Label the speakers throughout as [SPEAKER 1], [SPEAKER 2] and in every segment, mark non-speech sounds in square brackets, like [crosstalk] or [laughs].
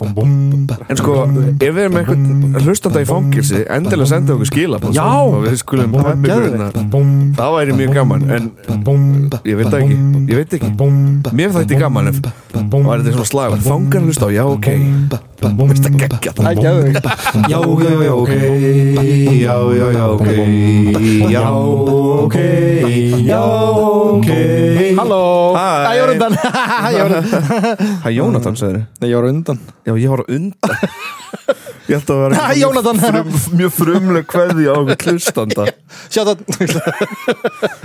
[SPEAKER 1] En sko, ef við erum með eitthvað hlustanda í fangilsi endilega senda okkur skilabóð
[SPEAKER 2] Já.
[SPEAKER 1] og við skulum
[SPEAKER 2] Það
[SPEAKER 1] peppi
[SPEAKER 2] geðveikt.
[SPEAKER 1] grunna það væri mjög gaman en ég veit það ekki, ég veit ekki mér þætti gaman ef var þetta svona slag fangar hlust á, já ok veist það geggja
[SPEAKER 2] Það er geðveikt.
[SPEAKER 1] já, já, já, ok já, já, já, ok já, ok já, ok
[SPEAKER 2] Halló
[SPEAKER 1] Hæ.
[SPEAKER 2] Æ, Ég var undan [laughs] Ég var undan
[SPEAKER 1] hæ, Jónatan, sagður
[SPEAKER 2] Nei, Ég var undan
[SPEAKER 1] Mm. já, ég var á undan ég held að vera
[SPEAKER 2] Hæ, Jónatan
[SPEAKER 1] frum, mjög frumleg kveði á okkur hlustanda
[SPEAKER 2] Sjátt að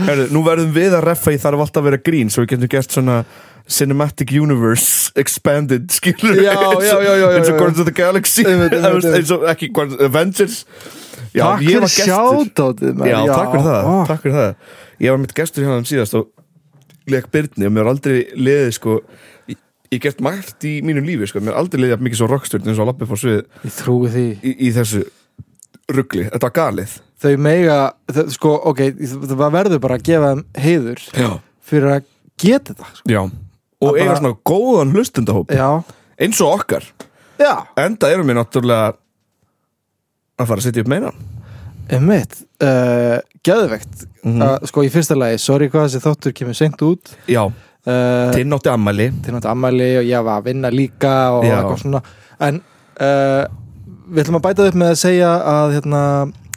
[SPEAKER 1] Herru, nú verðum við að reffa í þarf alltaf að vera grín svo við getum gert svona Cinematic Universe Expanded skilur
[SPEAKER 2] Já, já, já, já, já,
[SPEAKER 1] eins og
[SPEAKER 2] já.
[SPEAKER 1] Guardians of the Galaxy
[SPEAKER 2] Einmitt, einmitt,
[SPEAKER 1] Þú veist,
[SPEAKER 2] einmitt.
[SPEAKER 1] eins og ekki Guardians Avengers já,
[SPEAKER 2] Takk
[SPEAKER 1] ég
[SPEAKER 2] fyrir
[SPEAKER 1] var gestur.
[SPEAKER 2] sjáttátið
[SPEAKER 1] já, takk fyrir það,
[SPEAKER 2] Ah.
[SPEAKER 1] takk fyrir það ég var mitt gestur hjá þeim síðast og leik Byrni og mér var aldrei liðið sko ég, ég gert margt í mínu lífi sko, mér var aldrei liðið jafn mikið svo rockstjörn eins og að lappi fór svið
[SPEAKER 2] Ég trúi því
[SPEAKER 1] í, í þessu ruggli, þetta var galið
[SPEAKER 2] Þau mega þau, Sko, ok Það verður bara að gefa þeim heiður
[SPEAKER 1] já,
[SPEAKER 2] Fyrir að geta þetta sko.
[SPEAKER 1] já og
[SPEAKER 2] Það
[SPEAKER 1] eiga
[SPEAKER 2] bara-
[SPEAKER 1] svona góðan hlustendahóp
[SPEAKER 2] Já
[SPEAKER 1] eins og okkar
[SPEAKER 2] Já
[SPEAKER 1] enda erum við náttúrulega að fara að setja upp meina
[SPEAKER 2] Einmitt uh, Geðveikt
[SPEAKER 1] Mhm.
[SPEAKER 2] uh, Sko, í fyrsta lagi Sorry hvað þessi þáttur kemur seint út
[SPEAKER 1] já,
[SPEAKER 2] uh,
[SPEAKER 1] Eh. tinn átti ammali
[SPEAKER 2] til náttúrulega ammæli og ég var að vinna líka og
[SPEAKER 1] Já.
[SPEAKER 2] eitthvað svona en uh, við ætlum að bæta það upp með að segja að, hérna,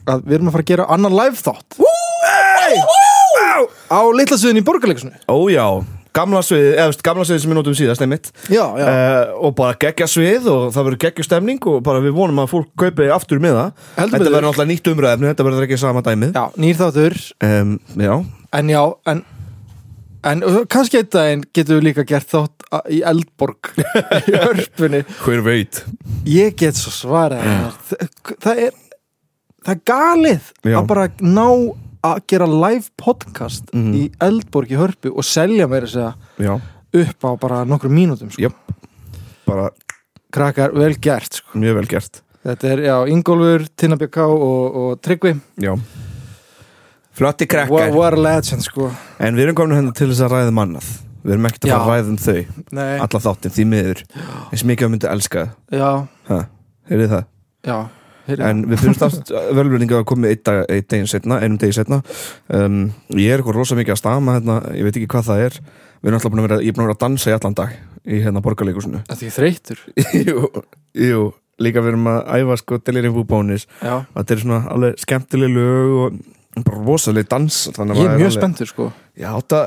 [SPEAKER 2] að við erum að fara að gera annan live þátt á litlasviðin í borgarleikusinu
[SPEAKER 1] ó já, gamla svið eða veist, gamla svið sem við notum síðast einmitt
[SPEAKER 2] já, já,
[SPEAKER 1] Uh, og bara geggja svið og það verður geggja stemning og bara við vonum að fólk kaupi aftur með það
[SPEAKER 2] Heldur
[SPEAKER 1] þetta
[SPEAKER 2] betur.
[SPEAKER 1] verður náttúrulega nýtt umræðefni, þetta verður ekki sama dæmið
[SPEAKER 2] já nýr þáttur
[SPEAKER 1] um, já,
[SPEAKER 2] en já, en En uh, kannski einn daginn getum við líka gert þátt a- í Eldborg [laughs] í hörpunni.
[SPEAKER 1] hver veit
[SPEAKER 2] Ég get svo svarað hennar. Þa- Það er, það er galið
[SPEAKER 1] Já.
[SPEAKER 2] að bara ná að gera live podcast í Eldborg í Hörpu og selja mér þess að
[SPEAKER 1] já,
[SPEAKER 2] segja upp á bara nokkrum mínútum sko.
[SPEAKER 1] jöp bara
[SPEAKER 2] Krakkar, vel gert sko.
[SPEAKER 1] mjög vel gert
[SPEAKER 2] Þetta er, já, Ingólfur, Tinna Bjökká og, og Tryggvi
[SPEAKER 1] já flotti
[SPEAKER 2] War,
[SPEAKER 1] krakkar
[SPEAKER 2] war legend sko.
[SPEAKER 1] en við erum komin hérna til þess að ræða mannað við erum ekkert að fara að
[SPEAKER 2] Já.
[SPEAKER 1] ræða um þau
[SPEAKER 2] Nei,
[SPEAKER 1] alla þáttin því miður eins mikið að myndi elska
[SPEAKER 2] já,
[SPEAKER 1] það heyrið það,
[SPEAKER 2] já heyrðu.
[SPEAKER 1] en við byrjum [laughs] stafst velvölinga að koma með einn dag, einn degin setna einum degi setna um, ég er eitthvað rosa mikið að stama hérna, ég veit ekki hvað það er við erum alltaf búin að vera, ég er búin að vera að dansa í allan dag í hérna borgarleikusinu
[SPEAKER 2] Þetta er ekki þreytur
[SPEAKER 1] [laughs] jú, jú, líka við erum að æfa sko delirin búbónis,
[SPEAKER 2] já.
[SPEAKER 1] þetta er svona alveg skemmtileg lög og bara rosaleg dans þannig að
[SPEAKER 2] Ég
[SPEAKER 1] maður
[SPEAKER 2] er mjög
[SPEAKER 1] alveg-
[SPEAKER 2] spenntur sko.
[SPEAKER 1] já, þetta,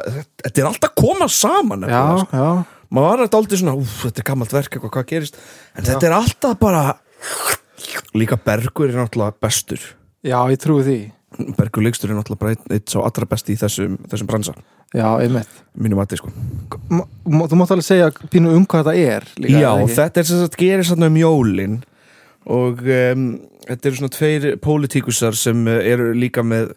[SPEAKER 1] þetta er alltaf koma saman nefnilega, sko.
[SPEAKER 2] Já, já
[SPEAKER 1] maður var alltaf aldrei svona úf, þetta er gammalt verk, eitthvað, hvað gerist en þetta er alltaf bara líka Bergur er náttúrulega bestur
[SPEAKER 2] Já, ég trúi því
[SPEAKER 1] Bergur leikstur er náttúrulega bara einn- einn sá allra besti í þessum, þessum bransa,
[SPEAKER 2] Já, einmitt
[SPEAKER 1] mínum aðeins sko
[SPEAKER 2] M Þú mátt alveg segja pínu um hvað þetta er líka,
[SPEAKER 1] já,
[SPEAKER 2] eða ekki?
[SPEAKER 1] þetta er sem sagt gerist þarna um jólin og um, þetta eru svona tveir pólitíkusar sem uh, eru líka með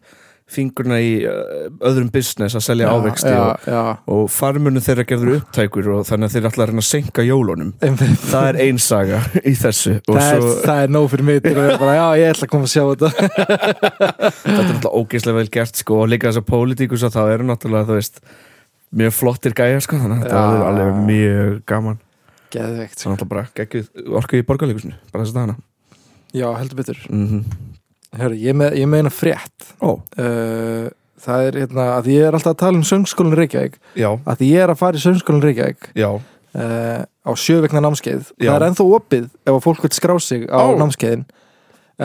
[SPEAKER 1] fingurna í uh, öðrum business að selja ávexti
[SPEAKER 2] já,
[SPEAKER 1] og,
[SPEAKER 2] já,
[SPEAKER 1] og farmunum þeirra gerður upptækur og þannig að þeir ætla að reyna að senka jólunum
[SPEAKER 2] einmitt
[SPEAKER 1] það er ein saga í þessu [laughs] og
[SPEAKER 2] það,
[SPEAKER 1] svo,
[SPEAKER 2] er, það er nóg fyrir mig
[SPEAKER 1] [laughs]
[SPEAKER 2] til að vera bara, já, ég ætla að koma að sjá þetta
[SPEAKER 1] þetta er náttúrulega ógeðslega vel gert sko og líka þess að pólitíkus að það eru náttúrulega þú veist mjög flottir gæja sko þannig að þetta
[SPEAKER 2] Já.
[SPEAKER 1] er alveg mjög gaman það
[SPEAKER 2] Geðveikt
[SPEAKER 1] er náttúrulega bara geggjuð orkuð í borgarleikusinu bara þess að dana
[SPEAKER 2] Já, heldur betur
[SPEAKER 1] mm
[SPEAKER 2] Hörru, ég, er með, ég meina frétt
[SPEAKER 1] ó,
[SPEAKER 2] uh, Það er hérna, að ég er alltaf að tala um söngskólinn Reykjavík
[SPEAKER 1] já,
[SPEAKER 2] Að því ég er að fara í söngskólinn Reykjavík
[SPEAKER 1] já
[SPEAKER 2] uh, á sjöveikna námskeið
[SPEAKER 1] Já.
[SPEAKER 2] það er ennþá opið ef að fólk vil skrá sig á
[SPEAKER 1] Ó.
[SPEAKER 2] námskeiðin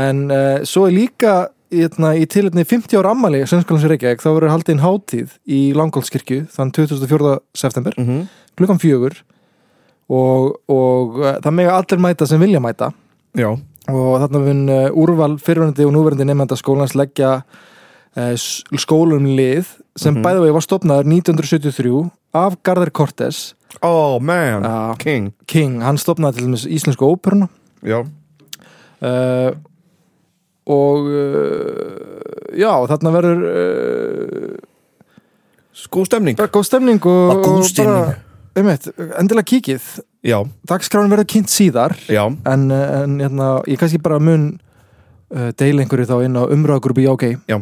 [SPEAKER 2] en uh, svo er líka hérna, í tilhætni 50 ára ammali Sönnskólans í Reykjavík þá verður haldin hátíð í Langholtskirkju þann 24. september
[SPEAKER 1] mm -hmm.
[SPEAKER 2] klukkan fjögur og, og uh, það mega allir mæta sem vilja mæta
[SPEAKER 1] já,
[SPEAKER 2] og þarna mun uh, úrval fyrirverandi og núverandi nefnda skólans leggja uh, skólum lið sem
[SPEAKER 1] Mhm.
[SPEAKER 2] mm -hmm. bæði og ég var stopnaður 1973 af Garðar Cortes
[SPEAKER 1] oh man
[SPEAKER 2] Já.
[SPEAKER 1] king,
[SPEAKER 2] King, hann stopnaði til dæmis íslensku óperuna
[SPEAKER 1] já,
[SPEAKER 2] uh, og uh, já, þarna verður uh,
[SPEAKER 1] sko stemning
[SPEAKER 2] bara góð stemning og,
[SPEAKER 1] Bara góð
[SPEAKER 2] og
[SPEAKER 1] stemning.
[SPEAKER 2] einmitt, endilega kíkið
[SPEAKER 1] já,
[SPEAKER 2] dagskráin verður kynnt síðar
[SPEAKER 1] já,
[SPEAKER 2] en, uh, en hérna, ég kannski bara mun uh, deil einhverju þá inn á umröðagrúpi já, ok
[SPEAKER 1] Já.
[SPEAKER 2] Eh,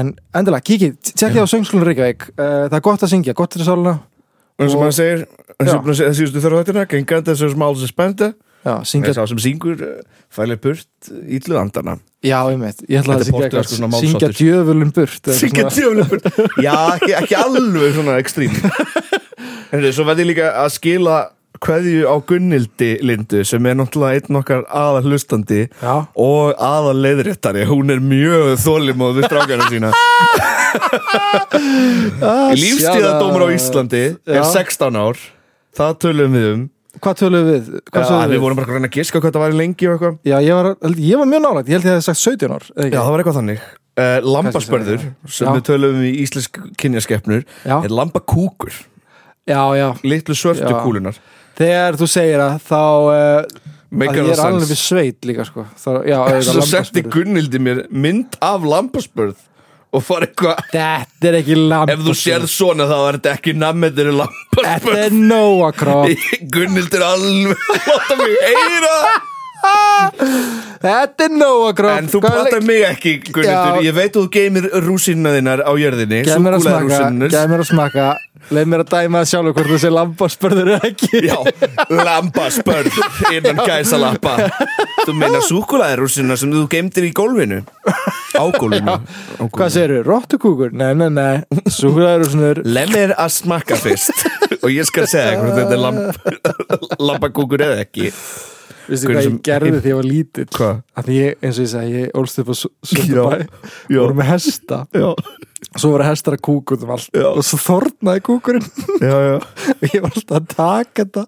[SPEAKER 2] en endilega kíkið, tjekkið á söngskólinn Reykjavík uh, það er gott að syngja, gott fyrir sáluna
[SPEAKER 1] eins og
[SPEAKER 2] Og-
[SPEAKER 1] maður segir eins
[SPEAKER 2] Já.
[SPEAKER 1] og maður segir síðustu þörf þáttina gengat þessu smál sem spenda
[SPEAKER 2] já, syngja,
[SPEAKER 1] en sá sem syngur eh, fælir burt illu andana
[SPEAKER 2] já, einmitt ég
[SPEAKER 1] Þetta
[SPEAKER 2] ætla að
[SPEAKER 1] er
[SPEAKER 2] syngja,
[SPEAKER 1] portugalskur svona
[SPEAKER 2] eitthvað,
[SPEAKER 1] málsháttur.
[SPEAKER 2] syngja djöfulun burt eða eitthvað
[SPEAKER 1] Sigga
[SPEAKER 2] svona.
[SPEAKER 1] djöfnum [laughs] burt Já, ekki, ekki alveg svona [laughs] ekstrím En svo verði ég líka að skila kveðju á Gunnildi Lindu sem er náttúrulega einn okkar aðal hlustandi
[SPEAKER 2] já,
[SPEAKER 1] og aðal leiðréttari hún er mjög þólimóð við strákana
[SPEAKER 2] [laughs]
[SPEAKER 1] sína
[SPEAKER 2] Ah,
[SPEAKER 1] Lífstíðadómur á Íslandi er
[SPEAKER 2] Já.
[SPEAKER 1] 16 ár það tölum við um
[SPEAKER 2] hvað tölum við, hvað
[SPEAKER 1] ja,
[SPEAKER 2] sögum
[SPEAKER 1] Við
[SPEAKER 2] við
[SPEAKER 1] vorum bara að reyna að giska hvað það var lengi og eitthvað
[SPEAKER 2] já, ég var, held- ég var mjög nálægt, ég held ég hefði sagt 17 ár eða
[SPEAKER 1] Já,
[SPEAKER 2] ekki?
[SPEAKER 1] það var eitthvað þannig uh, Lambaspörður sem
[SPEAKER 2] Já.
[SPEAKER 1] við tölum um í íslensk kynjaskeppnur er
[SPEAKER 2] já,
[SPEAKER 1] lambakúkur
[SPEAKER 2] já, já
[SPEAKER 1] litlu svörtu
[SPEAKER 2] Já.
[SPEAKER 1] kúlunar
[SPEAKER 2] þegar þú segir að þá uh, að
[SPEAKER 1] Meikar
[SPEAKER 2] ég er
[SPEAKER 1] það
[SPEAKER 2] alveg
[SPEAKER 1] sens
[SPEAKER 2] sveit líka sko þá, já,
[SPEAKER 1] [laughs] Svo
[SPEAKER 2] auðvitað
[SPEAKER 1] setti
[SPEAKER 2] lambasburður.
[SPEAKER 1] Gunnildi mér mynd af lambaspörð og far eitthvað
[SPEAKER 2] þetta er ekki lamb
[SPEAKER 1] Ef þú sérð svona þá er þetta ekki nammet eru [laughs]
[SPEAKER 2] þetta
[SPEAKER 1] lambaspörð
[SPEAKER 2] er Noah Kropp
[SPEAKER 1] Gunnildi er alveg Láta mig heyra
[SPEAKER 2] þetta er Noah Kropp
[SPEAKER 1] En þú platar mig ekki Gunnildur
[SPEAKER 2] Sko, Já.
[SPEAKER 1] Ég veit að þú geymir rúsinna þinnar á jörðinni
[SPEAKER 2] Gæð mér að smaka,
[SPEAKER 1] súkkulaðirúsínurnar.
[SPEAKER 2] gæð mér að smaka Leif mér að dæma sjálfur hvort þessi lambaspörður er ekki
[SPEAKER 1] Já, lambaspörð
[SPEAKER 2] [laughs]
[SPEAKER 1] innan gæsalappa Þú meina súkulaðirúsina sem þú geymdir í gólfinu Á gólfinu, á
[SPEAKER 2] Hvað
[SPEAKER 1] gólfinu.
[SPEAKER 2] segirðu? Rottukúkur? Nei, nei, nei Súkulæðurúsnur
[SPEAKER 1] Lem er að smakka fyrst Og ég skal segja þér hvort þetta er
[SPEAKER 2] [laughs]
[SPEAKER 1] lamb, lambakúkur eða ekki
[SPEAKER 2] Vistu
[SPEAKER 1] Hvernig
[SPEAKER 2] hvað ég
[SPEAKER 1] sem-
[SPEAKER 2] gerði þegar ég var lítill
[SPEAKER 1] Hvað?
[SPEAKER 2] Að því ég, eins og ég segi, ég ólst upp á
[SPEAKER 1] Já,
[SPEAKER 2] Söldubæ
[SPEAKER 1] já.
[SPEAKER 2] Voru með hesta
[SPEAKER 1] Já,
[SPEAKER 2] Svo voru hestar að kúka út um allt
[SPEAKER 1] Já.
[SPEAKER 2] Og svo þornaði kúkurinn
[SPEAKER 1] já, já
[SPEAKER 2] og ég var alltaf að taka þetta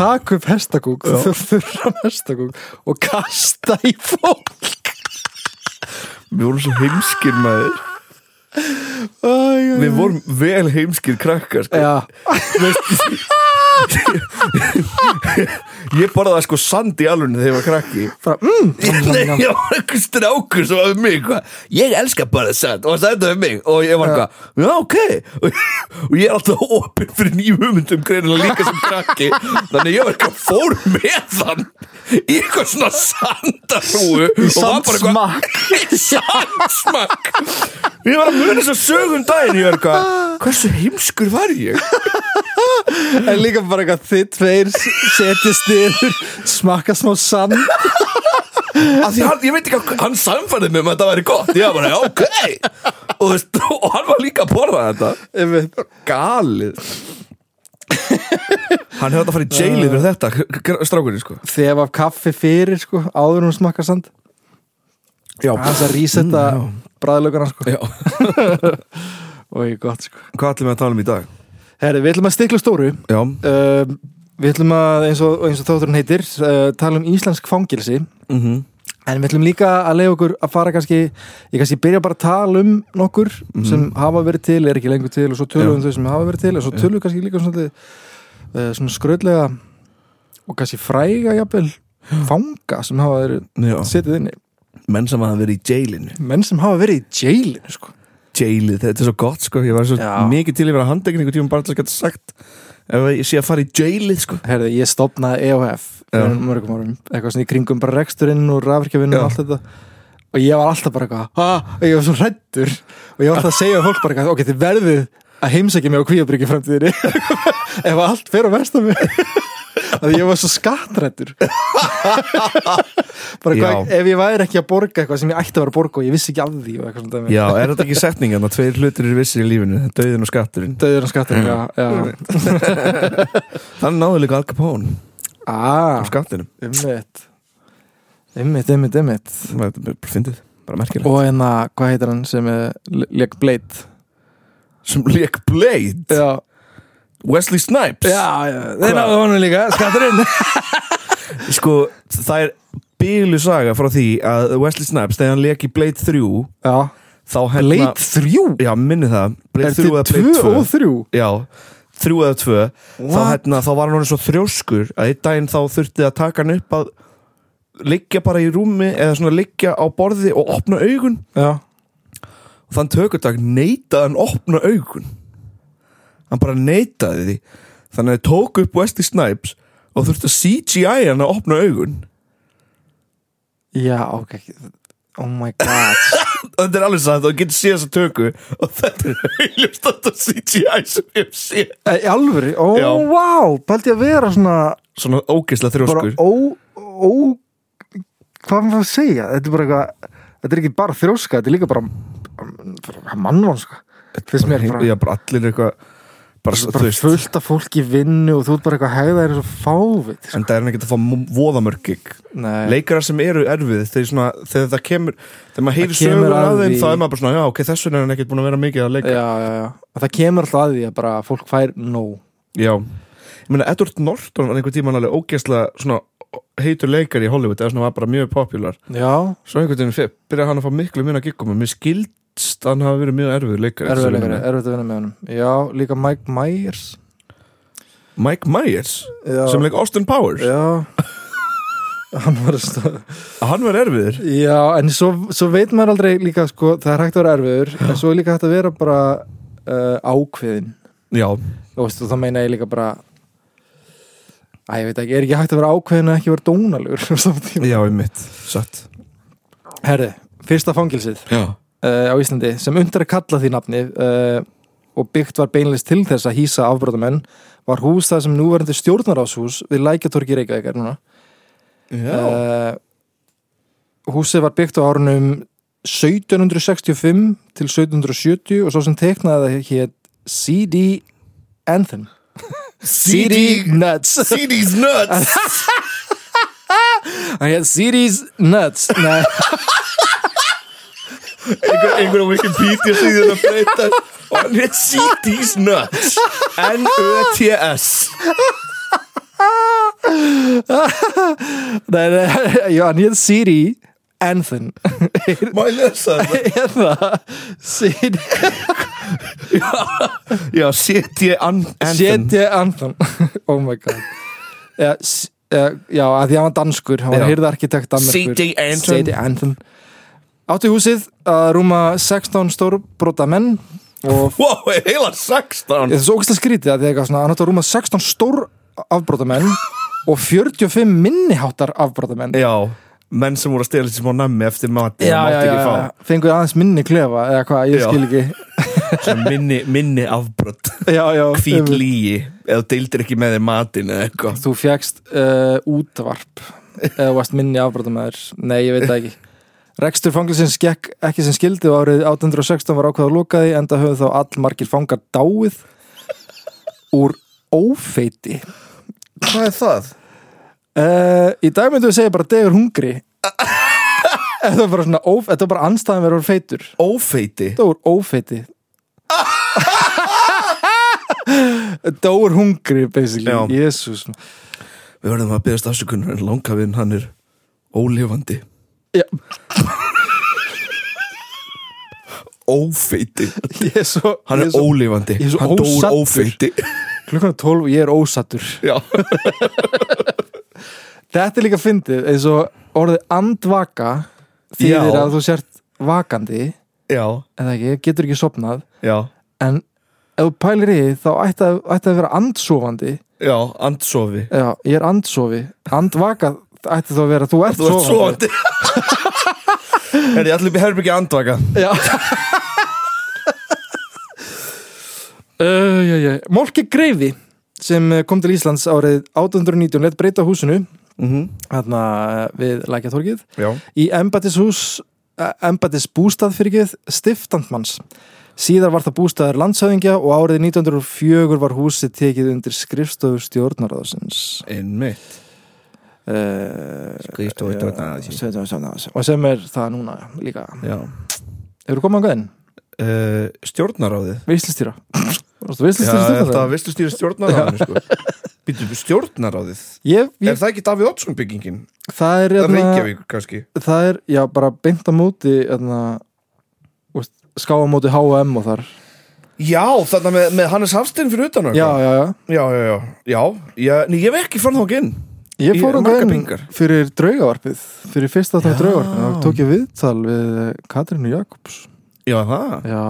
[SPEAKER 2] taka upp hestakúk, þur- þurran hestakúk og kasta í fólk
[SPEAKER 1] Við vorum svo heimskir maður
[SPEAKER 2] Æ, æ,
[SPEAKER 1] Við vorum vel heimskir krakkar sko.
[SPEAKER 2] Mm. Já,
[SPEAKER 1] Ég borðaði sko sand í alunni þegar ég var krakki
[SPEAKER 2] bara,
[SPEAKER 1] [laughs]
[SPEAKER 2] mm,
[SPEAKER 1] Nei, ég var eitthvað strákur sem var um mig hvað, ég elska bara satt og sagði þetta um mig og ég var eitthvað, já ok [laughs] og, og ég er alltaf opinn fyrir nýjum hugmyndum greinilega líka sem krakki þannig ég var eitthvað fór með hann í eitthvað svona sandarúu
[SPEAKER 2] í
[SPEAKER 1] og var bara eitthvað
[SPEAKER 2] sandsmakk
[SPEAKER 1] [laughs] í sandsmakk ég var að muna þess að sögum daginn ég var eitthvað, hversu heimskur var ég
[SPEAKER 2] en líka bara eitthvað þið tveir s- setjast niður smakka smá sand
[SPEAKER 1] að því hann, ég veit ekki hvað, hann samfæði mig um að þetta væri gott, ég var bara, já ok og, þú veist, og hann var líka að borða þetta
[SPEAKER 2] einmitt.
[SPEAKER 1] galið hann hefði átt að fara í jailið fyrir þetta k- k- strákurinn sko
[SPEAKER 2] þef af kaffi fyrir sko, áður en hún smakka sand
[SPEAKER 1] já,
[SPEAKER 2] hans að rísetta mm, bræðlögana sko.
[SPEAKER 1] já.
[SPEAKER 2] og ég gott sko.
[SPEAKER 1] hvað ætlum við að tala um í dag?
[SPEAKER 2] Herri, við ætlum að stikla á stóru
[SPEAKER 1] já,
[SPEAKER 2] uh, við ætlum að eins og, eins og þátturinn heitir uh, tala um íslensk fangilsi
[SPEAKER 1] mm -hmm.
[SPEAKER 2] en við ætlum líka að leiða okkur að fara kannski ég kannski byrja bara að tala um nokkur sem hafa verið til, er ekki lengur til og svo tölum við um þau sem hafa verið til og svo tölum við kannski líka svona, uh, svona skröðlega og kannski fræga jafnvel fanga sem hafa verið
[SPEAKER 1] já.
[SPEAKER 2] setið inni
[SPEAKER 1] menn sem hafa verið í jailinu
[SPEAKER 2] menn sem hafa verið í jailinu sko.
[SPEAKER 1] jailið, þetta er svo gott sko ég var svo
[SPEAKER 2] Já.
[SPEAKER 1] mikið til yfir að handegin einhvern tíma bara til að geta sagt ef ég sé að fara í jailið sko
[SPEAKER 2] Herði, ég stopnaði EOF
[SPEAKER 1] Já.
[SPEAKER 2] fyrir mörgum árum, eitthvað svona í kringum bara reksturinn og rafirkjavinn
[SPEAKER 1] Já.
[SPEAKER 2] og allt þetta og ég var alltaf bara eitthvað "Ha?" og ég var svo hrættur og ég var alltaf að segja við fólk bara eitthvað, ok, þið verðið að heimsækja mig á kvíabryggju framtíðinni [laughs] ef allt fer á versta [laughs] mig að ég var svo skattrættur [laughs] bara hvað,
[SPEAKER 1] Já.
[SPEAKER 2] ef ég væri ekki að borga eitthvað sem ég ætti að vera að borga og ég vissi ekki af því og eitthvað svona dæmi
[SPEAKER 1] já, er þetta ekki setningan að tveir hlutir eru vissir í lífinu döðin og skatturinn
[SPEAKER 2] döður og skatturinn, já, já.
[SPEAKER 1] þannig náðu líka Al Capone á
[SPEAKER 2] Ah,
[SPEAKER 1] skattinum
[SPEAKER 2] ummitt ummitt, ummitt, ummitt
[SPEAKER 1] þetta er bara fyndið, bara merkilegt
[SPEAKER 2] og hérna, hvað heitir hann sem leik Blade
[SPEAKER 1] sem leik Blade,
[SPEAKER 2] já,
[SPEAKER 1] Wesley Snipes
[SPEAKER 2] já, þeir náðu honum líka
[SPEAKER 1] [laughs]
[SPEAKER 2] skatturinn
[SPEAKER 1] Sko, það er bílu saga frá því að Wesley Snipes, þegar hann leik í Blade 3
[SPEAKER 2] já,
[SPEAKER 1] þá hérna
[SPEAKER 2] Blade 3
[SPEAKER 1] Já, minni það, Blade
[SPEAKER 2] er
[SPEAKER 1] 3
[SPEAKER 2] til
[SPEAKER 1] eða
[SPEAKER 2] 2
[SPEAKER 1] Blade 2
[SPEAKER 2] og 3
[SPEAKER 1] Já, 3 eða 2 þá,
[SPEAKER 2] What?
[SPEAKER 1] hérna, þá var hann orðin svo þrjóskur að einn daginn þá þurfti að taka hann upp að liggja bara í rúmi eða svona liggja á borði og opna augun
[SPEAKER 2] já,
[SPEAKER 1] og þann tökudag neitaði hann opna augun hann bara neitaði því þannig að þau tók upp Wesley Snipes og þurfti að CGI hann að opna augun [laughs]
[SPEAKER 2] já, ok oh my god
[SPEAKER 1] þetta er alveg satt og getur séð þessa tökku og þetta er heiljumst þetta CGI sem ég hef séð
[SPEAKER 2] Í alvöru, ó,
[SPEAKER 1] Já.
[SPEAKER 2] vá, pældi ég að vera svona
[SPEAKER 1] svona ógeðslega
[SPEAKER 2] bara
[SPEAKER 1] þrjóskur
[SPEAKER 2] ó, ó hvað maður að segja, þetta er bara eitthvað þetta er ekki bara þrjóska, þetta er líka bara, bara mannvonska finnst mér bara,
[SPEAKER 1] já, bara allir eitthvað bara, þú
[SPEAKER 2] bara
[SPEAKER 1] veist,
[SPEAKER 2] fullt af fólk í vinnu og þú ert bara eitthvað að hegða þér eins og fávit sko.
[SPEAKER 1] en það er ekki að fá voðamörkik
[SPEAKER 2] Nei.
[SPEAKER 1] leikarar sem eru erfið þegar, svona, þegar það kemur þegar maður heyri
[SPEAKER 2] kemur
[SPEAKER 1] sögur
[SPEAKER 2] að
[SPEAKER 1] að þeim
[SPEAKER 2] því.
[SPEAKER 1] þá er maður bara svona, já ok, þess vegna er hann ekkert búin að vera mikið að
[SPEAKER 2] já,
[SPEAKER 1] leika já,
[SPEAKER 2] já, já, og það kemur alltaf að því að bara fólk fær nóg
[SPEAKER 1] ég meina Edward Norton var einhvern tímann alveg ógeðslega svona heitur leikar í Hollywood eða svona var bara mjög popular
[SPEAKER 2] já,
[SPEAKER 1] svo einhvern tímann fe- byrjaði hann að fá miklu minna giggum og mér skildst að hann hafa verið mjög erfið leikar
[SPEAKER 2] erfiðleikari, erfiðt að vinna með honum já, líka Mike Myers
[SPEAKER 1] Mike Myers
[SPEAKER 2] já,
[SPEAKER 1] sem leik Austin Powers
[SPEAKER 2] já [laughs] hann var að stóð
[SPEAKER 1] hann var erfiður
[SPEAKER 2] Já, en svo, svo veit maður aldrei líka sko, það er hægt að vera erfiður en svo er líka hægt að vera bara uh, ákveðin
[SPEAKER 1] já,
[SPEAKER 2] Þú veist, og það meina ég líka bara Æ, ég veit ekki, er ekki hægt að vera ákveðin að ekki vera [laughs] dónalegur á sama tíma?
[SPEAKER 1] já, ég mitt, satt
[SPEAKER 2] Herði, fyrsta fangilsið
[SPEAKER 1] já,
[SPEAKER 2] uh, á Íslandi sem undar að kalla því nafni uh, og byggt var beinleist til þess að hýsa afbrotamenn var hús það sem núverandi stjórnaráshús við Lækjatorgi Reykjavík er núna
[SPEAKER 1] já.
[SPEAKER 2] uh, húsið var byggt á árunum 1765 til 1770 og svo sem teiknaði það hétt C.D. Anthem C.D. Nuts
[SPEAKER 1] CD's nuts
[SPEAKER 2] hann hétt C.D.'s Nuts Nei,
[SPEAKER 1] [laughs] einhver, einhverjum Wikipedia síðan að breyta og hann er CD's Nuts N-U-T-S
[SPEAKER 2] nei, nei já, hann hétt C.D. Anthem
[SPEAKER 1] Má ég lesa þetta?
[SPEAKER 2] [laughs] eða C.D.
[SPEAKER 1] Já, C.D. Anthem
[SPEAKER 2] C.D. Anthem [laughs] oh my god já, s- eh, já, að því að hann var danskur hann var
[SPEAKER 1] Já.
[SPEAKER 2] hyrðarkitekt danskur
[SPEAKER 1] C.D. Anthem.
[SPEAKER 2] C.D. Anthem átti húsið að rúma 16 stórbróta menn og
[SPEAKER 1] Wow, er heila 16
[SPEAKER 2] þetta er svo ógæslega skrítið að því eitthvað svona, hann átti að rúma 16 stór [laughs] afbrótamenn og 45 minniháttar afbrótamenn
[SPEAKER 1] Já, menn sem voru að stela þessi smá nammi eftir mati
[SPEAKER 2] já, já, já, fenguð aðeins minni klefa eða hvað, ég
[SPEAKER 1] Já.
[SPEAKER 2] skil ekki
[SPEAKER 1] Sem minni, minni afbrot
[SPEAKER 2] [laughs] já, já,
[SPEAKER 1] Hvít
[SPEAKER 2] um,
[SPEAKER 1] lígi Eða þú deildir ekki með þér matin eða eitthvað
[SPEAKER 2] þú fjækst uh, útvarp eða varst minni afbrótamæður nei, ég veit það ekki [laughs] Rekstur fanglisins gekk ekki sem skildi og árið 1816 var ákveða lokaði enda höfðu þá allmargir fangar dáið úr ófeiti
[SPEAKER 1] Hvað er það?
[SPEAKER 2] Uh, í dag myndum við segja bara degur hungri [laughs] Þetta var bara svona óf, Þetta var bara anstæðan verið úr feitur
[SPEAKER 1] Ófeiti
[SPEAKER 2] Þetta voru ófeiti [laughs] Þetta voru hungri basically,
[SPEAKER 1] Já.
[SPEAKER 2] jésús
[SPEAKER 1] Við verðum að byggðast afsökunar en langavinn hann er ólifandi
[SPEAKER 2] [laughs] Ég
[SPEAKER 1] Ófeiti
[SPEAKER 2] er svo
[SPEAKER 1] Hann
[SPEAKER 2] ég
[SPEAKER 1] er ólifandi
[SPEAKER 2] ég er svo
[SPEAKER 1] Hann dó úr
[SPEAKER 2] ósaddur.
[SPEAKER 1] ófeiti
[SPEAKER 2] Klukkan er 12 og ég er ósattur
[SPEAKER 1] Já
[SPEAKER 2] Þetta er líka fyndið eins og orðið andvaka þýðir
[SPEAKER 1] Já.
[SPEAKER 2] að þú sért vakandi
[SPEAKER 1] Já,
[SPEAKER 2] eða ekki, getur ekki sopnað
[SPEAKER 1] já,
[SPEAKER 2] en ef þú pælir í því, þá ætti að, ætti að vera andsofandi
[SPEAKER 1] já, andsofi
[SPEAKER 2] Já, ég er andsofi Andvaka ætti þá að vera, þú ert
[SPEAKER 1] Þú ert
[SPEAKER 2] sofandi
[SPEAKER 1] sofandi [laughs] Er ég allir upp í herbyggi andvaka
[SPEAKER 2] Já [laughs] uh, já, já. Mólki Greifi sem eh, kom til Íslands árið 1819 lett breyta húsinu
[SPEAKER 1] mm
[SPEAKER 2] hérna eh, við Lækjatorgið
[SPEAKER 1] Já,
[SPEAKER 2] í embættishús eh, embættisbústað fyrir geð stiftandmanns síðar var það bústaður landshöfingja og árið 1904 var húsið tekið undir skrifstofu stjórnarðarsins
[SPEAKER 1] einmitt
[SPEAKER 2] uh,
[SPEAKER 1] Skrifstofu stjórnarráðsins.
[SPEAKER 2] stjórnarðarsins og sem er það núna líka
[SPEAKER 1] Já
[SPEAKER 2] Hefur þú komið á gæðin?
[SPEAKER 1] uh, Stjórnaráðið
[SPEAKER 2] Veislistýra Varstu
[SPEAKER 1] Já,
[SPEAKER 2] veislistýra
[SPEAKER 1] er
[SPEAKER 2] stjórnar
[SPEAKER 1] það visslu stýri stjórnaráðinu sko Býtum við stjórnaráðið
[SPEAKER 2] Ég,
[SPEAKER 1] Er
[SPEAKER 2] ég,
[SPEAKER 1] það ekki Davíð Oddsson byggingin?
[SPEAKER 2] það er
[SPEAKER 1] Það
[SPEAKER 2] hérna-
[SPEAKER 1] Reykjavík kannski
[SPEAKER 2] Það er, já, bara beint á móti hérna, úst, skáa á móti H&M og þar
[SPEAKER 1] Já, þarna með, með Hannes Hafstein fyrir utan og
[SPEAKER 2] Já,
[SPEAKER 1] eitthvað.
[SPEAKER 2] já, já
[SPEAKER 1] já, já, já, já. já nei, Ég hef ekki fann þá inn
[SPEAKER 2] Ég
[SPEAKER 1] Í
[SPEAKER 2] fór á
[SPEAKER 1] margar
[SPEAKER 2] gæðin
[SPEAKER 1] bringar.
[SPEAKER 2] fyrir draugavarpið fyrir fyrsta þátt
[SPEAKER 1] Já.
[SPEAKER 2] draugavarpið og tók ég viðtal við eh, Katrínu Jakobs
[SPEAKER 1] Já, það,
[SPEAKER 2] Já,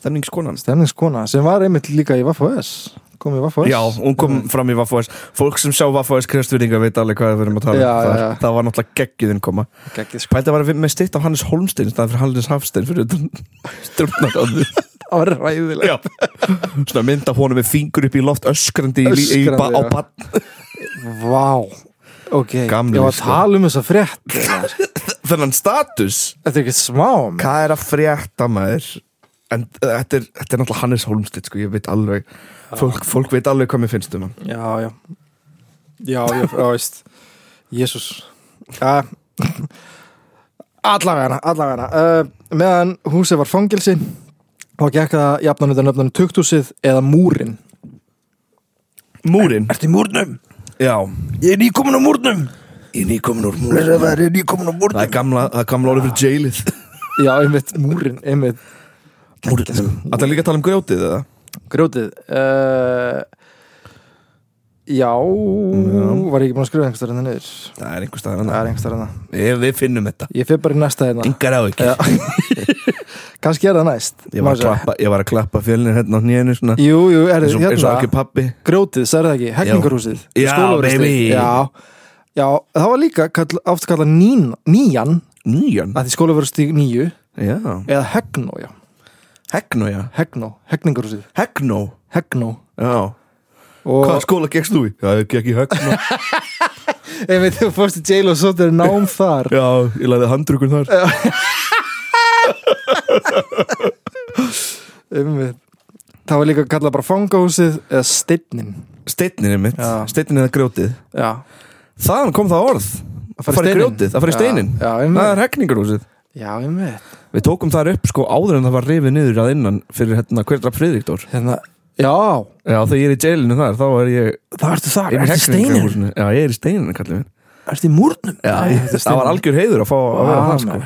[SPEAKER 1] stemningskonan
[SPEAKER 2] stemningskona sem var einmitt líka í Vaffa S kom í Vaffaðis
[SPEAKER 1] Já, hún kom
[SPEAKER 2] Mm.
[SPEAKER 1] fram í Vaffaðis Fólk sem sjá Vaffaðis kristvinninga veit alveg hvað við erum að tala um
[SPEAKER 2] Já,
[SPEAKER 1] það,
[SPEAKER 2] já, já.
[SPEAKER 1] það var náttúrulega geggiðin koma
[SPEAKER 2] Gekkið sko
[SPEAKER 1] Pældi að vera með styrt af Hannes Holmstein staðan fyrir Hannes Hafstein fyrir [laughs] strömmar
[SPEAKER 2] Það var ræðilega
[SPEAKER 1] Já Svona mynda honum með fingur upp í loft öskrandi, í, í, í,
[SPEAKER 2] Öskrandi,
[SPEAKER 1] ba á
[SPEAKER 2] já.
[SPEAKER 1] bann
[SPEAKER 2] Vá Ok,
[SPEAKER 1] Gamli,
[SPEAKER 2] ég var að
[SPEAKER 1] sko.
[SPEAKER 2] tala um þessa frétt Þetta
[SPEAKER 1] Þennan status
[SPEAKER 2] er ekki smá maður.
[SPEAKER 1] Hvað er að frétta maður? En uh, þetta er, þetta er náttúrulega Hannes Holmstein sko, ég veit alveg fólk, fólk veit alveg hvað mér finnst um hann
[SPEAKER 2] Já, já Já, já, já, veist Jésús ja. Allavegana, allavegana uh, Meðan húsið var fangelsi þá gekk það jafnan undan nöfnunum tukthúsið eða múrin
[SPEAKER 1] Múrin
[SPEAKER 3] Ertu í múrnum?
[SPEAKER 1] Já
[SPEAKER 3] Ég er nýkomin á múrnum
[SPEAKER 1] Ég er nýkomin úr
[SPEAKER 3] Þessi
[SPEAKER 1] múrin
[SPEAKER 3] að það er nýkomin á
[SPEAKER 1] Það er
[SPEAKER 3] múrnum
[SPEAKER 1] gamla, það er gamla orðið fyrir jailið
[SPEAKER 2] Já, einmitt, múrin, einmitt
[SPEAKER 1] Múrin Það er líka að tala um grjótið eða?
[SPEAKER 2] Grjótið uh, Já Var ég ekki búin að skrifa einhverstað hérna niður
[SPEAKER 1] Það er einhver staðar
[SPEAKER 2] Það
[SPEAKER 1] annað.
[SPEAKER 2] er einhverstað hérna
[SPEAKER 1] Við, við finnum þetta
[SPEAKER 2] Ég fer bara í næsta hérna
[SPEAKER 1] Engar á ekki
[SPEAKER 2] Já. Kannski er það næst
[SPEAKER 1] ég, var að
[SPEAKER 2] Má sjá.
[SPEAKER 1] klappa, ég var að klappa fjölnir hérna á nýjunu svona
[SPEAKER 2] Jú, jú, er
[SPEAKER 1] eins og,
[SPEAKER 2] þið
[SPEAKER 1] eins og ekki
[SPEAKER 2] hérna
[SPEAKER 1] pabbi
[SPEAKER 2] Grjótið, sagði það ekki, hekkingarhúsið
[SPEAKER 1] Já,
[SPEAKER 2] Skólavörðustíg.
[SPEAKER 1] baby.
[SPEAKER 2] Já, já, það var líka kall, oft kallað nín, nýjan
[SPEAKER 1] Nýjan?
[SPEAKER 2] að því skólaverustíg nýju
[SPEAKER 1] Já
[SPEAKER 2] eða hegnó, já,
[SPEAKER 1] Hegnó já
[SPEAKER 2] hegnó, hekningarhúsið
[SPEAKER 1] Hegnó
[SPEAKER 2] hegnó
[SPEAKER 1] Já
[SPEAKER 2] og
[SPEAKER 1] Hvaða skóla gekkst þú í? Já, ég gekk í Hegnó
[SPEAKER 2] ef við þú fórst í jail og svo þetta er nám þar
[SPEAKER 1] Já, ég læði handrukun þar
[SPEAKER 2] Einmitt. það var líka kallað bara fangahúsið eða steinin
[SPEAKER 1] Steinin er mitt
[SPEAKER 2] Já.
[SPEAKER 1] Steinin eða grjótið
[SPEAKER 2] já,
[SPEAKER 1] Þaðan kom það orð
[SPEAKER 2] Að
[SPEAKER 1] Að fara í
[SPEAKER 2] fara í steininn.
[SPEAKER 1] grjótið Að fara í
[SPEAKER 2] Já,
[SPEAKER 1] steinin
[SPEAKER 2] já, einmitt.
[SPEAKER 1] Það er Hegningarhúsið
[SPEAKER 2] já, ég veit
[SPEAKER 1] Við tókum þar upp sko áður en það var rifið niður að innan fyrir hérna hverra friðriktor
[SPEAKER 2] hérna, já,
[SPEAKER 1] Já, þegar ég er í jailinu þar þá er ég
[SPEAKER 3] Það ertu þar,
[SPEAKER 1] Ég er í
[SPEAKER 3] ertu í steinum
[SPEAKER 1] Hegningarhúsinu. Já, ég er í steininu kallið minn
[SPEAKER 3] Ertu í múrnum
[SPEAKER 1] Já,
[SPEAKER 2] Æ,
[SPEAKER 1] það
[SPEAKER 2] þetta er
[SPEAKER 1] var
[SPEAKER 2] steininn.
[SPEAKER 1] algjör heiður að fá að vera það sko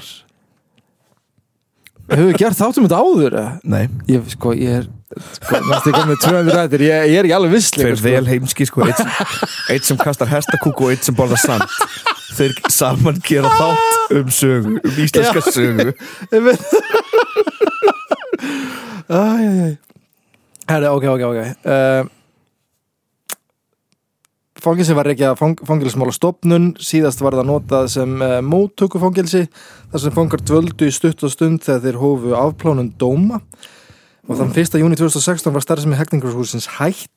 [SPEAKER 2] Hefur við gert þáttum þetta áður? eða?
[SPEAKER 1] Nei,
[SPEAKER 2] Ég, sko, ég er sko, næstu ég kom með 200 rættir ég, ég er ekki alveg viss
[SPEAKER 1] tveir
[SPEAKER 2] lengur,
[SPEAKER 1] vel heimski sko Eitt sem, [laughs] eitt sem kastar hestakúk og eitt sem borðar sand Þeir saman gera þátt um sögu Um íslenska sögu
[SPEAKER 2] Ég veit Æj, æj, æj Herri, ok, ok, ok uh, Fangilsi var ekki að fang, fangilsmála stopnun síðast var það notað sem uh, móttöku fangelsi þar sem fangar dvöldu í stutt og stund þegar þeir hófu afplánun dóma og þann 1. júni 2016 var starfsemi hegningarhúsins hætt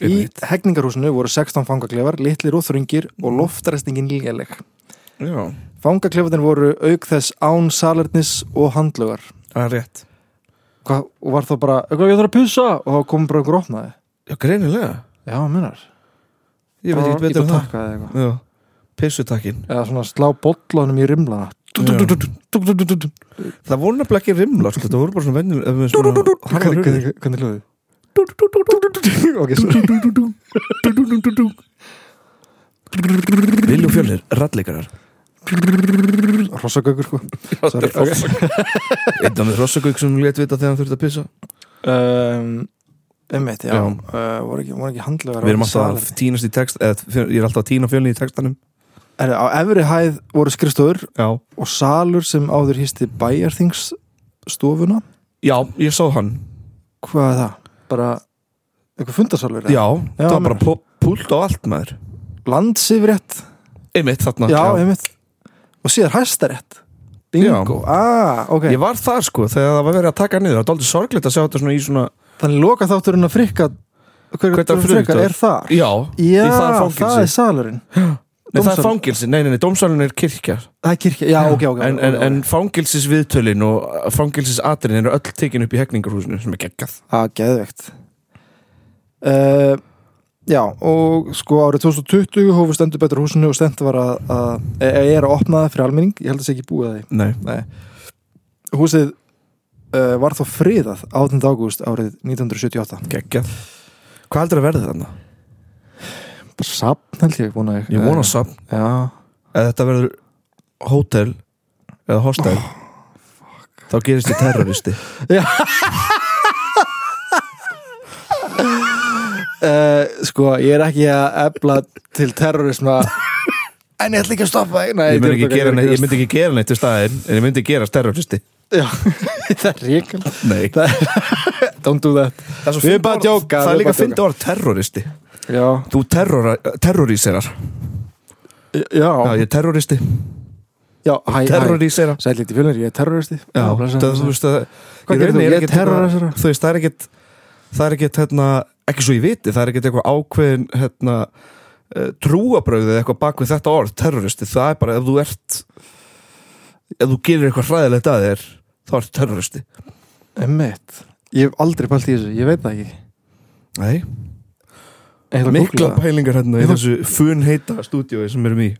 [SPEAKER 2] Í
[SPEAKER 1] Einmitt.
[SPEAKER 2] hegningarhúsinu voru 16 fangaklefar, litlir og þröngir og loftarestingin léleg
[SPEAKER 1] Já,
[SPEAKER 2] Fangaklefarnir voru auk þess án salernis og handlugar
[SPEAKER 1] það er rétt
[SPEAKER 2] Hva, og var þá bara, eitthvað ég þarf að pissa og þá kom bara einhver opnaði
[SPEAKER 1] Já, greinilega
[SPEAKER 2] já, munar,
[SPEAKER 1] Ég veit ekki betur en það
[SPEAKER 2] það
[SPEAKER 1] Já, pissutakkin
[SPEAKER 2] eða svona slá bollanum í rimlana
[SPEAKER 1] Það voru nefnilega ekki rimlar sko, það voru bara svona venjulega svona,
[SPEAKER 2] hvernig,
[SPEAKER 1] harðar-
[SPEAKER 2] hvernig, hvernig hljóði ok, sorry
[SPEAKER 1] Viljú fjölnir, rallleikarar
[SPEAKER 2] hrossagöggur sko Sorry, ok.
[SPEAKER 1] Einn af með hrossagauk sem létt vita þegar hann þurfti að pissa
[SPEAKER 2] um, einmitt, já,
[SPEAKER 1] Já.
[SPEAKER 2] Uh, voru ekki, voru ekki handlugar
[SPEAKER 1] Við erum alltaf að tínast í text eða, fjö- Ég er alltaf að tína fjölni í textanum
[SPEAKER 2] er, á efri hæð voru skrifstofur
[SPEAKER 1] Já,
[SPEAKER 2] og salur sem áður hýsti bæjarþings stofuna
[SPEAKER 1] já ég sá hann
[SPEAKER 2] hvað er það? bara eitthvað fundarsalur? eða?
[SPEAKER 1] Já, það var
[SPEAKER 2] meinar.
[SPEAKER 1] bara pú- púlt á allt maður
[SPEAKER 2] landsifrétt
[SPEAKER 1] Einmitt þarna
[SPEAKER 2] já, einmitt og síðan hæstarétt bingo, ah, ok
[SPEAKER 1] Ég var þar sko þegar það var verið að taka hann niður Það er aldrei sorglegt að sjá þetta svona í svona
[SPEAKER 2] þannig loka þátturinn að frikka hver,
[SPEAKER 1] Hvert var
[SPEAKER 2] hver frikkar
[SPEAKER 1] fruðviktar?
[SPEAKER 2] er þar
[SPEAKER 1] Já,
[SPEAKER 2] já
[SPEAKER 1] í það er
[SPEAKER 2] það er
[SPEAKER 1] fangelsi
[SPEAKER 2] salurinn
[SPEAKER 1] Nei, það er
[SPEAKER 2] dómsal-
[SPEAKER 1] fangelsi, nei, nei, nei, dómsalun er kirkja
[SPEAKER 2] það er kirkja, já, ok, ok,
[SPEAKER 1] En,
[SPEAKER 2] ok,
[SPEAKER 1] en,
[SPEAKER 2] ok.
[SPEAKER 1] en fangelsis viðtölin og fangelsis atriðin eru öll tekin upp í hekningarhúsinu sem er geggjað
[SPEAKER 2] að geðvegt uh, já, og sko árið 2020 hófu stendur betur húsinu og stendur var að, að e- e- er að opna það fyrir almenning, ég held að sé ekki búið að því
[SPEAKER 1] Nei,
[SPEAKER 2] húsið uh, var þó friðað 18. ágúst árið 1978
[SPEAKER 1] geggjað Hvað heldur að verði þarna?
[SPEAKER 2] bara sapn held ég vona
[SPEAKER 1] Ég vona samt
[SPEAKER 2] já,
[SPEAKER 1] að Eh, þetta verður hótel eða hostel þá gerist þið [laughs] terroristi
[SPEAKER 2] Uh, sko, ég er ekki að ebla til terrorisma [laughs] En ég ætla ekki að stoppa þig Nei,
[SPEAKER 1] ég myndi
[SPEAKER 2] djók,
[SPEAKER 1] ekki gera
[SPEAKER 2] er
[SPEAKER 1] neitt, ég
[SPEAKER 2] að-
[SPEAKER 1] myndi ekki gera
[SPEAKER 2] [laughs]
[SPEAKER 1] neitt í staðinn en ég myndi gerast terroristi
[SPEAKER 2] Já, það er ríkil
[SPEAKER 1] Nei,
[SPEAKER 2] Það er don't do that
[SPEAKER 1] Það er,
[SPEAKER 2] Við erum bara að djóka
[SPEAKER 1] það er
[SPEAKER 2] við erum
[SPEAKER 1] líka
[SPEAKER 2] bara að
[SPEAKER 1] fyndið orð terroristi
[SPEAKER 2] djóka. Já,
[SPEAKER 1] Þú terrora, terroríserar
[SPEAKER 2] já,
[SPEAKER 1] Já, ég er terroristi
[SPEAKER 2] já hæ, hæ
[SPEAKER 1] Terrorísera
[SPEAKER 2] Sæll eitt í fjölnir, ég er terroristi
[SPEAKER 1] Já,
[SPEAKER 2] blessaður,
[SPEAKER 1] það, þú
[SPEAKER 2] blessaður.
[SPEAKER 1] veist að
[SPEAKER 2] Hvað
[SPEAKER 1] í
[SPEAKER 2] gerir
[SPEAKER 1] rauninni
[SPEAKER 2] þú?
[SPEAKER 1] er
[SPEAKER 2] Ég
[SPEAKER 1] ekkert- hérna-
[SPEAKER 2] terrorisera.
[SPEAKER 1] Þú veist, það er ekkert Það er ekkert, hérna, ekki svo ég viti Það er ekkert eitthvað ákveðin, hérna eh, Trúabrögð eða eitthvað bak við þetta orð Terroristi, það er bara ef þú ert Ef þú gerir eitthvað hræðilegt að þér Þá ert terroristi
[SPEAKER 2] Einmitt. Ég hef aldrei pælt í þessu, ég veit það ekki
[SPEAKER 1] Nei,
[SPEAKER 2] Ég ætla að
[SPEAKER 1] mikla
[SPEAKER 2] googla það.
[SPEAKER 1] pælingar hérna Í
[SPEAKER 2] Ég-
[SPEAKER 1] þessu fun heita stúdíói sem erum í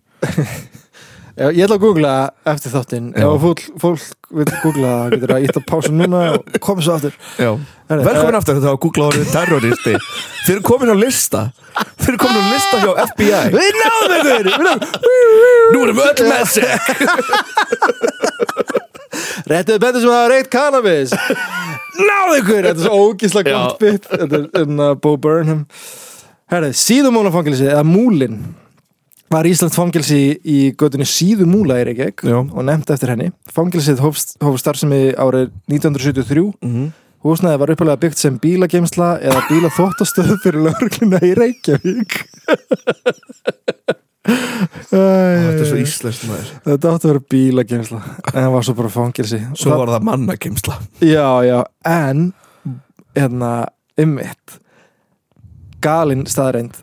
[SPEAKER 2] Já, Ég ætla að googla eftir þáttinn
[SPEAKER 1] Já.
[SPEAKER 2] Ef fólk, fólk vil googla það, getur að ítta pása núna og koma svo aftur
[SPEAKER 1] Já
[SPEAKER 2] Herri,
[SPEAKER 1] Velkomin aftur þetta að googla orðið
[SPEAKER 2] [laughs]
[SPEAKER 1] terroristi Þeir eru komin á lista Þeir eru komin á lista hjá FBI Við náðum þeir Nú erum við öll með sig
[SPEAKER 2] Réttuðu betur sem hafa reykt
[SPEAKER 1] [laughs]
[SPEAKER 2] cannabis Náðu ykkur Þetta er svo ógísla gott bit Þetta er enna Bo Burnham Herri, síðumúlafangilsi eða múlin var Íslands fangilsi í götunni síðumúla í Reykjavík
[SPEAKER 1] Já.
[SPEAKER 2] og nefnt eftir henni fangilsið hófst, hófst starfsemi árið 1973 húsnæði var uppalega byggt sem bílageimsla eða bílaþóttastöð fyrir laurugluna í Reykjavík
[SPEAKER 1] Þetta er svo
[SPEAKER 2] Æ,
[SPEAKER 1] íslenskt maður
[SPEAKER 2] Þetta átti að vera bílageimsla en það var svo bara fangilsi
[SPEAKER 1] Svo var það mannakimsla
[SPEAKER 2] Já, já, en hérna, ymmit galin staðreind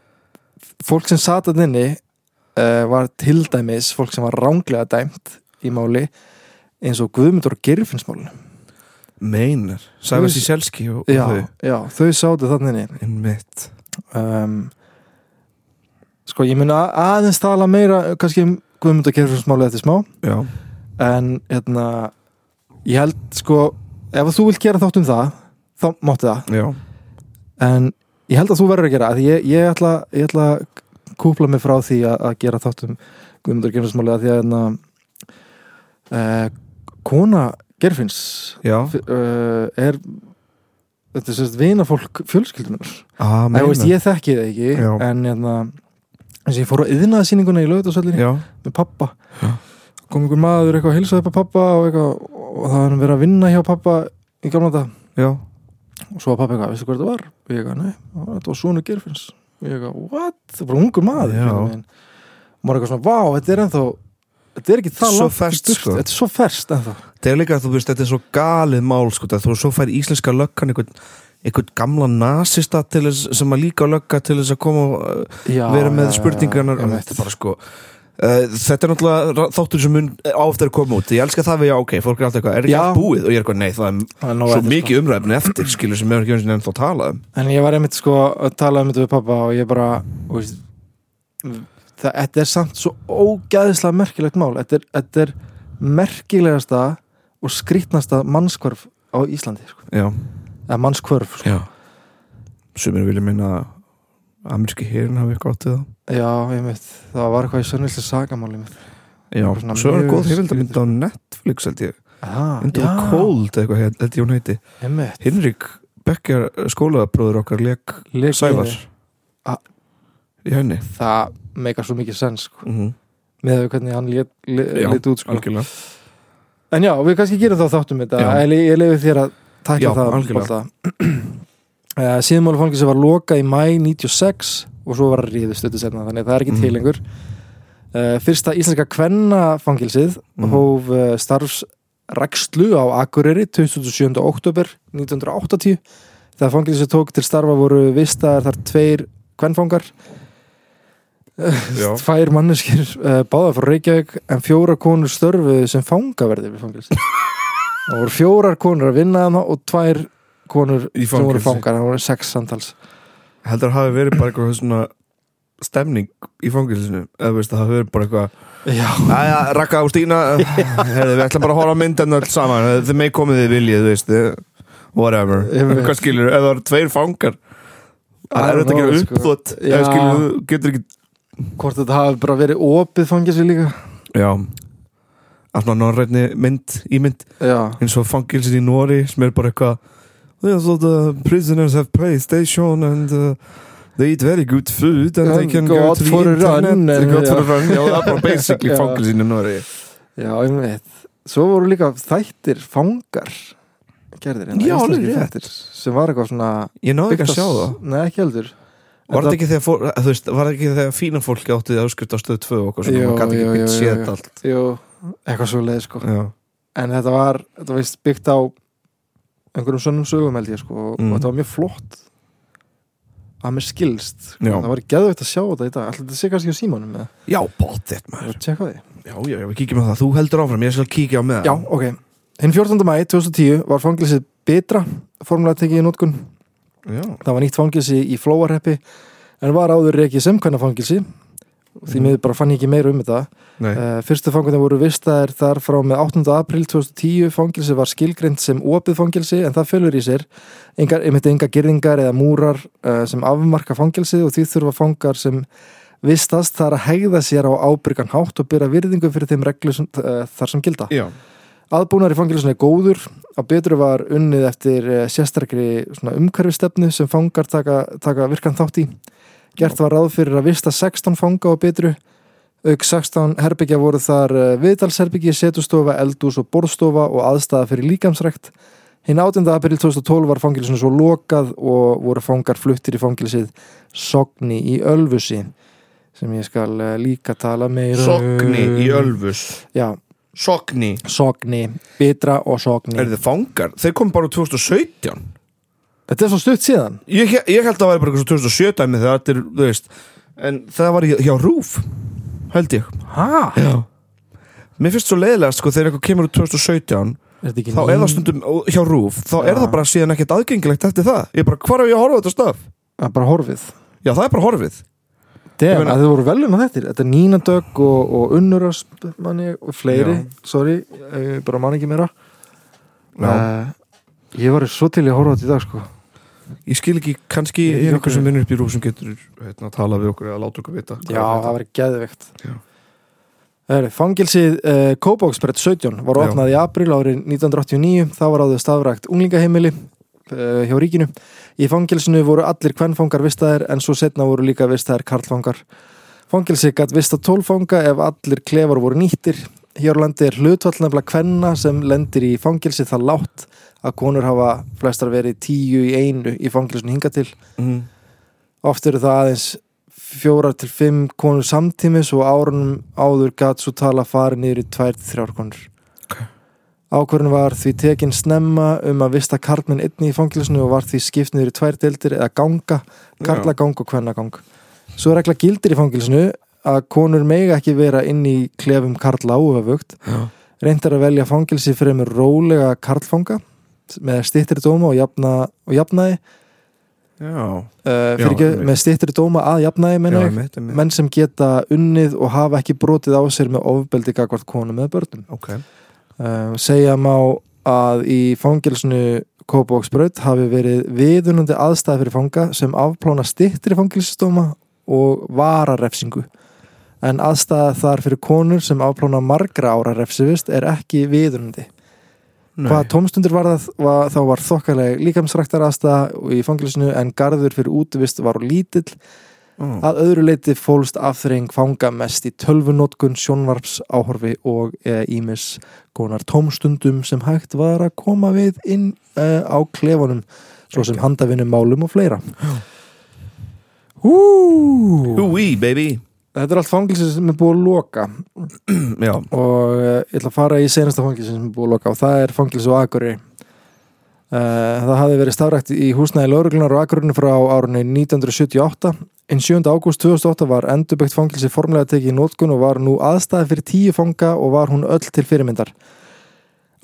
[SPEAKER 2] fólk sem sat að inni uh, var til dæmis fólk sem var ránglega dæmt í máli eins og Guðmundur Girfinnsmálinu
[SPEAKER 1] Meinar Sæfa Sýselski og, og
[SPEAKER 2] já,
[SPEAKER 1] þau
[SPEAKER 2] já, þau sátu þannig inni
[SPEAKER 1] En mitt
[SPEAKER 2] um, Sko, ég mun að- aðeins tala meira kannski um Guðmundur Girfinnsmáli eftir smá
[SPEAKER 1] Já
[SPEAKER 2] en hérna ég held sko, ef þú vilt gera þátt um það þá máttu það
[SPEAKER 1] Já
[SPEAKER 2] en ég held að þú verður að gera af því ég, ég, ætla, ég ætla að kúpla mig frá því að, að gera þáttum Guðmundur Gerfinsmáli að því að hérna, uh, kona Gerfins
[SPEAKER 1] Já
[SPEAKER 2] uh, er þetta er sérst vinafólk fjölskyldunar
[SPEAKER 1] ah,
[SPEAKER 2] ég, veist,
[SPEAKER 1] meinar.
[SPEAKER 2] ég þekki það ekki
[SPEAKER 1] Já.
[SPEAKER 2] en hérna, eins og ég fór á yðnaðsýninguna í lögutasöllinni
[SPEAKER 1] Já
[SPEAKER 2] með pappa kom einhver maður eitthvað að heilsa upp á pappa og, eitthvað, og það var að vera að vinna hjá pappa í gamla dag
[SPEAKER 1] Já
[SPEAKER 2] og svo var pappi eitthvað, veistu hvað þetta var? og ég eitthvað, nei, það var- þetta var Sónu Gerfins og ég eitthvað, what? það var bara ungur maður
[SPEAKER 1] Já.
[SPEAKER 2] einhvern veginn. og maður eitthvað svona, vá, þetta er ennþá þetta er ekki það
[SPEAKER 1] Svo
[SPEAKER 2] langt í
[SPEAKER 1] ferskt,
[SPEAKER 2] burtu.
[SPEAKER 1] sko.
[SPEAKER 2] þetta er svo ferst ennþá
[SPEAKER 1] Það er líka að þú veist Þetta er svo galið mál sko það- Þú svo fær íslenska löggan einhvern einhvern gamla nasista til þess sem að líka á lögga til þess að koma og, uh,
[SPEAKER 2] já,
[SPEAKER 1] vera með
[SPEAKER 2] já,
[SPEAKER 1] spurningarnar
[SPEAKER 2] já,
[SPEAKER 1] þetta er bara sko Uh, þetta er náttúrulega ra- þáttur sem mun uh, á eftir að koma út ég elska það við, já ok, fólk er alltaf eitthvað er ekki
[SPEAKER 2] Já.
[SPEAKER 1] allt búið og ég er eitthvað, nei, það er
[SPEAKER 2] Það er nóg
[SPEAKER 1] svo
[SPEAKER 2] eftir,
[SPEAKER 1] mikið umræfni eftir skilur sem við erum ekki eins og nefnt að tala um
[SPEAKER 2] sko. en ég var einmitt sko að tala um þetta við pappa og ég bara þú veist, það, þetta er samt svo ógæðislega merkilegt mál þetta er, þetta er merkilegasta og skrýtnasta mannskvörf á Íslandi sko.
[SPEAKER 1] já,
[SPEAKER 2] eða mannskvörf sko.
[SPEAKER 1] já sumir vilja minna að ameríski hérin hafi eitthvað áttið
[SPEAKER 2] já, einmitt, það var eitthvað í sönnvilslega sagamáli mitt
[SPEAKER 1] það já,
[SPEAKER 2] Bara svona
[SPEAKER 1] svo er
[SPEAKER 2] mjög
[SPEAKER 1] góð heimildamind á Netflix held ég,
[SPEAKER 2] Ah,
[SPEAKER 1] Into the Cold eitthvað heit- held ég hún heiti,
[SPEAKER 2] einmitt.
[SPEAKER 1] Hinrik Bekkjar skólabróður okkar leik
[SPEAKER 2] Leik-
[SPEAKER 1] Sævar
[SPEAKER 2] Ah.
[SPEAKER 1] í henni
[SPEAKER 2] það meikar svo mikið sens sko.
[SPEAKER 1] mm -hmm.
[SPEAKER 2] með því hvernig hann lét,
[SPEAKER 1] Já,
[SPEAKER 2] lét, lét út sko.
[SPEAKER 1] algjörlega
[SPEAKER 2] en já, við kannski gerum þá þáttum þetta
[SPEAKER 1] Já.
[SPEAKER 2] en ég, ég lefi þér að
[SPEAKER 1] Já,
[SPEAKER 2] takla það
[SPEAKER 1] algjörlega.
[SPEAKER 2] bolta. [clears throat] Eh, síðmála fangilsi var lokað í mæ 96 og svo var ríðust þetta setna þannig að það er ekki
[SPEAKER 1] Mhm.
[SPEAKER 2] til lengur uh, fyrsta íslenska kvennafangilsið
[SPEAKER 1] Mhm.
[SPEAKER 2] hóf uh, starfsrekslu á Akureyri 27. oktober 1980 þegar fangilsið tók til starfa voru vistaðar þar tveir kvennfangar
[SPEAKER 1] já,
[SPEAKER 2] tvær manneskir uh, báða frá Reykjavík en fjóra konur störfuðu sem fangaverði
[SPEAKER 1] [laughs]
[SPEAKER 2] við fangilsi það voru fjórar konur að vinna hana og tvær konur
[SPEAKER 1] Í
[SPEAKER 2] sem voru
[SPEAKER 1] fangelsi.
[SPEAKER 2] fangar það voru sex samtals
[SPEAKER 1] heldur að hafi verið bara eitthvað svona stemning í fangilsinu eða veist að það hafi verið bara eitthvað
[SPEAKER 2] já,
[SPEAKER 1] Æja, Raka og
[SPEAKER 2] [laughs]
[SPEAKER 1] Stína herðu, við ætlum bara að horfa á myndin öll saman eh, þið megi komið þið viljið, þú veist eh, whatever,
[SPEAKER 2] Ég veit.
[SPEAKER 1] hvað skilur eða það eru tveir fangar það er
[SPEAKER 2] I don't
[SPEAKER 1] þetta að
[SPEAKER 2] know,
[SPEAKER 1] gera
[SPEAKER 2] sko.
[SPEAKER 1] uppþótt
[SPEAKER 2] Já.
[SPEAKER 1] eða skilur, þú getur ekki
[SPEAKER 2] hvort þetta hafi bara verið opið fangilsi líka
[SPEAKER 1] já, alltaf norrænni mynd, ímynd,
[SPEAKER 2] já,
[SPEAKER 1] eins og fangilsin í Nóri sem er bara eitthvað yeah, so the prisoners have playstation and uh, They eat very good food and, they
[SPEAKER 2] And
[SPEAKER 1] can
[SPEAKER 2] go
[SPEAKER 1] go,
[SPEAKER 2] out
[SPEAKER 1] to the
[SPEAKER 2] Um, for a
[SPEAKER 1] internet
[SPEAKER 2] run
[SPEAKER 1] They
[SPEAKER 2] and-
[SPEAKER 1] go for a
[SPEAKER 2] já.
[SPEAKER 1] run, já, það er bara basically
[SPEAKER 2] [laughs] Já.
[SPEAKER 1] fangilsin í Nóri
[SPEAKER 2] já, einmitt svo voru líka þættir fangar gerðir
[SPEAKER 1] Já, alveg
[SPEAKER 2] íslenski
[SPEAKER 1] rétt.
[SPEAKER 2] þættir sem var eitthvað svona
[SPEAKER 1] Ég náði ekki að
[SPEAKER 2] byggt
[SPEAKER 1] sjá
[SPEAKER 2] á-
[SPEAKER 1] það
[SPEAKER 2] Nei, ekki heldur
[SPEAKER 1] Var þetta ekki þegar, fór, að þú veist, var það ekki þegar fína fólki átti að skrifta á stöðu tvö og okkur
[SPEAKER 2] Jú,
[SPEAKER 1] svona, maður gæti
[SPEAKER 2] jú,
[SPEAKER 1] ekki
[SPEAKER 2] jú,
[SPEAKER 1] býtt
[SPEAKER 2] jú,
[SPEAKER 1] séð
[SPEAKER 2] jú.
[SPEAKER 1] þetta allt
[SPEAKER 2] Jú, eitthvað svo leið sko
[SPEAKER 1] Já,
[SPEAKER 2] En þetta var, þetta var víst byggt á einhverjum sönnum sögum held ég sko og-
[SPEAKER 1] Mm.
[SPEAKER 2] og þetta var mjög flott að mér skilst sko.
[SPEAKER 1] Já.
[SPEAKER 2] það var geðvægt að sjá þetta í dag alltaf þetta sé kannski á símanum eða
[SPEAKER 1] já bótt þetta
[SPEAKER 2] Ég
[SPEAKER 1] maður
[SPEAKER 2] vil tjekka því
[SPEAKER 1] Já, já, já, við kíkjum á það, þú heldur áfram, ég skal kíkja á með
[SPEAKER 2] Já, ok. Hinn 14. mæ 2010 var fanglisið Bitra formulega tekið í notkun.
[SPEAKER 1] já,
[SPEAKER 2] Það var nýtt fangilsi í Flóarheppi en var áður reikið sem hvernig fangilsi því
[SPEAKER 1] Mm.
[SPEAKER 2] miður bara fann ég ekki meira um þetta.
[SPEAKER 1] nei,
[SPEAKER 2] Uh, fyrstu fangarnir voru vistaðir þar frá með 8. april 2010 fangilsi var skilgrend sem opið fangilsi en það fölur í sér engar, einmitt enga girðingar eða múrar uh, sem afmarka fangilsið og því þurfa fangar sem vistast þar að hegða sér á ábyrgan hátt og byrja virðingu fyrir þeim reglur sem, uh, þar sem gilda.
[SPEAKER 1] já,
[SPEAKER 2] Aðbúnar í fangilsinu er góður að betru var unnið eftir eh, sérstakri umhverfistefnu sem fangar taka, taka virkan þátt í. Gert var ráð fyrir að vista 16 fanga á betru. Auk 16 herbyggja voru þar eh, viðtalsherbyggji, setustofa, eldús og borðstofa og aðstæða fyrir líkamsrækt. Hinn 8. april 2012 var fangilsinu svo lokað og voru fangar fluttir í fangilsið Sogni í Ölfusi sem ég skal eh, líka tala meira
[SPEAKER 1] Sogni
[SPEAKER 2] um.
[SPEAKER 1] í Ölfus
[SPEAKER 2] Já,
[SPEAKER 1] Sogni,
[SPEAKER 2] Sogni, Bitra og Sogni
[SPEAKER 1] er þið fangar? Þeir kom bara úr 2017
[SPEAKER 2] Þetta er svo stutt síðan
[SPEAKER 1] Ég, he- ég held að það væri bara eitthvað svo 2007 dæmi þegar þetta er, þú veist En það var hjá, hjá Rúf, held ég
[SPEAKER 2] Hæ?
[SPEAKER 1] Já Mér finnst svo leiðilega, sko, þegar eitthvað kemur úr 2017
[SPEAKER 2] Er þetta ekki
[SPEAKER 1] Þá
[SPEAKER 2] ný-
[SPEAKER 1] er það stundum hjá Rúf Þá er
[SPEAKER 2] Já.
[SPEAKER 1] það bara síðan ekkert aðgengilegt eftir það Ég bara, hvar er ég að horfa á þetta stöf?
[SPEAKER 2] Það er bara horfið
[SPEAKER 1] Já, það er bara horfið Ég
[SPEAKER 2] Damn,
[SPEAKER 1] meina-
[SPEAKER 2] meina... þetta voru velun á þetta Þetta er Nína Dögg og, og Unnur Ösp manni, og fleiri,
[SPEAKER 1] Já.
[SPEAKER 2] sorry ég bara man ekki meira
[SPEAKER 1] Já.
[SPEAKER 2] uh, Ég var svo til ég að horfa á þetta í dag sko.
[SPEAKER 1] Ég skil ekki, kannski er
[SPEAKER 2] Ég- ég-
[SPEAKER 1] ykkur sem vinnur upp í Rúf sem getur hérna, tala við okkur eða láta okkur vita hvað
[SPEAKER 2] Já,
[SPEAKER 1] er
[SPEAKER 2] það
[SPEAKER 1] þetta.
[SPEAKER 2] var geðveikt
[SPEAKER 1] Já.
[SPEAKER 2] Heru, Fangilsið uh, Kóbóksbrett 17 var
[SPEAKER 1] Já.
[SPEAKER 2] opnað í april árið 1989 þá var áður stafrækt unglingaheimili uh, hjá ríkinu Í fangilsinu voru allir kvennfangar vistaðir en svo setna voru líka vistaðir karlfangar Fangilsi gætt vista 12 fanga ef allir klefar voru nýttir Hér á landi er hlutvall nefnilega kvenna sem lendir í fangilsi það látt að konur hafa flestar verið tíu í einu í fangilsinu hinga til
[SPEAKER 1] mm.
[SPEAKER 2] Oft eru það aðeins fjórar til fimm konur samtímis og árunum áður gat svo tala farið niður í tvær til þrjár konur.
[SPEAKER 1] Ok.
[SPEAKER 2] Ákvörðin var því tekin snemma um að vista karlmenn einni í fangilsinu og var því skipt niður í tvær deildir eða ganga, karlagang og kvennagang. Svo er regla gildir í fangilsinu að konur mega ekki vera inn í klefum karla áöfugt.
[SPEAKER 1] Já.
[SPEAKER 2] Reyndar að velja fangilsi fremur rólega karlfanga með stýttri dóma og, jafna, og jafnaði
[SPEAKER 1] Já,
[SPEAKER 2] uh,
[SPEAKER 1] Já,
[SPEAKER 2] fyrir ekki
[SPEAKER 1] einmitt.
[SPEAKER 2] með stýttri dóma að jafnaði
[SPEAKER 1] já,
[SPEAKER 2] menna ég
[SPEAKER 1] mitt, mitt.
[SPEAKER 2] menn sem geta unnið og hafa ekki brotið á sér með ofbeldi gagvart konum eða börnum.
[SPEAKER 1] Ok,
[SPEAKER 2] Uh, segja má að í fangilsinu Kópavóksbraut hafi verið viðunandi aðstæði fyrir fanga sem afplána stittri fangilsistóma og vararefsingu. En aðstæða þar fyrir konur sem afplána margra ára refsivist er ekki viðunandi.
[SPEAKER 1] Nei.
[SPEAKER 2] Hvað tómstundur var það, var, þá var þokkaleg líkamsræktar aðstæða í fangilsinu en garður fyrir útivist var of lítill
[SPEAKER 1] Ó.
[SPEAKER 2] Að öðru leiti fólst afþreying fanga mest í tölvunótkun, sjónvarps, áhorfi og eh, ímis konar tómstundum sem hægt var að koma við inn eh, á klefanum, svo sem handavinnum málum og fleira. Hú!
[SPEAKER 1] Húi, baby [clears throat]
[SPEAKER 2] Þetta er allt fangilsi sem er búið að loka
[SPEAKER 1] Já,
[SPEAKER 2] og eh, ég ætla að fara í senasta fangilsi sem er búið að loka og það er fangilsi á Akureyri. Eh, Það hafði verið stafrækt í húsnæði lauruglunar á Akureyri frá árunni 1978 en 7. ágúst 2008 var endurbyggt fangilsi formlega tekið í nótkun og var nú aðstæði fyrir tíu fanga og var hún öll til fyrirmyndar.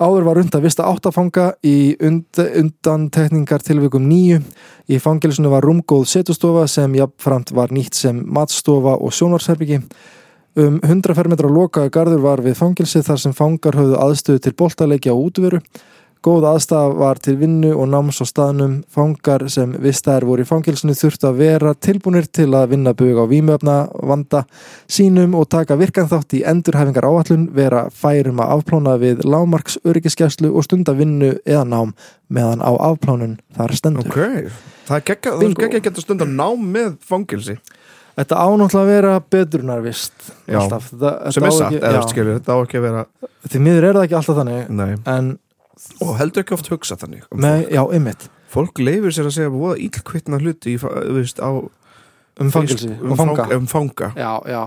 [SPEAKER 2] Áður var unnt að vista átta fanga í und undantekningar tilvikum níu. Í fangilsinu var rúmgóð setustofa sem jafnframt var nýtt sem matstofa og sjónarsherbyggi. Um 100 fermetra lokaði garður var við fangilsi þar sem fangar höfðu aðstöðu til boltaleikja og útveru. Góð aðstæða var til vinnu og náms á staðnum. Fangar sem vistaðir voru í fangilsinu þurftu að vera tilbúnir til að vinna bug á vímöfna vanda sínum og taka virkan þátt í endurhæfingar áallun, vera færum að afplána við lámarks öryggiskeslu og stunda vinnu eða nám meðan á afplánun þar stendur.
[SPEAKER 1] ok Það er geggja, það er
[SPEAKER 2] Bingo.
[SPEAKER 1] geggja að geta stundar nám með fangilsi
[SPEAKER 2] Þetta ánáttúrulega að vera betrunarvist.
[SPEAKER 1] Já.
[SPEAKER 2] alltaf. Þetta,
[SPEAKER 1] sem er
[SPEAKER 2] þetta á
[SPEAKER 1] satt,
[SPEAKER 2] ekki-
[SPEAKER 1] eða
[SPEAKER 2] já.
[SPEAKER 1] skilur, þetta á ekki að vera
[SPEAKER 2] Því miður er það ekki alltaf þannig
[SPEAKER 1] Nei,
[SPEAKER 2] en
[SPEAKER 1] og heldur ekki oft hugsa þannig um
[SPEAKER 2] Nei, já, einmitt
[SPEAKER 1] fólk leifir sér að segja voða ílkvittna hluti í, fa- þú veist, á,
[SPEAKER 2] um fangelsi
[SPEAKER 1] um,
[SPEAKER 2] og fanga
[SPEAKER 1] um fanga
[SPEAKER 2] já, já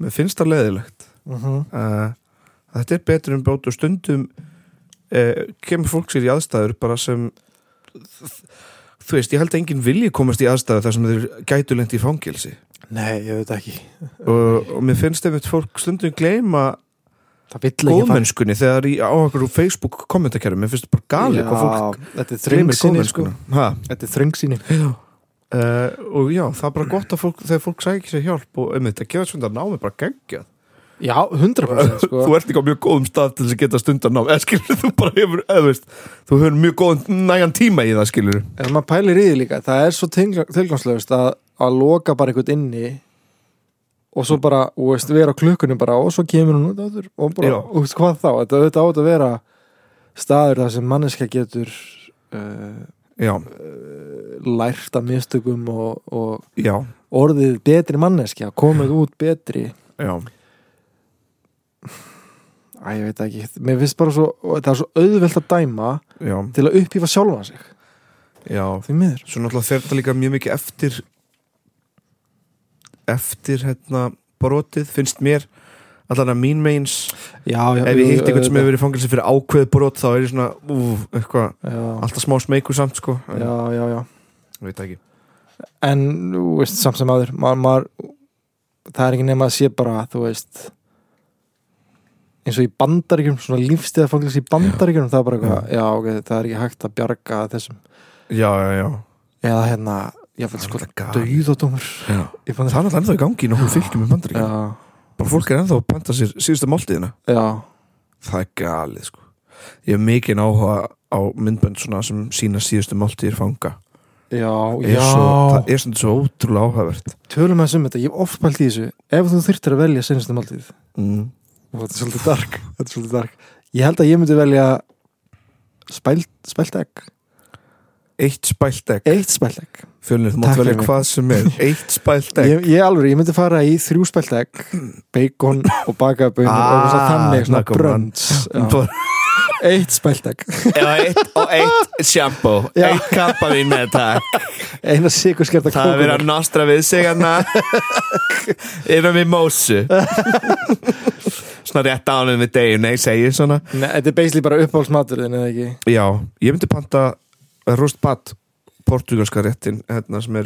[SPEAKER 1] mér finnst það leðilegt
[SPEAKER 2] Mhm.
[SPEAKER 1] uh, þetta er betur um bót og stundum uh, kemur fólk sér í aðstæður bara sem þú veist, ég held að enginn vilji komast í aðstæður þar sem þeir gætu lent í fangilsi
[SPEAKER 2] nei, ég veit ekki
[SPEAKER 1] og, og mér finnst einmitt fólk stundum gleyma
[SPEAKER 2] það vill ekki
[SPEAKER 1] góðmennskunni þegar í, á okkur Facebook kommentakerfum, mér finnst bara gali hvað fólk
[SPEAKER 2] þetta er
[SPEAKER 1] gleymir
[SPEAKER 2] þröngsýni sko.
[SPEAKER 1] góðmennskuna ha,
[SPEAKER 2] þetta er þröngsýni
[SPEAKER 1] Uh, og já, það er bara gott að fólk, þegar fólk sækir sér hjálp og um þetta gefa stundar námi bara geggja
[SPEAKER 2] já, 100% sko.
[SPEAKER 1] [laughs] þú ert ekki á mjög góðum stað til þess að geta stundar námi eða skilur þú bara hefur, eða þú veist þú hefur mjög góðan nægan tíma í það skilur
[SPEAKER 2] ef maður pælir í því líka, það er svo tilgangslegust að, að loka bara einhvern inni og svo bara, og veist, vera á klukkunum bara og svo kemur hún út áður og bara,
[SPEAKER 1] Já.
[SPEAKER 2] og veist hvað þá, þetta auðvitað átt að vera staður þar sem manneska getur uh,
[SPEAKER 1] já,
[SPEAKER 2] lært af mistökum og, og
[SPEAKER 1] já,
[SPEAKER 2] orðið betri manneskja, komið út betri
[SPEAKER 1] já
[SPEAKER 2] Æ, ég veit ekki, mér finnst bara svo og það er svo auðvelt að dæma
[SPEAKER 1] já,
[SPEAKER 2] til að upphýfa sjálfan sig
[SPEAKER 1] já
[SPEAKER 2] því miður
[SPEAKER 1] svo náttúrulega fer þetta líka mjög mikið eftir eftir hérna brotið finnst mér allan að mín meins
[SPEAKER 2] já, já,
[SPEAKER 1] ef ég hitt einhvern sem hefur verið fangilsi fyrir ákveð brot þá er ég svona, ú, eitthvað
[SPEAKER 2] já,
[SPEAKER 1] alltaf smá smeykur samt sko en,
[SPEAKER 2] já, já, já
[SPEAKER 1] ég veit það ekki
[SPEAKER 2] en þú veist, samt sem aður maður, maður, það er ekki nema að sé bara þú veist eins og í bandaríkjum, svona lífstíða fanglis í bandaríkjum, það er bara eitthvað já, ok, það er ekki hægt að bjarga þessum
[SPEAKER 1] já, já, já
[SPEAKER 2] eða hérna, ég vil
[SPEAKER 1] Það er
[SPEAKER 2] sko
[SPEAKER 1] náttúrulega galið.
[SPEAKER 2] döðadómur
[SPEAKER 1] Já.
[SPEAKER 2] í
[SPEAKER 1] Það er
[SPEAKER 2] bandaríkjum
[SPEAKER 1] náttúrulega ennþá í gangi í nokkrum fylgjum í bandaríkjum
[SPEAKER 2] já,
[SPEAKER 1] Bara fólk er ennþá að panta sér síðustu máltíðina
[SPEAKER 2] já,
[SPEAKER 1] Það er galið sko Ég hef mikið áhuga á myndbönd svona sem sína síðustu máltíðir fanga
[SPEAKER 2] já,
[SPEAKER 1] er
[SPEAKER 2] já.
[SPEAKER 1] svo, Það er svona svo ótrúlega áhugavert
[SPEAKER 2] tölum að um þetta, ég hef oft pælt í þessu ef þú þyrftir að velja senstu máltíð
[SPEAKER 1] mm.
[SPEAKER 2] og þetta er svolítið dark, [laughs] þetta er svolítið dark. ég held að ég myndi velja spælt, spælt egg
[SPEAKER 1] Eitt spælt egg
[SPEAKER 2] eitt spælt egg
[SPEAKER 1] Fjölnir, þú
[SPEAKER 2] Takk
[SPEAKER 1] mátt velja
[SPEAKER 2] fyrir mig.
[SPEAKER 1] hvað sem er Eitt spælt egg
[SPEAKER 2] ég, ég alveg, ég myndi fara í þrjú spælt egg bacon og bakaða bönir
[SPEAKER 1] Ah,
[SPEAKER 2] og svona þannig, svona
[SPEAKER 1] snakka um hann.
[SPEAKER 2] brönds eitt spælt [laughs] egg
[SPEAKER 1] Eða eitt, og eitt [laughs] sjambó
[SPEAKER 2] Já.
[SPEAKER 1] kappa mín með þetta
[SPEAKER 2] eina sikurskerta kókunar
[SPEAKER 1] nostra við sig [laughs] hann Erum við mósu Svona rétt ánum við deginu Ég segi svona
[SPEAKER 2] Nei, þetta er basically bara uppáhaldsmaturinn eða ekki
[SPEAKER 1] Já, ég myndi panta rústbatt portugalska réttin hérna, sem er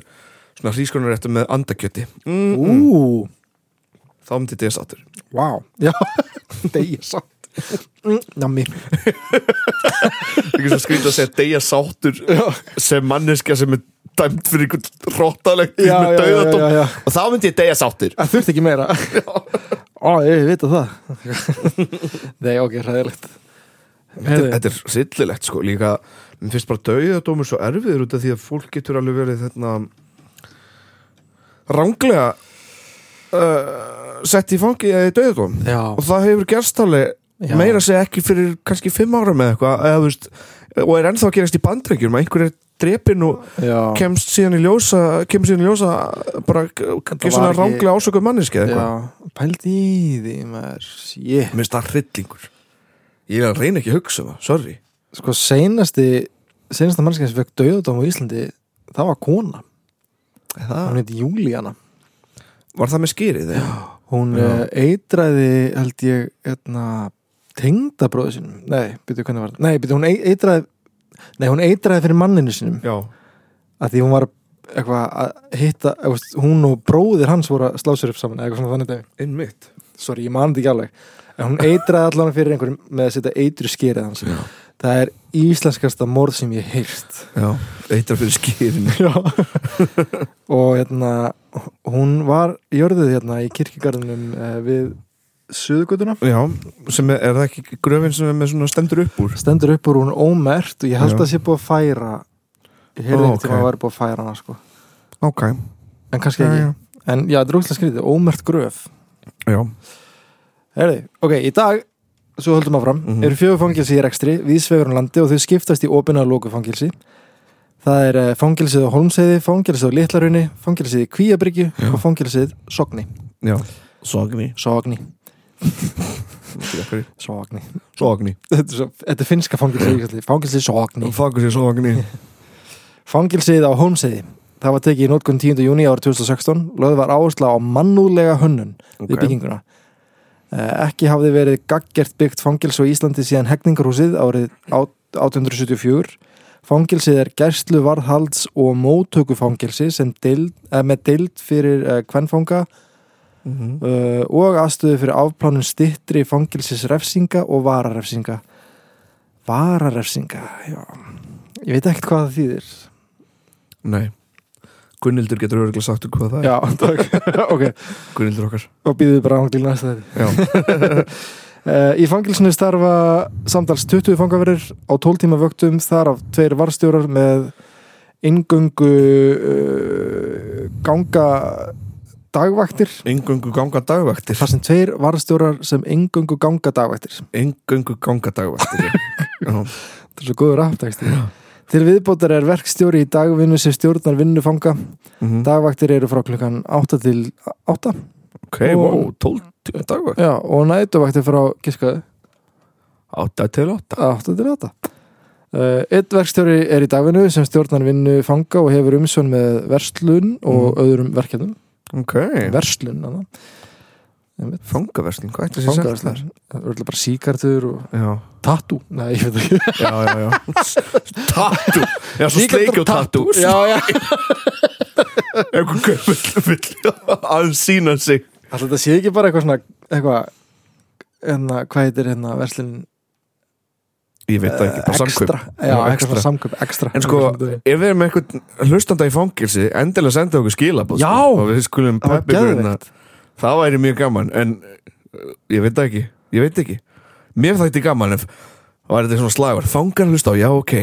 [SPEAKER 1] svona hrískonaréttur með andakjöti mm,
[SPEAKER 2] Ú,
[SPEAKER 1] þá myndi ég sáttur
[SPEAKER 2] vá Já, [laughs] degja satt Mm, Nammi
[SPEAKER 1] ekki svo skrýt að segja deyja sáttur sem manneskja sem er dæmt fyrir einhvern róttalegt
[SPEAKER 2] Já, já,
[SPEAKER 1] með
[SPEAKER 2] já,
[SPEAKER 1] dauðadóm
[SPEAKER 2] já, já.
[SPEAKER 1] og þá myndi ég deyja sáttur
[SPEAKER 2] Það þurfti ekki meira Ó, ég veit að það [laughs] Nei, ok, hræðilegt
[SPEAKER 1] þetta, þetta er sillilegt sko líka, mér finnst bara dauðadómur svo erfiður út af því að fólk getur alveg verið hérna ránglega uh, sett í fangi eða í dauðadóm
[SPEAKER 2] Já,
[SPEAKER 1] og það hefur gerst alveg
[SPEAKER 2] Já.
[SPEAKER 1] meira segja ekki fyrir kannski fimm ára með eitthvað eða, þú veist, og er ennþá að gerast í bandrengjum að einhver er drepin og
[SPEAKER 2] já
[SPEAKER 1] kemst síðan í ljósa kemst síðan í ljósa bara ekki svona
[SPEAKER 2] var ekki-
[SPEAKER 1] ránglega ásökuð manneski eða
[SPEAKER 2] Já,
[SPEAKER 1] eitthvað
[SPEAKER 2] pældi í því maður Jéh
[SPEAKER 1] Mér finnst það hryllingur Ég er að reyna ekki að hugsa um það, sorry
[SPEAKER 2] sko seinasti seinasta mannskja sem fekk dauðadóm á Íslandi það var kona,
[SPEAKER 1] það,
[SPEAKER 2] hún heit Júlíana
[SPEAKER 1] Var það með skýrið? Já,
[SPEAKER 2] hún
[SPEAKER 1] Já.
[SPEAKER 2] Já. eitraði held ég hérna, tengdabróðu sínum nei, byrju hvernig var það nei, byrju, hún ei- eitraði nei, hún eitraði fyrir manninu sínum
[SPEAKER 1] já,
[SPEAKER 2] að því hún var eitthvað að hitta eða, veist, hún og bróðir hans voru að slá sér upp saman eða eitthvað svona þannig dæmi
[SPEAKER 1] einmitt
[SPEAKER 2] sorry, ég man þetta ekki alveg en hún eitraði allan fyrir einhverjum með að setja eitru skerið hans
[SPEAKER 1] Já.
[SPEAKER 2] það er íslenskasta morð sem ég heyrst
[SPEAKER 1] Já, eitra fyrir skýrin
[SPEAKER 2] Já Og hérna Hún var jörðuð hérna í kirkigarðinum eh, Við Suðugötuna
[SPEAKER 1] Já, sem er, er það ekki gröfin sem er með svona stendur upp úr
[SPEAKER 2] Stendur upp úr hún ómert Og ég held
[SPEAKER 1] Já.
[SPEAKER 2] að sé búið að færa Ég heyrði
[SPEAKER 1] Ó,
[SPEAKER 2] oh, ekki
[SPEAKER 1] ok.
[SPEAKER 2] að væri búið að færa hana sko
[SPEAKER 1] Ok,
[SPEAKER 2] En kannski
[SPEAKER 1] Já,
[SPEAKER 2] ekki
[SPEAKER 1] já.
[SPEAKER 2] En já, þetta er útla skrítið, ómert gröf
[SPEAKER 1] já,
[SPEAKER 2] Herði, ok, í dag Svo höldum áfram,
[SPEAKER 1] Mhm.
[SPEAKER 2] eru fjögur fangilsi í rekstri Viðsvegurum landi og þau skiptast í opina og lóku fangilsi Það er eh, fangilsið á Holmseiði, fangilsið á Litlarunni, fangilsið í Kvíabryggju og fangilsið Sogni.
[SPEAKER 1] já Sogni
[SPEAKER 2] Sogni Sogni
[SPEAKER 1] Sogni
[SPEAKER 2] Þetta er, svo, þetta er finnska fangilsi Fangilsi Sogni
[SPEAKER 1] Fangilsi Sogni
[SPEAKER 2] Fangilsið á Holmsiði Það var tekið í nótkunn 10. júni árið 2016 Löð var áhersla á mannúðlega hönnun
[SPEAKER 1] Ok.
[SPEAKER 2] við bygginguna Eh, Ekki hafði verið gaggert byggt fangilsi á Íslandi síðan hegningarhúsið árið át- 1874 Fangilsið er gæslu varðhalds og móttöku fangilsi sem deild, eh, með deild fyrir eh, kvenfanga
[SPEAKER 1] Mhm.
[SPEAKER 2] uh, og aðstöðu fyrir afplánun stittri fangilsisrefsinga og vararefsinga vararefsinga já. ég veit ekkert hvað það þýðir
[SPEAKER 1] Nei Gunnildur getur örgulega sagt okkur hvað það er
[SPEAKER 2] já, takk, [laughs] ok
[SPEAKER 1] Gunnildur okkar
[SPEAKER 2] og býðum bara ánglíð næsta þetta
[SPEAKER 1] Já
[SPEAKER 2] [laughs] uh, í fangilsinu starfa samtals 20 fangaverir á 12 tíma vöktum þar af tveir varstjórar með ingöngu uh, ganga dagvaktir
[SPEAKER 1] Engöngu ganga dagvaktir
[SPEAKER 2] þar sem tveir varstjórar sem ingöngu ganga dagvaktir
[SPEAKER 1] Engöngu ganga dagvaktir já. Já.
[SPEAKER 2] Þetta er svo góður aftæksti Til viðbótar er verkstjóri í dagvinnu sem stjórnar vinnufanga
[SPEAKER 1] [laughs] Mhm.
[SPEAKER 2] Dagvaktir eru frá klukkan 8 til 8
[SPEAKER 1] Ok, wow, 12 tíma dagvakt
[SPEAKER 2] Já, og nætuvaktir frá giskaði
[SPEAKER 1] 8 til 8
[SPEAKER 2] 8 til 8 Uh, eitt verkstjóri er í dagvinnu sem stjórnar vinnu fanga og hefur umsjón með verslun og öðrum verkefnum
[SPEAKER 1] Ok
[SPEAKER 2] verslun, annað
[SPEAKER 1] Fangaversling, hvað ætti sér sagt
[SPEAKER 2] fangaverslar,
[SPEAKER 1] þar?
[SPEAKER 2] það eru bara síkartur og
[SPEAKER 1] Já,
[SPEAKER 2] tattoo, nei ég veit ekki
[SPEAKER 1] já, já,
[SPEAKER 2] [laughs]
[SPEAKER 1] já. Tattu Já, svo
[SPEAKER 2] Sígarettur
[SPEAKER 1] sleikjó
[SPEAKER 2] og
[SPEAKER 1] tattu
[SPEAKER 2] [laughs] já, já.
[SPEAKER 1] Einhver köpill vill
[SPEAKER 2] [laughs]
[SPEAKER 1] að sína sig
[SPEAKER 2] Alltaf þetta sé ekki bara eitthvað svona eitthvað, hérna, hvað heitir hérna verslun
[SPEAKER 1] Ég veit það ekki, bara samkvöp
[SPEAKER 2] Extra. Já, eitthvað svona samkaup, ekstra
[SPEAKER 1] En sko, ef við erum eitthvað hlustanda í fangilsi endilega senda okkur skilabóð
[SPEAKER 2] Já!
[SPEAKER 1] sko, og við skulum
[SPEAKER 2] það var
[SPEAKER 1] peppa ykkur hérna.
[SPEAKER 2] geðveikt
[SPEAKER 1] það væri mjög gaman en uh, ég veit það ekki, ég veit ekki mér þætti gaman ef var þetta svona slagur, fangar hlust á, já ok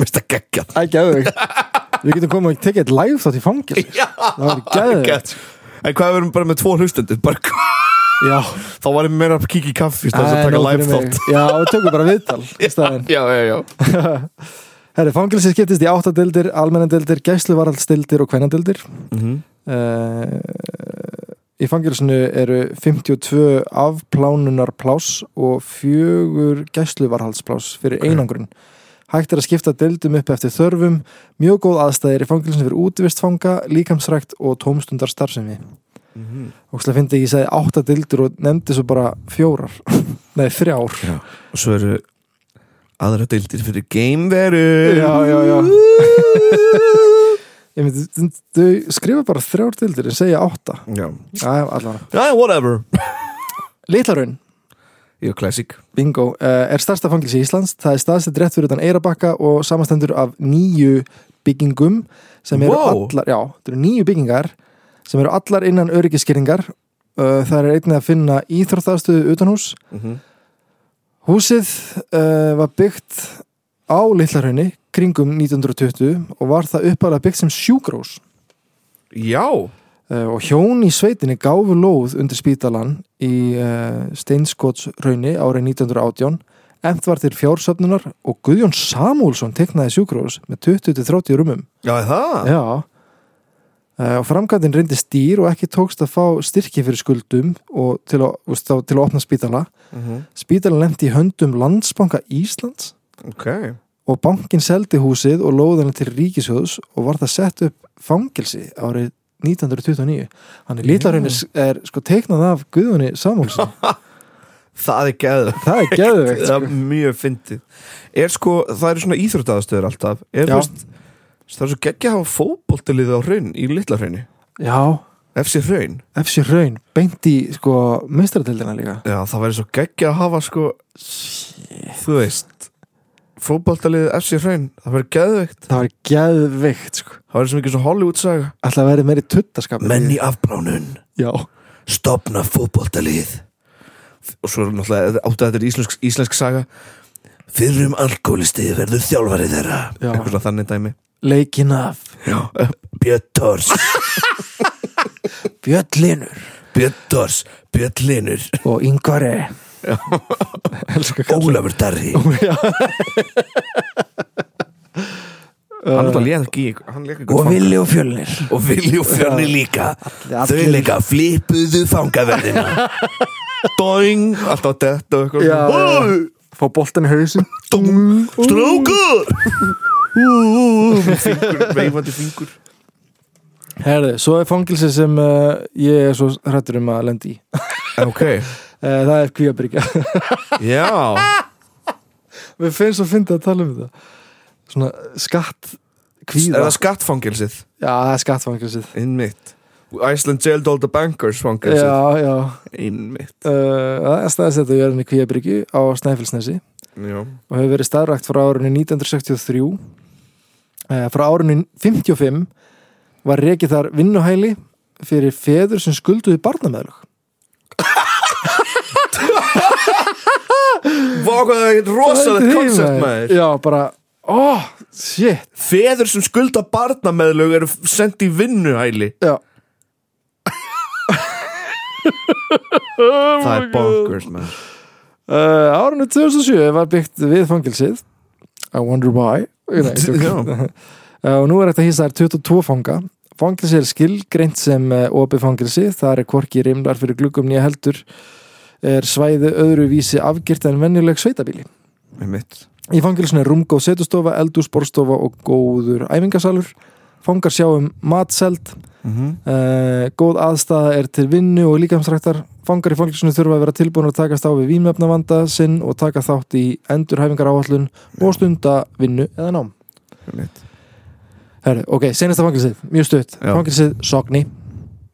[SPEAKER 1] veist það geggjað
[SPEAKER 2] Það er
[SPEAKER 1] [laughs]
[SPEAKER 2] geðveikt Við getum komið og tekið eitt live þátt í fangil
[SPEAKER 1] Já,
[SPEAKER 2] Það var geðveikt
[SPEAKER 1] geggjað. en hvað ef við erum bara með tvo hlustendur bara,
[SPEAKER 2] Já,
[SPEAKER 1] þá var ég meira að kíkja í kaffi í stað þess að
[SPEAKER 2] Æ,
[SPEAKER 1] taka
[SPEAKER 2] nóg fyrir
[SPEAKER 1] live
[SPEAKER 2] mig.
[SPEAKER 1] þátt
[SPEAKER 2] Já, við tökum
[SPEAKER 1] [laughs]
[SPEAKER 2] bara viðtal í staðinn. [laughs]
[SPEAKER 1] já, já, já,
[SPEAKER 2] Herri, fangilsi skiptist í áttadeldir, almennadeldir, gæsluvaraldsdeldir og kvennadeldir
[SPEAKER 1] Mhm.
[SPEAKER 2] uh, Í fangilsinu eru 52 afplánunarplás og fjögur gæsluvarhaldsplás fyrir
[SPEAKER 1] Ok.
[SPEAKER 2] einangrun. Hægt er að skipta deildum upp eftir þörfum, mjög góð aðstæðir í fangilsinu fyrir útivistfanga, líkamsrækt og tómstundar starfsemi.
[SPEAKER 1] Mhm.
[SPEAKER 2] Og slið fyndi ég segi átta deildur og nefndi svo bara fjórar, [laughs] nei þrjár.
[SPEAKER 1] og svo eru aðra deildir fyrir gameveru
[SPEAKER 2] Já, já,
[SPEAKER 1] [laughs]
[SPEAKER 2] já. Ég myndi, þau skrifa bara þrjár deildur en segja átta.
[SPEAKER 1] já,
[SPEAKER 2] Æ, allavega.
[SPEAKER 1] Æ, whatever
[SPEAKER 2] Litlarun,
[SPEAKER 1] Ég er classic
[SPEAKER 2] Bingo, uh, er starsta fangilsi Íslands það er staðsett rétt fyrir utan Eirabakka og samastendur af nýju byggingum sem eru
[SPEAKER 1] Wow.
[SPEAKER 2] allar já, það eru nýju byggingar sem eru allar innan öryggiskeringar uh, það er einnig að finna íþróttaðstöðu utanhús
[SPEAKER 1] Mhm.
[SPEAKER 2] húsið uh, var byggt á Littlarhraunni kringum 1920 og var það uppalega byggt sem sjúkrós
[SPEAKER 1] Já
[SPEAKER 2] uh, og hjón í sveitinni gáfu lóð undir spítalan í uh, Steinskotsraunni árið 1918 Emt var til fjársöfnunar og Guðjón Samúlsson teknaði sjúkrós með 20-30 rumum.
[SPEAKER 1] Já, er það
[SPEAKER 2] Já. Uh, og framkvæmdinn reyndi stýr og ekki tókst að fá styrki fyrir skuldum og til að, þú veist, þá- til að opna spítala.
[SPEAKER 1] Mhm.
[SPEAKER 2] Spítalan lemti í höndum Landsbanka Íslands
[SPEAKER 1] Ok
[SPEAKER 2] og bankin seldi húsið og lóðana til ríkisjóðs og var það sett upp fangilsi árið 1929 hann er lítlarinn er, er sko teiknað af Guðunni Samúlsson
[SPEAKER 1] Það er geð
[SPEAKER 2] það er geðveikt sko.
[SPEAKER 1] Það er mjög fyndið Er sko, það eru svona íþróttaðastöður alltaf Er
[SPEAKER 2] Já.
[SPEAKER 1] þú veist Það er svo geggja að hafa fótboltilið á hraun Í litla hraunni
[SPEAKER 2] já,
[SPEAKER 1] FC hraun
[SPEAKER 2] FC Raun beint í sko meistaratildina líka
[SPEAKER 1] Já, það væri svo geggja að hafa sko Þú veist Fótboltilið FC hraun Það væri geðveikt
[SPEAKER 2] það var geðveikt sko
[SPEAKER 1] Það væri svo mikið svo Hollywood saga
[SPEAKER 2] alltaf að vera meiri tuttaskap
[SPEAKER 1] afbránun
[SPEAKER 2] já,
[SPEAKER 1] stopna fótboltalið og svo er náttúrulega áttu að þetta er íslensk, íslensk saga fyrrum alkoholisti verður þjálfarið þeirra
[SPEAKER 2] Já.
[SPEAKER 1] eitthvað svona þannig dæmi
[SPEAKER 2] leikin af
[SPEAKER 1] Björn Tors
[SPEAKER 2] Bjöllinur
[SPEAKER 1] Björn Tors, Björn Linur
[SPEAKER 2] og Ingvari elsku kall
[SPEAKER 1] Ólafur [laughs] Darri hann er alltaf léð ekki í- hann lék eitthvað fang-
[SPEAKER 2] og Fjölnir
[SPEAKER 1] og Vilju Fjörni líka
[SPEAKER 2] allir.
[SPEAKER 1] [laughs] flipuðu fangaverðina doing, alltaf detta og eitthvað
[SPEAKER 2] Já, já.
[SPEAKER 1] Oj,
[SPEAKER 2] Fá boltan í hausin
[SPEAKER 1] dung, strákar Ú, ú, ú, fingur, veifandi fingur
[SPEAKER 2] Herðu, svo er fangilsi sem uh, ég er svo hrættur um að lendi í
[SPEAKER 1] ok,
[SPEAKER 2] uh, Það er [laughs] kvíabryggja
[SPEAKER 1] já
[SPEAKER 2] Við finnst að finna að tala um þetta Svona skatt
[SPEAKER 1] er
[SPEAKER 2] kvíða
[SPEAKER 1] það skattfangilsið
[SPEAKER 2] Já, það er skattfangilsið
[SPEAKER 1] innmitt Iceland jailed all the bankers fangilsið
[SPEAKER 2] Já, já
[SPEAKER 1] innmitt
[SPEAKER 2] Uh, Það er staðsett að jörðinni Kvíabryggju á Snæfellsnesi
[SPEAKER 1] já.
[SPEAKER 2] og hefur verið starrakt frá árunni 1963 Eh, frá árunni 55 var rekið þar vinnuhæli fyrir feður sem skulduði barnameðlug
[SPEAKER 1] Vá hvað það er eitt rosalegt koncept maður
[SPEAKER 2] Já, bara, oh, shit
[SPEAKER 1] Feður sem skulda barnameðlug eru sendt í vinnuhæli
[SPEAKER 2] Já,
[SPEAKER 1] Það er bonkers maður
[SPEAKER 2] Uh, árinu 2007 var byggt við fangilsið I wonder why
[SPEAKER 1] [laughs]
[SPEAKER 2] Nei,
[SPEAKER 1] Já.
[SPEAKER 2] tjók. uh, og nú er þetta hýsa þær 22 fanga fangilsið er skilgreint sem uh, opið fangilsi þar er hvorki rimlar fyrir gluggum nýja heldur er svæði öðruvísi afgirt en venjuleg sveitabíli
[SPEAKER 1] Einmitt.
[SPEAKER 2] í fangilsinu er rúmgóð setustofa, eldús, borstofa og góður æfingasalur fangar sjá um matseld
[SPEAKER 1] Mhm.
[SPEAKER 2] Uh, góð aðstæða er til vinnu og líkamsræktar fangar í fangilsinu þurfa að vera tilbúin að takast á við vímöfnavanda sinn og taka þátt í endurhæfingar áallun og stunda vinnu eða nám
[SPEAKER 1] Einmitt.
[SPEAKER 2] Herri, ok, senasta fangilsið, mjög stutt
[SPEAKER 1] Já.
[SPEAKER 2] fangilsið Sogni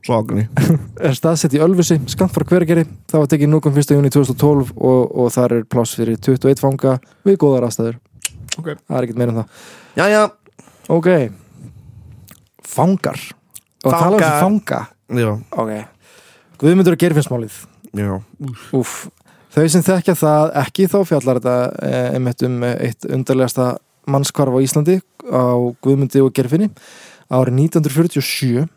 [SPEAKER 1] Sogni
[SPEAKER 2] er staðsett í Ölfusi, skammt frá hvergeri það var tekið núkum 1. júni 2012 og, og þar er pláss fyrir 21 fanga við góðar aðstæður
[SPEAKER 1] Ok.
[SPEAKER 2] það er ekkert meira en það
[SPEAKER 1] Jæja
[SPEAKER 2] Ok Fangar Og tala um
[SPEAKER 1] Fangar.
[SPEAKER 2] fanga
[SPEAKER 1] Já,
[SPEAKER 2] Ok Guðmundur og gerfinsmálið
[SPEAKER 1] já
[SPEAKER 2] Úff Þau sem þekkja það ekki þá fjallar þetta eh, einmitt um eh, eitt undarlegasta mannskvarf á Íslandi á Guðmundi og gerfinni árið 1947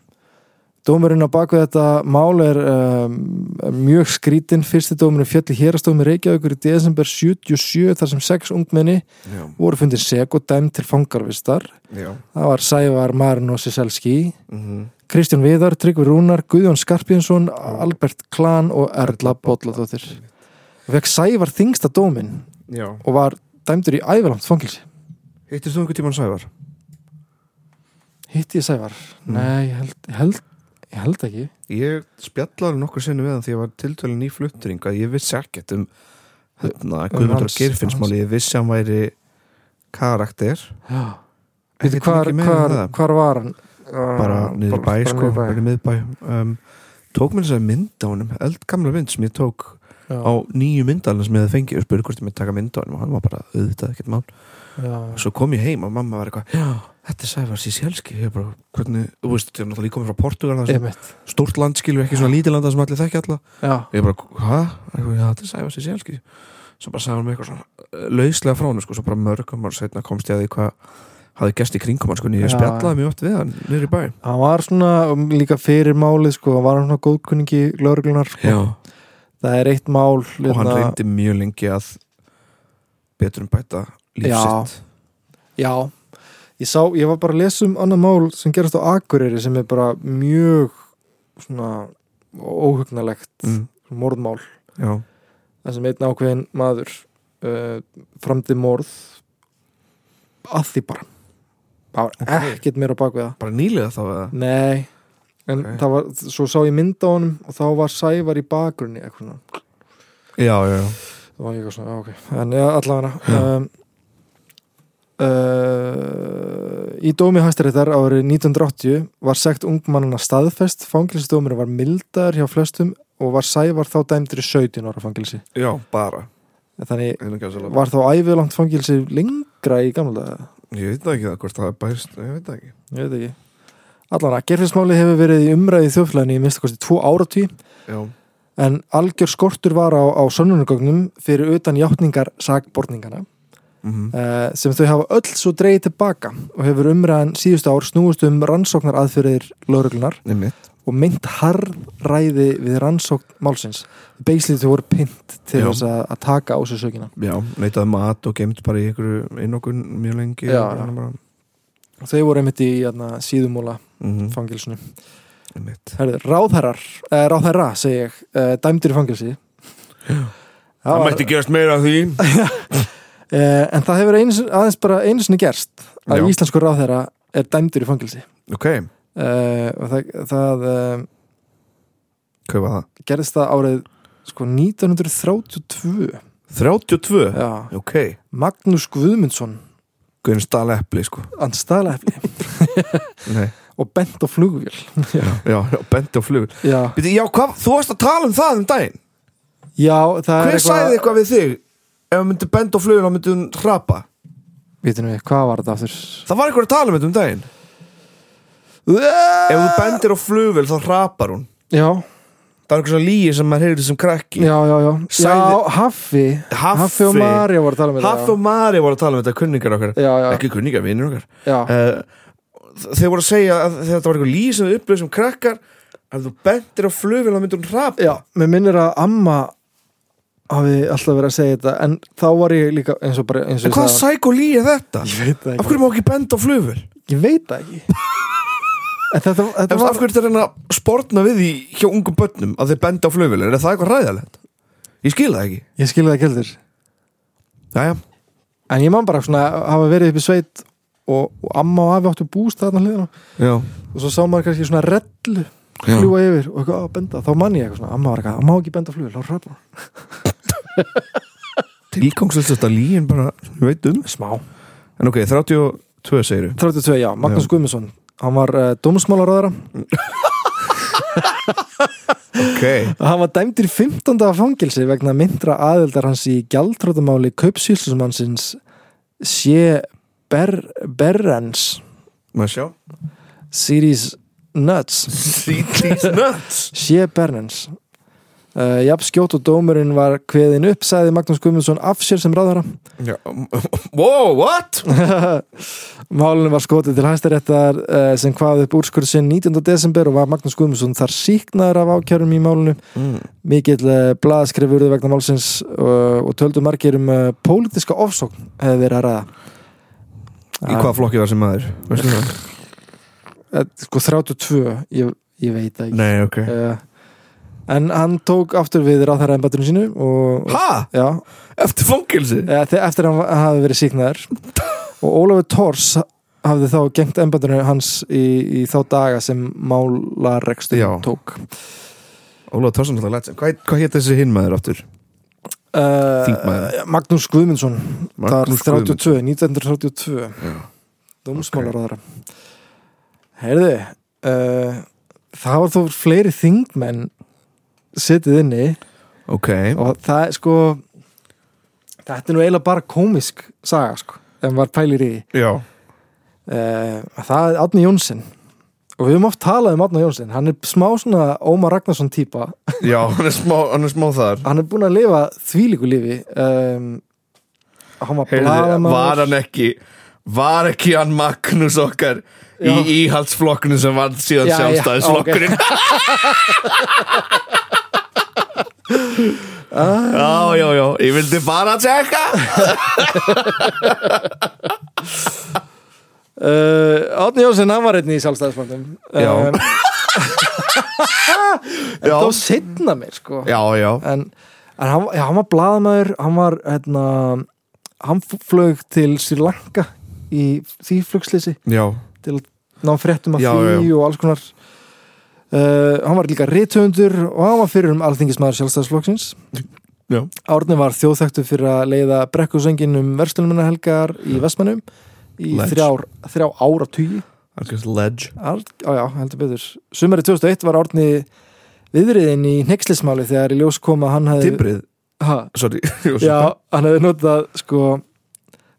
[SPEAKER 2] Dómurinn á baku þetta mál er um, mjög skrítinn fyrsti dómurinn fjalli hérastómi Reykjavíkur í desember 77 þar sem sex ungmenni
[SPEAKER 1] Já,
[SPEAKER 2] voru fundin seg og dæm til fangarvistar
[SPEAKER 1] já
[SPEAKER 2] Það var Sævar Marino Siselski,
[SPEAKER 1] Mhm.
[SPEAKER 2] Kristján Viðar, Tryggvi Rúnar, Guðjón Skarpínsson, Albert Klan og Erla Bolladóttir. Vekk Sævar þingsta dóminn
[SPEAKER 1] Já
[SPEAKER 2] og var dæmdur í ævilangt fangilsi.
[SPEAKER 1] Hittir þú einhvern tímann Sævar?
[SPEAKER 2] Hitti ég Sævar? Nei, ég held, ég held, ég held ekki.
[SPEAKER 1] Ég spjallaði nokkur sinni við hann því ég var tiltölu nýflutturing að ég vissi ekkert um hérna, Guðmundur
[SPEAKER 2] hans-
[SPEAKER 1] Geirfinnsmáli ég vissi að hann væri karakter
[SPEAKER 2] Já. Veitu,
[SPEAKER 1] Ekkert
[SPEAKER 2] hvar,
[SPEAKER 1] mikið meira en
[SPEAKER 2] hvar,
[SPEAKER 1] um það.
[SPEAKER 2] hvar var hann?
[SPEAKER 1] Ah, bara niður í bæ sko, bara
[SPEAKER 2] niður í
[SPEAKER 1] niður
[SPEAKER 2] bæ.
[SPEAKER 1] í miðbæ um, tók mér þess að mynd á honum eldgamla mynd sem ég tók
[SPEAKER 2] Já,
[SPEAKER 1] á nýju myndalina sem ég hefði fengið og spurði hvort ég með taka mynd á honum og hann var bara auðvitað ekkert mál
[SPEAKER 2] já.
[SPEAKER 1] svo kom ég heim og mamma var eitthvað "Já, þetta er Sævar Sísjelski ég bara, hvernig, þú veist, ég er náttúrulega líka komið frá Portugal það er
[SPEAKER 2] Einmitt.
[SPEAKER 1] svo stórt land skilur ekki svona lítið landa sem allir þekki alla
[SPEAKER 2] Já,
[SPEAKER 1] ég bara, hva? Já, þetta er Sævar Sísjelski svo bara sagði hann mig eitthvað svona lauslega frá hann sko, svo bara mörgum og setna komst ég að því hvað hafði gæst í kringum hann sko, en ég
[SPEAKER 2] Já.
[SPEAKER 1] spjallaði mjög oft við hann niður í bæ
[SPEAKER 2] hann var svona um, líka fyrir málið sko, hann var svona góðkunningi lögreglunar sko.
[SPEAKER 1] Já.
[SPEAKER 2] Það er eitt mál
[SPEAKER 1] og hann
[SPEAKER 2] hérna-
[SPEAKER 1] reyndi mjög lengi að betur um bæta
[SPEAKER 2] Já.
[SPEAKER 1] lífsitt
[SPEAKER 2] Já, ég sá, ég var bara að lesa um annað mál sem gerast á Akureyri sem er bara mjög svona óhugnalegt
[SPEAKER 1] mm,
[SPEAKER 2] morðmál
[SPEAKER 1] já,
[SPEAKER 2] þar sem einn ákveðin maður uh, framdi morð að því bara bara ekkert meira á bak við það
[SPEAKER 1] bara nýlega þá eða
[SPEAKER 2] Nei, en
[SPEAKER 1] Ok.
[SPEAKER 2] það var svo sá ég mynd á honum og þá var Sævar í bakgrunni eitthvað svona
[SPEAKER 1] já, já, já.
[SPEAKER 2] Það var eitthvað svona, já, ok En já, allavega um, uh, Í dómi hæstaréttar árið 1980 var sekt ungmannana staðfest fangilsdómur var mildar hjá flestum og var sævar þá dæmdur í 17 ára fangilsi
[SPEAKER 1] já, bara
[SPEAKER 2] Þannig
[SPEAKER 1] Innan gæsalappa.
[SPEAKER 2] var þá ævilangt fangilsi lengra í gamla daga?
[SPEAKER 1] ég veit það ekki það hvort það er bæst ég veit það ekki
[SPEAKER 2] Ég veit ekki Allavega, gerfinsmáli hefur verið í umræði í þjóflæðinni í minnst kosti tvo áratví
[SPEAKER 1] já,
[SPEAKER 2] en algjör skortur var á, á sönnunugögnum fyrir utan játningar sakborningana
[SPEAKER 1] mhm,
[SPEAKER 2] eh, sem þau hafa öll svo dreigið tilbaka og hefur umræðan síðustu ár snúist um rannsóknar aðfyrir lauruglunar
[SPEAKER 1] nefnitt
[SPEAKER 2] og mynd harðræði við rannsókn málsins. Beislið þau voru pynt
[SPEAKER 1] Já.
[SPEAKER 2] til þess að að taka á sig sökina.
[SPEAKER 1] já, neitaði mat og geimt bara í einhverju innokun mjög lengi
[SPEAKER 2] Já,
[SPEAKER 1] og hérna
[SPEAKER 2] já.
[SPEAKER 1] bara-
[SPEAKER 2] Og þau voru einmitt í jæna, síðumúla
[SPEAKER 1] mhm,
[SPEAKER 2] fangilsinu.
[SPEAKER 1] nefnitt
[SPEAKER 2] Herðu, ráðherrar, eh, ráðherra segi ég, eh, dæmdir í fangilsi
[SPEAKER 1] það
[SPEAKER 2] var-
[SPEAKER 1] mætti gerast meira af því
[SPEAKER 2] Eh, en það hefur eins, aðeins bara einu sinni gerst að
[SPEAKER 1] Já.
[SPEAKER 2] íslenskur ráðherra er dæmdur í fangilsi
[SPEAKER 1] ok,
[SPEAKER 2] uh, og það, það uh,
[SPEAKER 1] hvað var það?
[SPEAKER 2] gerðist það árið sko 1932
[SPEAKER 1] 32?
[SPEAKER 2] Já.
[SPEAKER 1] ok,
[SPEAKER 2] Magnús Guðmundsson
[SPEAKER 1] Guðin stál epli sko
[SPEAKER 2] andstæðlefni
[SPEAKER 1] [laughs] Nei.
[SPEAKER 2] og bent á flugvél
[SPEAKER 1] já, já, bendi á flug
[SPEAKER 2] já,
[SPEAKER 1] Býtu, já, hvað, þú varst að tala um það um daginn
[SPEAKER 2] já það
[SPEAKER 1] hver
[SPEAKER 2] er
[SPEAKER 1] sagði eitthvað við þig ef hún myndi bendi á flugin og myndi hún hrapa
[SPEAKER 2] Vitum við, hvað var þetta aftur?
[SPEAKER 1] það var eitthvað að tala um þetta um daginn ef þú bendir á flugvél þá hrapar hún
[SPEAKER 2] Já,
[SPEAKER 1] það er eitthvað svona líi sem maður heyrði sem krakki
[SPEAKER 2] já, já, já
[SPEAKER 1] Sagði-
[SPEAKER 2] Já, Haffi
[SPEAKER 1] Haffi.
[SPEAKER 2] og Marja voru að tala með
[SPEAKER 1] Haffi og Mari voru að tala um þetta, kunningar okkar
[SPEAKER 2] Já, já.
[SPEAKER 1] ekki kunningar, vinnir okkar
[SPEAKER 2] Já,
[SPEAKER 1] uh, þeir voru að segja að þetta var eitthvað líi sem þau upplöðu sem krakkar ef þú bendir á flugvél þá myndi hún hrapa
[SPEAKER 2] já, mér minnir að amma hafi alltaf verið að segja þetta en þá var ég líka eins og bara eins og
[SPEAKER 1] en hvaða sækó líi er þetta?
[SPEAKER 2] Ég veit það
[SPEAKER 1] af
[SPEAKER 2] ekki
[SPEAKER 1] hverju má ekki benda á flugvél?
[SPEAKER 2] Ég veit það
[SPEAKER 1] [laughs]
[SPEAKER 2] ekki En þetta, þetta
[SPEAKER 1] Var... Af
[SPEAKER 2] var
[SPEAKER 1] hverju þetta er að spórna við því hjá ungum börnum að þeir benda á flugvél? Er það eitthvað ræðalegt? Ég skil það ekki.
[SPEAKER 2] Ég skilði það ekki heldur
[SPEAKER 1] Jæja.
[SPEAKER 2] En ég man bara svona að hafa verið upp í sveit og, og amma og afi áttu búst þarna hliðina
[SPEAKER 1] Já.
[SPEAKER 2] og svo sá maður kannski svona rellu
[SPEAKER 1] Já.
[SPEAKER 2] fljúa yfir og eitthvað að benda þá man ég eitthvað svona, amma var eitthvað, "Hann má ekki benda flugil þá hröfla
[SPEAKER 1] Tilgangslust þetta líin bara, ég veit um.
[SPEAKER 2] smá
[SPEAKER 1] En ok, 32 segir
[SPEAKER 2] 32, já, Magnús Guðmundsson hann var uh, dómsmálaráðara
[SPEAKER 1] Ok.
[SPEAKER 2] hann var dæmdur í 15. fangilsi vegna myndra aðeldar hans í gjaldtrótamáli kaupsýlsusmannsins sé Ber Berrens
[SPEAKER 1] Maður sjá.
[SPEAKER 2] series Nuts
[SPEAKER 1] These nuts.
[SPEAKER 2] Sjö Bernens uh, Jafn skjótt og dómurinn var kveðin upp sagði Magnús Guðmundsson af sér sem
[SPEAKER 1] [laughs]
[SPEAKER 2] ráðara
[SPEAKER 1] Já. Wow, what?
[SPEAKER 2] Málinu var skotið til hæstaréttar uh, sem hvaði upp úrskurð sinn 19. desember og var Magnús Guðmundsson þar síknaður af ákjörum í málinu
[SPEAKER 1] Mm.
[SPEAKER 2] mikill uh, blaðskrifurðu vegna málsins uh, og töldu margir um uh, pólitiska ofsókn hefði verið að ræða
[SPEAKER 1] Í hvaða flokki var sem maður? Veistu það?
[SPEAKER 2] Eh, Sko 32, ég, ég veit það ekki
[SPEAKER 1] Nei, ok.
[SPEAKER 2] uh, En hann tók aftur við ráðherra embættinu sínu og,
[SPEAKER 1] Ha?
[SPEAKER 2] Já,
[SPEAKER 1] Eftir fangilsi?
[SPEAKER 2] Eh, þe- eftir að hann hafi verið síknaður og Ólafur Tors hafði þá gengt embættinu hans í, í þá daga sem málarekstur
[SPEAKER 1] Já.
[SPEAKER 2] tók
[SPEAKER 1] Ólaður Tórsson alltaf lætt. Hvað, hvað hétt þessi hinn maður aftur? Þingmaður.
[SPEAKER 2] uh, Magnús Guðmundsson
[SPEAKER 1] Magnús
[SPEAKER 2] þar 32, 1932 dómsmálaráðara heyrðu uh, það var þó fleiri þingmenn setið inni
[SPEAKER 1] Ok.
[SPEAKER 2] og það er sko þetta er nú eiginlega bara komisk saga sko, ef maður pælir í því
[SPEAKER 1] Já.
[SPEAKER 2] uh, það er Átni Jónsson og við höfum oft talað um Átna Jónsson hann er smá svona Ómar Ragnarsson típa
[SPEAKER 1] Já, hann er smá, hann er smá þar.
[SPEAKER 2] hann er búin að lifa þvílíku lífi um, hann var
[SPEAKER 1] Heyrðu, var
[SPEAKER 2] blaðamaður
[SPEAKER 1] hann ekki var ekki hann Magnús okkar í
[SPEAKER 2] Já.
[SPEAKER 1] íhaldsflokknu sem var síðan
[SPEAKER 2] Já, já,
[SPEAKER 1] sjálfstæðisflokkurinn [laughs] Já, já, já, ég vildi bara tjekka
[SPEAKER 2] uh, Átni Jónsson hann var einnig í sjálfstæðismannum
[SPEAKER 1] Já.
[SPEAKER 2] [laughs] um, en
[SPEAKER 1] Já.
[SPEAKER 2] þá setna mér sko
[SPEAKER 1] Já, já,
[SPEAKER 2] en, en hann, já, hann var blaðamaður hann var hérna hann flög til Sri Lanka í því flugslýsi
[SPEAKER 1] já,
[SPEAKER 2] til að ná fréttum af
[SPEAKER 1] Já,
[SPEAKER 2] því
[SPEAKER 1] já, já.
[SPEAKER 2] og alls konar uh, hann var líka rithöfundur og hann var fyrir um alþingismæður sjálfstæðsflokksins
[SPEAKER 1] já.
[SPEAKER 2] Árni var þjóðþæktu fyrir að leiða brekkusöngin um verslunumina-helgar í Vestmannum í
[SPEAKER 1] Læs.
[SPEAKER 2] þrjár, þrjá ára tugi
[SPEAKER 1] Algjörst ledge
[SPEAKER 2] já, heldur betur Sumari 2001 var Árni viðriðin í nexlismáli þegar í ljós kom að hann hefði
[SPEAKER 1] Timbrið,
[SPEAKER 2] ha,
[SPEAKER 1] sorry
[SPEAKER 2] Uh,
[SPEAKER 1] [laughs]
[SPEAKER 2] já, hann hefði notað sko,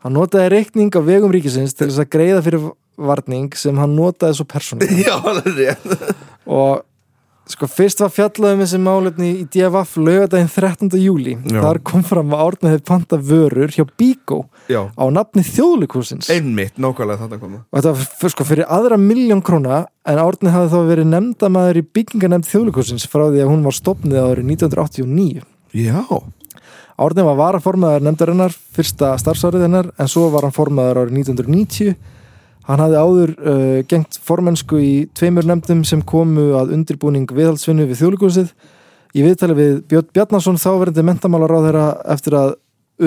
[SPEAKER 2] hann notaði reikning á vegum ríkisins til þess að greiða fyrir varning sem hann notaði svo persónulega
[SPEAKER 1] Já, það er rétt
[SPEAKER 2] og sko fyrst var fjallað um þessi málefni í DFF lögadaginn 13. júli
[SPEAKER 1] Já.
[SPEAKER 2] þar kom fram að Árni hefði panta vörur hjá Bíkó
[SPEAKER 1] Já,
[SPEAKER 2] á nafni þjóðleikúsins
[SPEAKER 1] einmitt, nákvæmlega þetta koma
[SPEAKER 2] og þetta var f- sko fyrir aðra miljón króna en Árni hafði þá verið nefndamaður í byggingarnemnd þjóðleikúsins frá því að hún var stopnið árið 1989
[SPEAKER 1] Já,
[SPEAKER 2] Árni var varaformaður nefndarinnar fyrsta starfsárið hennar en svo var hann formaður árið 1990 Hann hafði áður uh, gengt formennsku í tveimur nefndum sem komu að undirbúning viðhaldsvinnu við þjóðlíkúsið Í viðtali við Björn Bjarnason þáverandi mentamálar á þeirra eftir að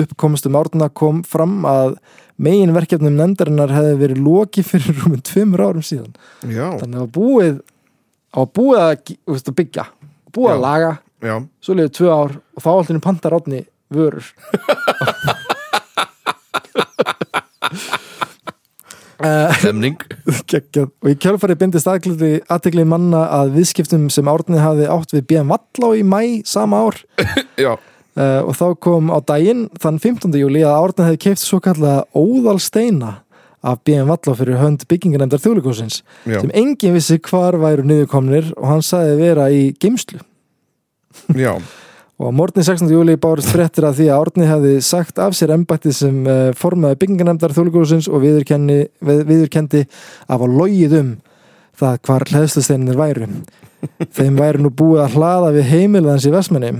[SPEAKER 2] uppkomstum árna kom fram að megin verkefnum nefndarinnar hefði verið loki fyrir rúmum tveimur árum síðan.
[SPEAKER 4] já,
[SPEAKER 2] Þannig að búið, að búið að, ge- þú veist, að byggja, búið
[SPEAKER 4] Já.
[SPEAKER 2] að laga,
[SPEAKER 4] já
[SPEAKER 2] svo liðið tvö ár og þá alltaf pantar átni vörur. Eh,
[SPEAKER 1] Semning
[SPEAKER 2] Kekjað. Og í kjálfari bindist aðgluti aðtegli manna að viðskiptum sem Árni hafði átt við BM Vallá í mæ sama ár
[SPEAKER 4] já,
[SPEAKER 2] uh, og þá kom á daginn þann 15. júli að Árni hefði keift svo kallaða óðalsteina af BM Vallá fyrir hönd byggingarnemdar þjóðleikúsins
[SPEAKER 4] Já.
[SPEAKER 2] sem enginn vissi hvar væru niðurkomnir og hann sagði vera í geimslu
[SPEAKER 4] já,
[SPEAKER 2] og á morgni 16. júli bárist fréttir að því að Árni hefði sagt af sér embætti sem uh, formaði byggingarnemdar þjóðlugurúsins og viðurkenni- við- viðurkendi af að logið um það hvar hlæðslusteininir væru þeim væru nú búið að hlaða við heimilans í Vestmanni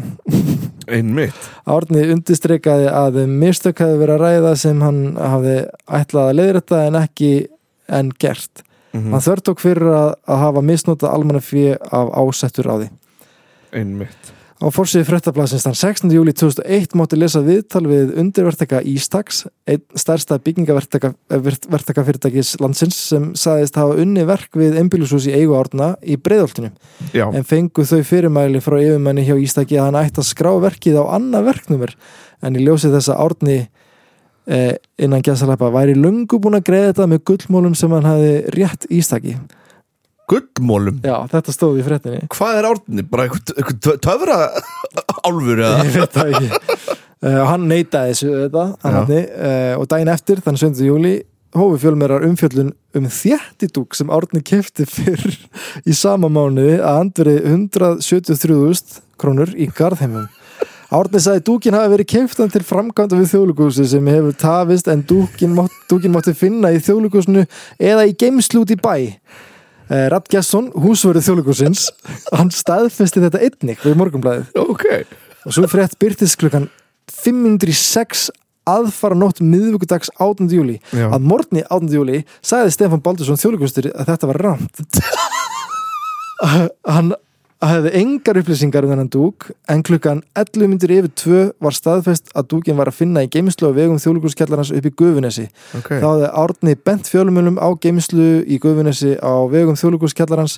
[SPEAKER 4] einmitt
[SPEAKER 2] Árni undistrikaði að um mistök hefði verið að ræða sem hann hafði ætlað að leiðrætta en ekki en gert
[SPEAKER 1] Mm. Mhm,
[SPEAKER 2] hann þörtók fyrir að, að hafa misnotað almanna af ásettur á því
[SPEAKER 4] einmitt
[SPEAKER 2] Á fórsíðu fréttablasins þann 16. júli 2001 mátti lesa viðtal við undirvertaka Ístax, einn stærsta byggingavertakafyrirtækis landsins sem sagðist hafa unni verk við einbýlishús í eigu árna í breyðoltinu
[SPEAKER 4] já,
[SPEAKER 2] en fengu þau fyrirmæli frá yfirmanni hjá Ístaki að hann ætti að skrá verkið á annað verknumur en í ljósi þess að árni eh, innan gæsalappa væri löngu búin að greiða þetta með gullmólum sem hann hafi rétt Ístaki.
[SPEAKER 1] Gullmólum
[SPEAKER 2] Já, þetta stóð í fréttinni.
[SPEAKER 1] Hvað er árni? Bara einhver, einhver tö- töfra álfur eða
[SPEAKER 2] [laughs] ég veit það ekki uh, hann neytaði þessu þetta
[SPEAKER 4] Já.
[SPEAKER 2] uh, og daginn eftir, þann 7. júli hófi fjölmerar umfjöllun um þjættidúk sem Árni kefti fyrr í sama mánuði að andveri 173.000 krónur í garðheimum Árni sagði dúkin hafi verið keftan til framkvæmda við þjóðlugúsi sem hefur tafist en dúkin, mátt, dúkin mátti finna í þjóðlugúsinu eða í geimslu út í bæ Eh, Rapp Gesson, húsverið þjóðlugúsins hann staðfesti þetta einnig við morgunblæðið
[SPEAKER 4] ok
[SPEAKER 2] og svo frétt byrtist klukkan 506 aðfara nótt miðvikudags 8. júli
[SPEAKER 4] Já.
[SPEAKER 2] að morgni 8. júli sagði Stefán Baldursson þjóðleikustur að þetta var rámt
[SPEAKER 4] [laughs]
[SPEAKER 2] hann hefði engar upplýsingar um þennan dúk en klukkan 11 myndir yfir 2 var staðfest að dúkin var að finna í geimslu á vegum þjóðleikuskjallarnas upp í Gufunesi
[SPEAKER 4] ok,
[SPEAKER 2] þá hefði Árni bent fjölumölum á geimslu í Gufunesi á vegum þjóðleikuskjallarans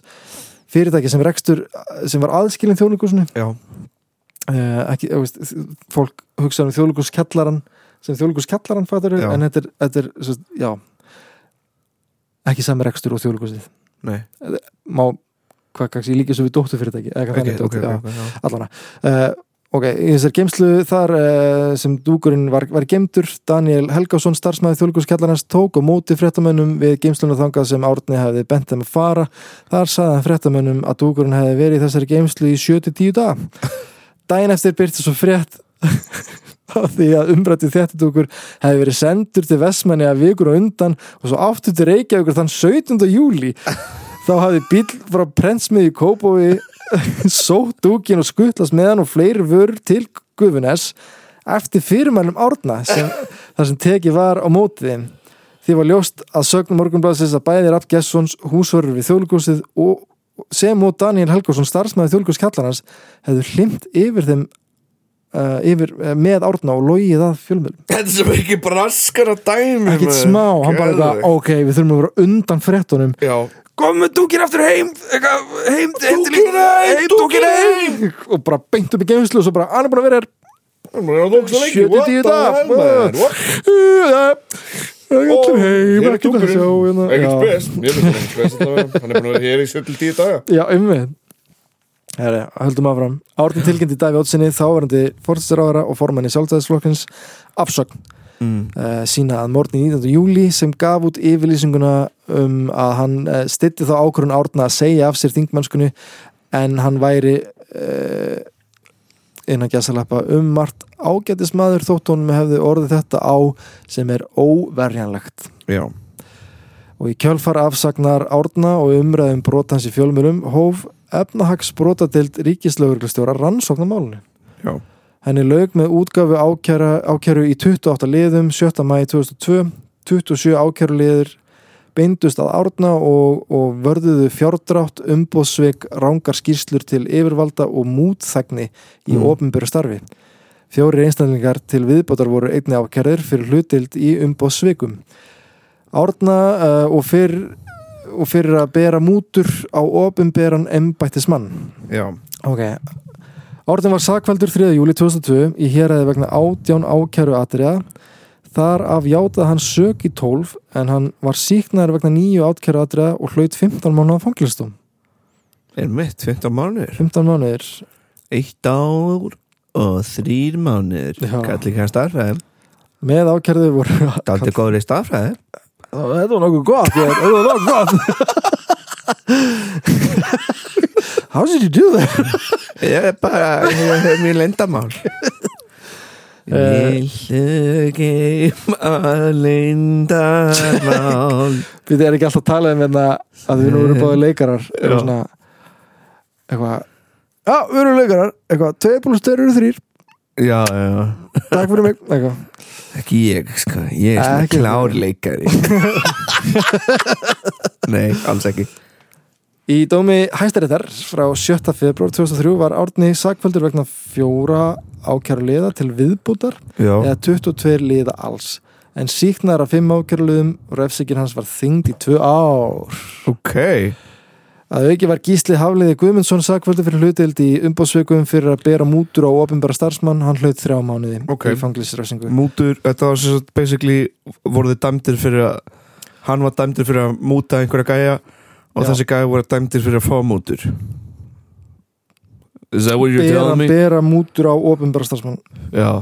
[SPEAKER 2] fyrirtæki sem rekstur sem var aðskilin þjóðleikusinu
[SPEAKER 4] já,
[SPEAKER 2] uh, ekki, þú veist, þ- fólk hugsa um þjóðlíkuskjallaran sem þjóðlíkuskjallaran fattur
[SPEAKER 4] Já.
[SPEAKER 2] en þetta er, þetta er svo, já, ekki sami rekstur og þjóðlíkusið
[SPEAKER 4] nei
[SPEAKER 2] má, hvað kannski líka svo við dóttu fyrirtæki eða
[SPEAKER 4] ok,
[SPEAKER 2] hvað
[SPEAKER 4] ok,
[SPEAKER 2] þannig dóttu,
[SPEAKER 4] ok,
[SPEAKER 2] já,
[SPEAKER 4] ok, já.
[SPEAKER 2] allavega uh, ok, í þessar geimslu þar uh, sem dúkurinn var, var geimtur Daniel Helgásson, starfsmæði þjóðlíkuskjallarans tók og móti fréttamönnum við geimsluna þangað sem Árni hefði bent þeim að fara Þar sagði hann fréttamönnum að dúkurinn hefði verið í þessari geimslu í 7-10 dag. Dæin eftir byrti svo frétt [laughs] af því að umrættu þéttidúkur hefði verið sendur til Vestmanni að vikur og undan og svo aftur til Reykjavíkur þann 17. júli. Þá hafði bíl frá prentsmiði í Kópói sótt dúkin og skuttlast meðan og fleiri vörur til Gufunes eftir fyrirmælum Árna
[SPEAKER 4] [laughs]
[SPEAKER 2] sem, þar sem tekið var á mótið þeim. Því var ljóst að sögnum morgunblæsins að bæði Rapp Gessons húsvörur við þjóðlugúsið og sem og Daniel Helgórsson starfsmæði þjóðlugúskjallarans hefðu hlimt yfir þeim uh, yfir, uh, með árna og logið að fjölmjölum.
[SPEAKER 4] Þetta er sem ekki braskara dæmi
[SPEAKER 2] Ekkit
[SPEAKER 4] maður.
[SPEAKER 2] smá, hann bara eitthvað,
[SPEAKER 4] Geðveikt.
[SPEAKER 2] ok, við þurfum að vera undan fréttunum.
[SPEAKER 4] Já,
[SPEAKER 3] Komum dúkinn aftur heim eitthvað, Heim, heim, til-
[SPEAKER 4] Dúkinn heim,
[SPEAKER 3] heim, dúkinn heim
[SPEAKER 2] Og bara beint upp í geimslu og svo bara, hann er bara að vera þér
[SPEAKER 4] það tók svo lengi
[SPEAKER 2] 70 í dag.
[SPEAKER 4] What?
[SPEAKER 2] Það er allir heim,
[SPEAKER 4] Hér er
[SPEAKER 2] ekki að sjá.
[SPEAKER 4] dúkurinn
[SPEAKER 2] hérna.
[SPEAKER 4] Ekkert
[SPEAKER 2] Já.
[SPEAKER 4] spes Mér finnst það ekki spes allavega. Hann er búin að vera hér í 7-10 daga
[SPEAKER 2] Já, einmitt Herri, höldum áfram Árni tilkynnti Davi Ótsinni þáverandi fórstisaráðara og formanni sjálfstæðisflokkins afsögn mm. sína að morgni 19. júli sem gaf út yfirlýsinguna um að hann uh, stytti þá ákvörun Árna að segja af sér þingmannskunni en hann væri uh, innan gæsalappa um margt ágætismadur þótt honum hefði orðið þetta á sem er óverjanlegt
[SPEAKER 4] Já,
[SPEAKER 2] og í kjölfar afsagnar árna og umræðum brotans í fjölmurum hóf efnahagsbrotadeild ríkislauglustjóra rannsóknarmálunni.
[SPEAKER 4] já,
[SPEAKER 2] Henni lauk með útgafu ákæra, ákæru í 28 liðum 7. mæði 2002, 27 ákæruliðir beindust að árna og, og vörðuðu fjárdrátt, umbóðsveik, rángar skýrslur til yfirvalda og mútþægni í mm. ofinbjöru starfi. Fjóri einstaklingar til viðbótar voru einni ákerðir fyrir hlutild í umbóðsveikum. Árna uh, og, fyrr, og fyrir að bera mútur á ofinbjöran embættismann.
[SPEAKER 4] Já,
[SPEAKER 2] Ok Árðin var sakveldur 3. júli 2002 í héræði vegna átján ákæru atriða Þar af játaði hann sök í 12 en hann var síknaður vegna nýju ákæru atriða og hlaut 15 mánuða fanglistum
[SPEAKER 1] Einmitt, 15 mánuðir
[SPEAKER 2] 15 mánuðir
[SPEAKER 1] Eitt ár og þrýr mánuðir
[SPEAKER 2] Já.
[SPEAKER 1] Kalli kannast aðfæðum
[SPEAKER 2] með ákæruðu voru
[SPEAKER 1] Daldi góður í staðfræði
[SPEAKER 2] Þetta var nokkuð gott ég, Þetta var nokkuð gott [laughs] How did you do that?
[SPEAKER 1] Ég er bara, ég er mér lendamál
[SPEAKER 2] Eh.
[SPEAKER 1] Lillu geim að lendamál
[SPEAKER 2] Við erum ekki alltaf að tala um hérna að við nú erum báði leikarar
[SPEAKER 1] Já.
[SPEAKER 2] eitthvað svona eitthvað Já, við erum leikarar eitthvað 2 plus 2 eru 3
[SPEAKER 1] Já, já
[SPEAKER 2] Takk fyrir mig Eitthvað
[SPEAKER 1] Ekki ég, sko, ég er svona
[SPEAKER 2] Ekki þú.
[SPEAKER 1] klárleikari [laughs] Nei, alls ekki
[SPEAKER 2] Í dómi hæstaréttar frá 7. februar 2003 var Árni sakfældur vegna fjóra ákæruliða til viðbútar
[SPEAKER 1] Já,
[SPEAKER 2] eða 22 liða alls en síknar af fimm ákæruliðum og refsikinn hans var þyngd í tvö ár.
[SPEAKER 1] ok
[SPEAKER 2] Að auki var Gísli Hafliði Guðmundsson sakfældur fyrir hlutild í umbóðsveikum fyrir að bera mútur á ofinbara starfsmann, hann hlaut þrjá mánuði
[SPEAKER 4] Ok.
[SPEAKER 2] í fanglisrefsingu.
[SPEAKER 4] mútur, þetta var sem sagt basically voruð dæmdir fyrir að hann var dæmdir fyrir að múta einhverja gæja og
[SPEAKER 2] Já.
[SPEAKER 4] þessi gæja voru dæmdir fyrir að fá mútur Is that what you're
[SPEAKER 2] Bera,
[SPEAKER 4] telling me?
[SPEAKER 2] bera mútur á ofinbara starfsmann.
[SPEAKER 4] Já,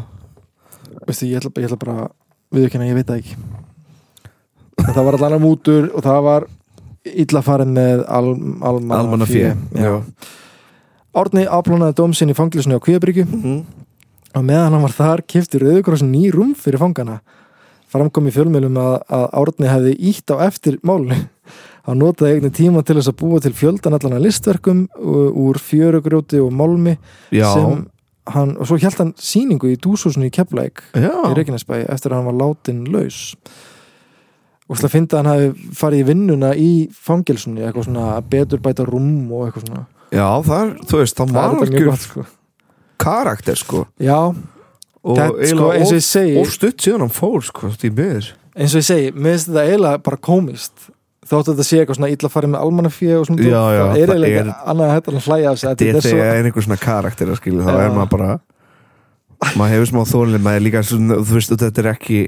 [SPEAKER 2] Veistu, ég ætla, ég ætla bara viðkynna, ég veit það ekki en það var allan að mútur og það var illa farin með al, almanna,
[SPEAKER 4] almanna fjö Já,
[SPEAKER 2] Árni aflánaði dóm sinn í fanglisinu á Kvíabryggju
[SPEAKER 4] Mhm.
[SPEAKER 2] og meðan hann var þar kefti Rauðukrossin ný rúm fyrir fangana framkom í fjölmjölum að, að Árni hefði ítt á eftir málinu hann notaði eigni tíma til þess að búa til fjöldan allan að listverkum uh, úr fjörugrjóti og málmi
[SPEAKER 4] já,
[SPEAKER 2] sem hann, og svo hjælt hann síningu í dúshúsinu í Keflæk í
[SPEAKER 4] já.
[SPEAKER 2] Reykjanesbæ eftir að hann var látin laus og slá að finna að hann hafi farið í vinnuna í fangilsunni eitthvað svona að betur bæta rúm og eitthvað svona
[SPEAKER 4] já þar, þú veist, það
[SPEAKER 2] Það er
[SPEAKER 4] var
[SPEAKER 2] þetta mjög
[SPEAKER 4] algjör
[SPEAKER 2] gott, sko.
[SPEAKER 4] karakter sko
[SPEAKER 2] já,
[SPEAKER 4] og
[SPEAKER 2] þetta, sko,
[SPEAKER 4] eiginlega
[SPEAKER 2] eins og
[SPEAKER 4] of,
[SPEAKER 2] ég segi
[SPEAKER 4] of stutt síðan hann fór sko, því miður
[SPEAKER 2] eins og ég segi, mér finnst þetta eiginlega bara komist þáttu þetta sé eitthvað svona illa farið með almannafjö og svona
[SPEAKER 4] Já, já,
[SPEAKER 2] það er
[SPEAKER 4] það
[SPEAKER 2] eiginlega
[SPEAKER 4] er-
[SPEAKER 2] ekki annað að þetta en að hlæja af sig,
[SPEAKER 4] þetta er
[SPEAKER 2] þetta
[SPEAKER 4] þegar
[SPEAKER 2] er
[SPEAKER 4] er einhver svona karakter að skilja þá
[SPEAKER 2] Já.
[SPEAKER 4] er maður bara maður hefur smá þólinni maður er líka svona, þú veist þetta er ekki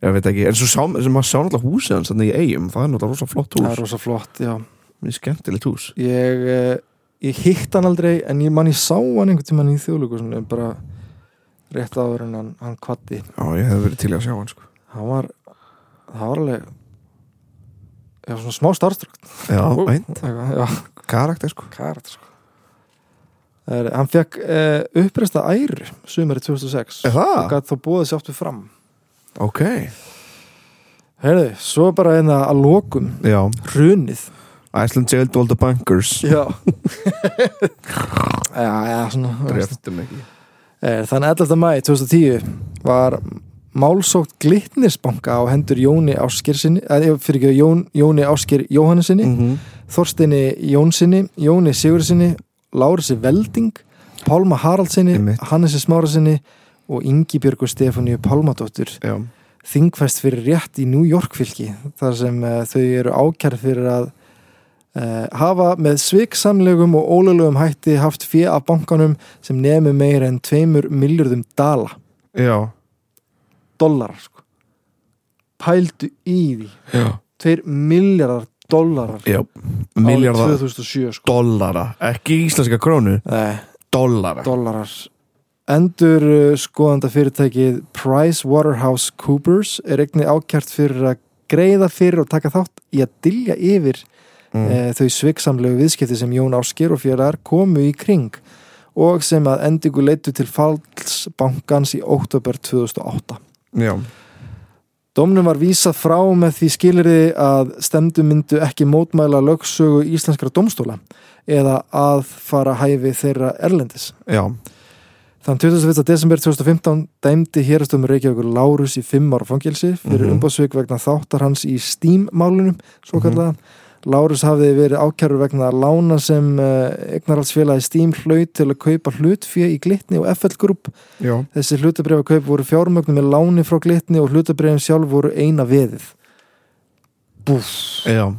[SPEAKER 4] ég veit ekki, en svo sá, sem maður sá náttúrulega húsið hans þannig í eigum, það er náttúrulega rosa flott
[SPEAKER 2] svo það er
[SPEAKER 4] hús
[SPEAKER 2] rosa flott, já
[SPEAKER 4] mjög skemmtilegt hús
[SPEAKER 2] ég, eh, ég hitt hann aldrei en ég man ég sá hann einhvern tímann í þjóðlíku bara rétt áður en hann, hann kvatti
[SPEAKER 4] já, ég hef verið til í að sjá hann sko
[SPEAKER 2] hann var það var alveg ég var svona smá starstrukt
[SPEAKER 4] já, einn
[SPEAKER 2] já,
[SPEAKER 4] karakter sko
[SPEAKER 2] karat sko Það er, hann fekk uh, uppreista æru sumari 2006
[SPEAKER 4] Er það?
[SPEAKER 2] og gætt þá búið sér aftur fram
[SPEAKER 4] ok,
[SPEAKER 2] heyrðu, svo bara einna að lokum
[SPEAKER 4] já,
[SPEAKER 2] hrunið
[SPEAKER 4] Iceland jailed all the bankers
[SPEAKER 2] já [laughs] já, já, svona veist.
[SPEAKER 4] dreftum ekki
[SPEAKER 2] Eh, Þann 11. mæ 2010 var málsókt glitnisbanka á hendur Jóni Ásker sinni, eða fyrir ekki Jón, Jóni Ásker Jóhannesinni
[SPEAKER 4] Mhm.
[SPEAKER 2] Þorsteini Jónsinni, Jóni Sigurðsinni, Lárisi Velding, Pálma Haraldsinni,
[SPEAKER 4] Einmitt.
[SPEAKER 2] Hannesi Smárasinni og Ingibjörgu Stefáníu Pálmadóttur
[SPEAKER 4] já,
[SPEAKER 2] þingfæst fyrir rétt í New York fylki þar sem uh, þau eru ákjærð fyrir að uh, hafa með sviksamlegum og ólegum hætti haft fjö af bankanum sem nemi meira en 2 miljardum dala,
[SPEAKER 4] já,
[SPEAKER 2] dollara sko. pældu í því
[SPEAKER 4] já,
[SPEAKER 2] 2 miljardar dollarar
[SPEAKER 4] já. miljardar
[SPEAKER 2] árið 2007 sko. Eh,
[SPEAKER 4] dollara, ekki íslenska krónu
[SPEAKER 2] Nei,
[SPEAKER 4] dollara,
[SPEAKER 2] dollarar Endur skoðanda fyrirtækið PricewaterhouseCoopers er einnig ákjart fyrir að greiða fyrir og taka þátt í að dilja yfir mm. þau sviksamlegu viðskipti sem Jón Ásker og fjölar komu í kring og sem að endingu leitu til falls bankans í oktober 2008.
[SPEAKER 4] já,
[SPEAKER 2] Dómnum var vísað frá með því skilirði að stemdu myndu ekki mótmæla lögsögu íslenskra dómstóla eða að fara hæfi þeirra erlendis.
[SPEAKER 4] já
[SPEAKER 2] Þann 21. desember 2015 dæmdi hérastum Reykjavíkur Lárus í fimm ára fangilsi fyrir mm
[SPEAKER 1] Mhm.
[SPEAKER 2] vegna þáttar hans í Steam-málunum, svo kallaða. Lárus hafði verið ákjærur vegna lána sem uh, eignarhaldsfélagi Steam hlaut til að kaupa hlutfjö í Glitni og FL Group.
[SPEAKER 1] Já.
[SPEAKER 2] Þessi hlutabrifakaup voru fjármögnum með láni frá Glitni og hlutabrifin sjálf voru eina veðið. Búf.
[SPEAKER 1] Já.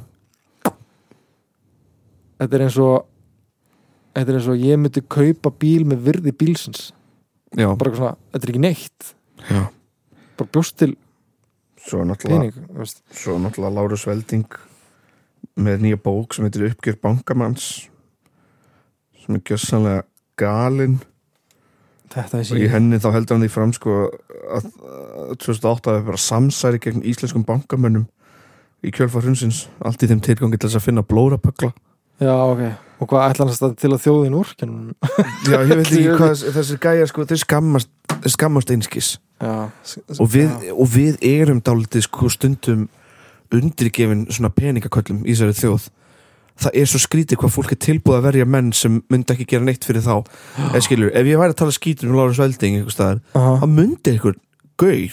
[SPEAKER 2] Þetta er eins og þetta er eins og ég myndi kaupa bíl með virði bílsins.
[SPEAKER 1] Já.
[SPEAKER 2] Bara eitthvað svona, þetta er ekki neitt.
[SPEAKER 1] Já.
[SPEAKER 2] Bara bjóst til
[SPEAKER 1] Svo er náttúrulega
[SPEAKER 2] pening, þú veist.
[SPEAKER 1] Svo er náttúrulega Lárus Velding með nýja bók sem heitir Uppgjör bankamanns sem er gjössanlega galinn
[SPEAKER 2] Þetta er
[SPEAKER 1] og í
[SPEAKER 2] síðan.
[SPEAKER 1] henni þá heldur hann því fram sko að að 2008 hafi bara samsæri gegn íslenskum bankamönnum í kjölfar hrunsins, allt í þeim tilgangi til þess að finna blórapögla
[SPEAKER 2] Já, ok. Og hvað ætla hann að staða til að þjóðin úr? Kennum?
[SPEAKER 1] Já, ég veit ekki hvað þessi gæja sko, þeir skammast, þeir skammast einskis
[SPEAKER 2] Já. s- s-
[SPEAKER 1] og við,
[SPEAKER 2] já.
[SPEAKER 1] og við erum dálítið sko stundum undirgefin svona peningaköllum í þessari þjóð það er svo skrítið hvað fólk er tilbúið að verja menn sem myndi ekki gera neitt fyrir þá eða skilur, ef ég væri að tala skítur um Lárus Velding einhvers staðar,
[SPEAKER 2] Aha.
[SPEAKER 1] þá myndi einhver gaur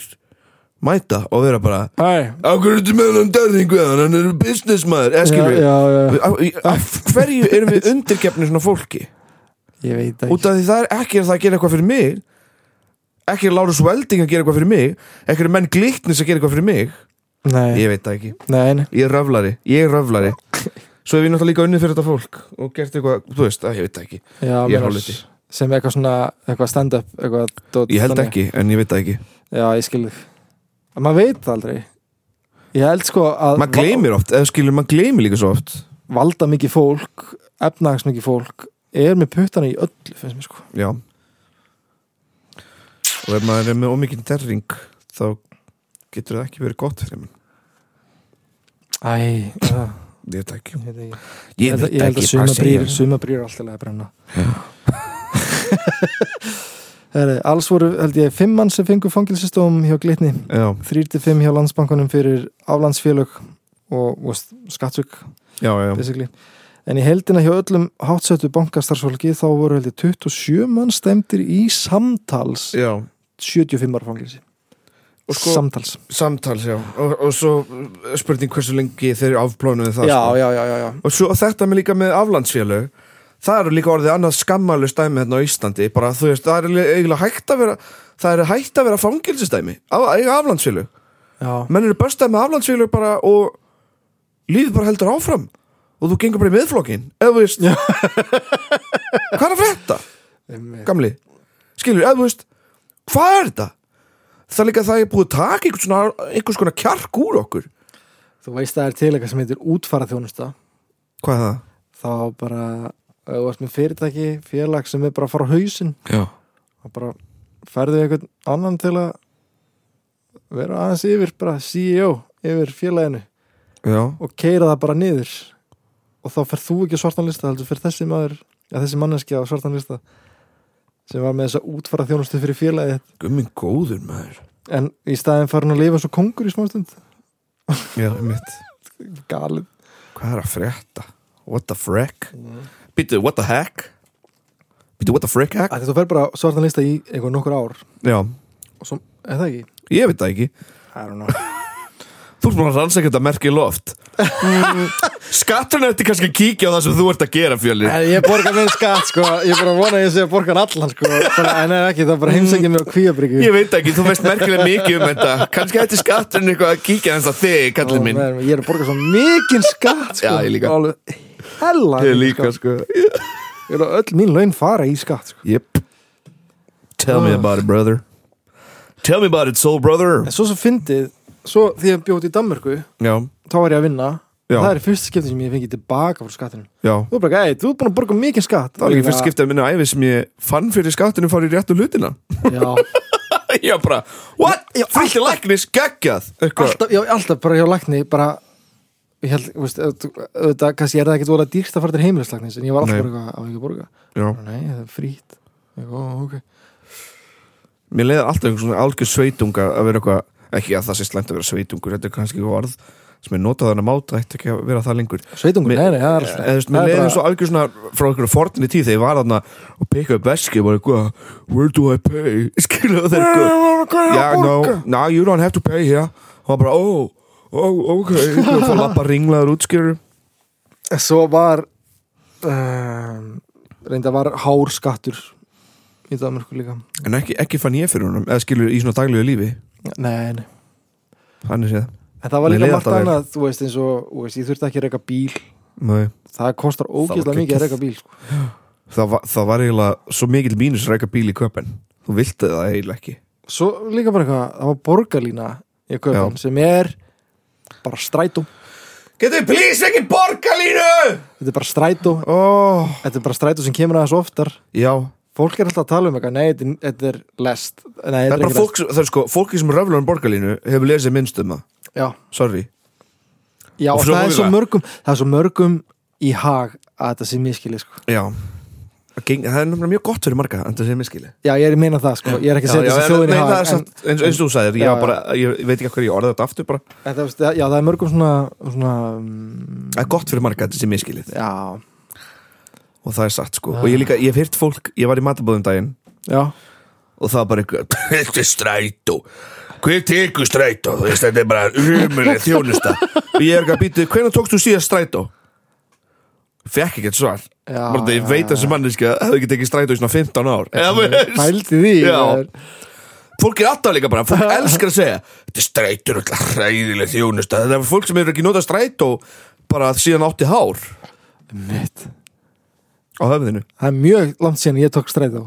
[SPEAKER 1] mæta og vera bara
[SPEAKER 2] Æ,
[SPEAKER 1] Akkur er þetta með hann dörðingu eða hann er businessmaður eða
[SPEAKER 2] já,
[SPEAKER 1] skilur
[SPEAKER 2] já, já.
[SPEAKER 1] við af hverju erum við undirgefni svona fólki
[SPEAKER 2] Ég veit
[SPEAKER 1] út
[SPEAKER 2] ekki.
[SPEAKER 1] af því það er ekki að það að gera eitthvað fyrir mig ekki er Lárus Velding að gera eitthvað fyrir mig ekki er menn glitnis að gera eitthvað fyrir mig
[SPEAKER 2] Nei,
[SPEAKER 1] ég veit það ekki,
[SPEAKER 2] nei, nei.
[SPEAKER 1] ég er röflari ég er röflari svo hef ég náttúrulega líka unnið fyrir þetta fólk og gert eitthvað, þú veist, að, ég veit það ekki
[SPEAKER 2] Já,
[SPEAKER 1] Ég er
[SPEAKER 2] menar,
[SPEAKER 1] hálfviti.
[SPEAKER 2] Sem eitthvað svona, eitthvað stand-up, eitthvað dót.
[SPEAKER 1] ég held
[SPEAKER 2] þannig.
[SPEAKER 1] ekki, en ég veit það ekki
[SPEAKER 2] Já, ég skil þig. En maður veit það aldrei. Ég held sko að
[SPEAKER 1] maður gleymir oft, eða skilur, maður gleymir líka svo oft
[SPEAKER 2] va- valda mikið fólk, efnags mikið fólk, er með puttana í öllu, finnst mér sko.
[SPEAKER 1] já og ef maður er með ómikinn derring þá getur það ekki verið gott fyrir mann
[SPEAKER 2] Æ, já,
[SPEAKER 1] ég veit það ekki,
[SPEAKER 2] ég veit ekki.
[SPEAKER 1] ég veit
[SPEAKER 2] ég
[SPEAKER 1] ekki
[SPEAKER 2] held að
[SPEAKER 1] hvað segja.
[SPEAKER 2] sumabrýr sumabrýr er alltaf leið að brenna [laughs] Heri, alls voru held ég fimm mann sem fengu fangilsistóm hjá Glitni
[SPEAKER 1] já,
[SPEAKER 2] 3-5 hjá landsbankunum fyrir aflandsfélög og, og skattsök
[SPEAKER 1] já, já,
[SPEAKER 2] basically en í heldina hjá öllum hátsötu bankastarfsfólki þá voru held ég 27 mann stemdir í samtals
[SPEAKER 1] já.
[SPEAKER 2] 75 ára fangilsi
[SPEAKER 1] Og sko-
[SPEAKER 2] samtals
[SPEAKER 1] samtals, já og, og svo spurning hversu lengi þeir afplónuðu það sko.
[SPEAKER 2] já, já, já, já.
[SPEAKER 1] og svo þetta með líka með aflandsfélög það eru líka orðið annað skammalust dæmi hérna á Íslandi, bara þú veist það er eiginlega hægt að vera það er hægt að vera fangilsistæmi, eiga aflandsfélög
[SPEAKER 2] Já.
[SPEAKER 1] menn eru bestað með aflandsfélög bara og lífið bara heldur áfram og þú gengur bara í miðflokkin eða þú
[SPEAKER 2] [laughs]
[SPEAKER 1] veist hvað er að frétta,
[SPEAKER 2] Einmitt.
[SPEAKER 1] gamli skilur, eða þú veist, hvað er þetta það er líka það er búið að taka einhvers, svona, einhvers konar kjark úr okkur
[SPEAKER 2] þú veist það er til eitthvað sem heitir útfara þjónusta
[SPEAKER 1] hvað er það?
[SPEAKER 2] þá bara ef þú ert með fyrirtæki, félag sem er bara að fara á hausinn
[SPEAKER 1] Já.
[SPEAKER 2] þá bara ferðu einhvern annan til að vera aðeins yfir bara CEO yfir félaginu
[SPEAKER 1] Já.
[SPEAKER 2] og keira það bara niður og þá fer þú ekki á svartan lista heldur fer þessi maður, að þessi manneski á svartan lista sem var með þess að útfara þjónustu fyrir félagið þitt.
[SPEAKER 1] gummin góður maður
[SPEAKER 2] en í staðin farin að lifa svo kongur í smástund
[SPEAKER 1] Já, mitt
[SPEAKER 2] galið
[SPEAKER 1] Hvað er að frétta? What the frick? Býtu, what the heck? Býtu, what the frick heck?
[SPEAKER 2] Af því þú fer bara á svartan lista í einhver nokkur ár
[SPEAKER 1] Já,
[SPEAKER 2] og svo, er það ekki?
[SPEAKER 1] ég veit það ekki
[SPEAKER 2] I don't know
[SPEAKER 1] Þú ert búin að rannsækja þetta merki í loft Mm. [laughs] Skatturinn eftir kannski að kíkja á það sem þú ert að gera, Fjöli
[SPEAKER 2] En Eh, ég borga minn skatt sko, ég bara vona að ég sé að borga hann allan sko, bara, en ef ekki, það bara heimsækja mér á kvíabryggju
[SPEAKER 1] Ég veit ekki, þú veist merkilega mikið um þetta Kannski eftir skatturinn eitthvað að kíkja þess að þig, kallið minn
[SPEAKER 2] Ó, maður, Ég er að borga svo mikinn skatt sko,
[SPEAKER 1] Já, ég líka.
[SPEAKER 2] alveg, Hella
[SPEAKER 1] Ég líka, sko
[SPEAKER 2] Ég er að öll mín laun fara í skatt sko.
[SPEAKER 1] Yep Tell me about it, brother Tell me about it, soul brother
[SPEAKER 2] En svo svo fyndið, svo því ég bjóti í Danmörku
[SPEAKER 1] Já,
[SPEAKER 2] þá var ég að vinna
[SPEAKER 1] Já.
[SPEAKER 2] Það er í fyrsta skipti sem ég fengi tilbaka frá skattinu
[SPEAKER 1] já
[SPEAKER 2] Þú er bara, ei, þú er búin að borga mikinn skatt
[SPEAKER 1] Það var ekki fyrst skiptið að minna æfi sem ég fann fyrir skattinu farið réttu [laughs] hlutina
[SPEAKER 2] Já,
[SPEAKER 1] Ég var bara, what? Fullt í læknis, geggjað Eitthvað.
[SPEAKER 2] alltaf, já, alltaf bara hjá lagni bara Ég held, þú veist, auðvitað, kannski er það ekkert vola dýrst að fara til heimilislæknis, en ég var alltaf
[SPEAKER 1] Nei.
[SPEAKER 2] bara eitthvað á ekki að borga.
[SPEAKER 1] Já.
[SPEAKER 2] Nei, það er frýtt. Ég, ó, ok.
[SPEAKER 1] Mér leiði alltaf einhver svona algjör sveitunga að vera eitthvað Ekki að það sé slæmt að vera sveitungur, þetta er kannski orð sem er notað þannig að máta ætti ekki að vera það lengur
[SPEAKER 2] Sveitungur,
[SPEAKER 1] Mér-
[SPEAKER 2] nei, nei, það er
[SPEAKER 1] eða þú
[SPEAKER 2] alltaf
[SPEAKER 1] veist, mér
[SPEAKER 2] Það er
[SPEAKER 1] leiði
[SPEAKER 2] bara-
[SPEAKER 1] eins og algjör svona frá einhverju fornri tíð þegar ég var þarna og pikka upp veski og bara eitthvað, where do I pay [laughs] skilu það er eitthvað yeah, no, no, you don't have to pay here og hann bara, oh, oh, ok og fór lappa ringlaður útskjöru
[SPEAKER 2] Svo var um, reynda var hár skattur í Danmarku líka
[SPEAKER 1] en ekki, ekki fann ég fyrir honum eða skilur í svona daglegu lífi
[SPEAKER 2] Nei, nei
[SPEAKER 1] þannig séð
[SPEAKER 2] En það var
[SPEAKER 1] Mér
[SPEAKER 2] líka
[SPEAKER 1] leið
[SPEAKER 2] margt
[SPEAKER 1] alltaf vel.
[SPEAKER 2] annað, þú veist eins og þú veist, ég þurfti ekki að reyka bíl
[SPEAKER 1] Nei.
[SPEAKER 2] Það kostar ógeðslega
[SPEAKER 1] geggjað.
[SPEAKER 2] mikið að reyka bíl sko.
[SPEAKER 1] það var, það var eiginlega svo mikill mínus að reyka bíl í köpen þú viltið það eiginlega ekki
[SPEAKER 2] Svo líka bara eitthvað, það var borgarlína í köpun sem er bara strætó
[SPEAKER 1] Getur við please ekki borgarlínu?
[SPEAKER 2] Þetta er bara strætó,
[SPEAKER 1] Oh,
[SPEAKER 2] þetta er bara strætó sem kemur aðeins oftar
[SPEAKER 1] já,
[SPEAKER 2] Fólk er alltaf að tala um eitthvað, nei, þetta er- þetta er lest Nei, þetta
[SPEAKER 1] það er bara
[SPEAKER 2] ekki lest.
[SPEAKER 1] fólk, sem- það er sko, fólki sem röflar um borgarlínu hefur lesið minnst um það,
[SPEAKER 2] Já,
[SPEAKER 1] sorry
[SPEAKER 2] já
[SPEAKER 1] Og
[SPEAKER 2] og
[SPEAKER 1] svo
[SPEAKER 2] það er svo
[SPEAKER 1] móðurlega.
[SPEAKER 2] mörgum Það er svo mörgum í hag að þetta sé miskilið sko.
[SPEAKER 1] Já, það, geng, það er nefnilega mjög gott fyrir marga en það sé miskili
[SPEAKER 2] Já, ég er að meina það, sko. ég er ekki að setja þessi
[SPEAKER 1] en,
[SPEAKER 2] þjóðin í
[SPEAKER 1] nei,
[SPEAKER 2] hag
[SPEAKER 1] það er
[SPEAKER 2] en,
[SPEAKER 1] samt, eins, eins og þú sagðir, ég,
[SPEAKER 2] Já, já.
[SPEAKER 1] var bara, ég veit ekki hvað ég orðið þetta aftur bara
[SPEAKER 2] en, það, veist, Já, það er mörgum svona, svona um,
[SPEAKER 1] Það er gott fyrir marga að þetta sé miskilið
[SPEAKER 2] Já,
[SPEAKER 1] og það er satt
[SPEAKER 2] Ah.
[SPEAKER 1] sko, og ég líka, ég hef hýrt fólk ég var í matabóðum daginn
[SPEAKER 2] já
[SPEAKER 1] og það var bara eitthvað
[SPEAKER 5] Þetta er strætó Hver tekur strætó? Þú veist, þetta er bara umuleg þjónusta
[SPEAKER 1] og ég er ekki að býta, hvernig tókst þú síðast strætó? Fekk ekkert svar
[SPEAKER 2] Já,
[SPEAKER 1] bara það ég
[SPEAKER 2] já,
[SPEAKER 1] veit þessi manneski að hefði ekki tekið strætó í svona 15 ár Eða, þú veist,
[SPEAKER 2] Pældi því
[SPEAKER 1] Já.
[SPEAKER 2] það er-
[SPEAKER 1] fólk er alltaf líka bara,
[SPEAKER 2] [laughs]
[SPEAKER 1] fólk elskar að segja
[SPEAKER 5] Þetta er strætó, þetta er hræðileg þjónusta
[SPEAKER 1] það er fólk sem hefur ekki notað strætó bara síðan átti hár
[SPEAKER 2] Mitt.
[SPEAKER 1] á höfðinu
[SPEAKER 2] Það er mjög langt síðan ég tók strætó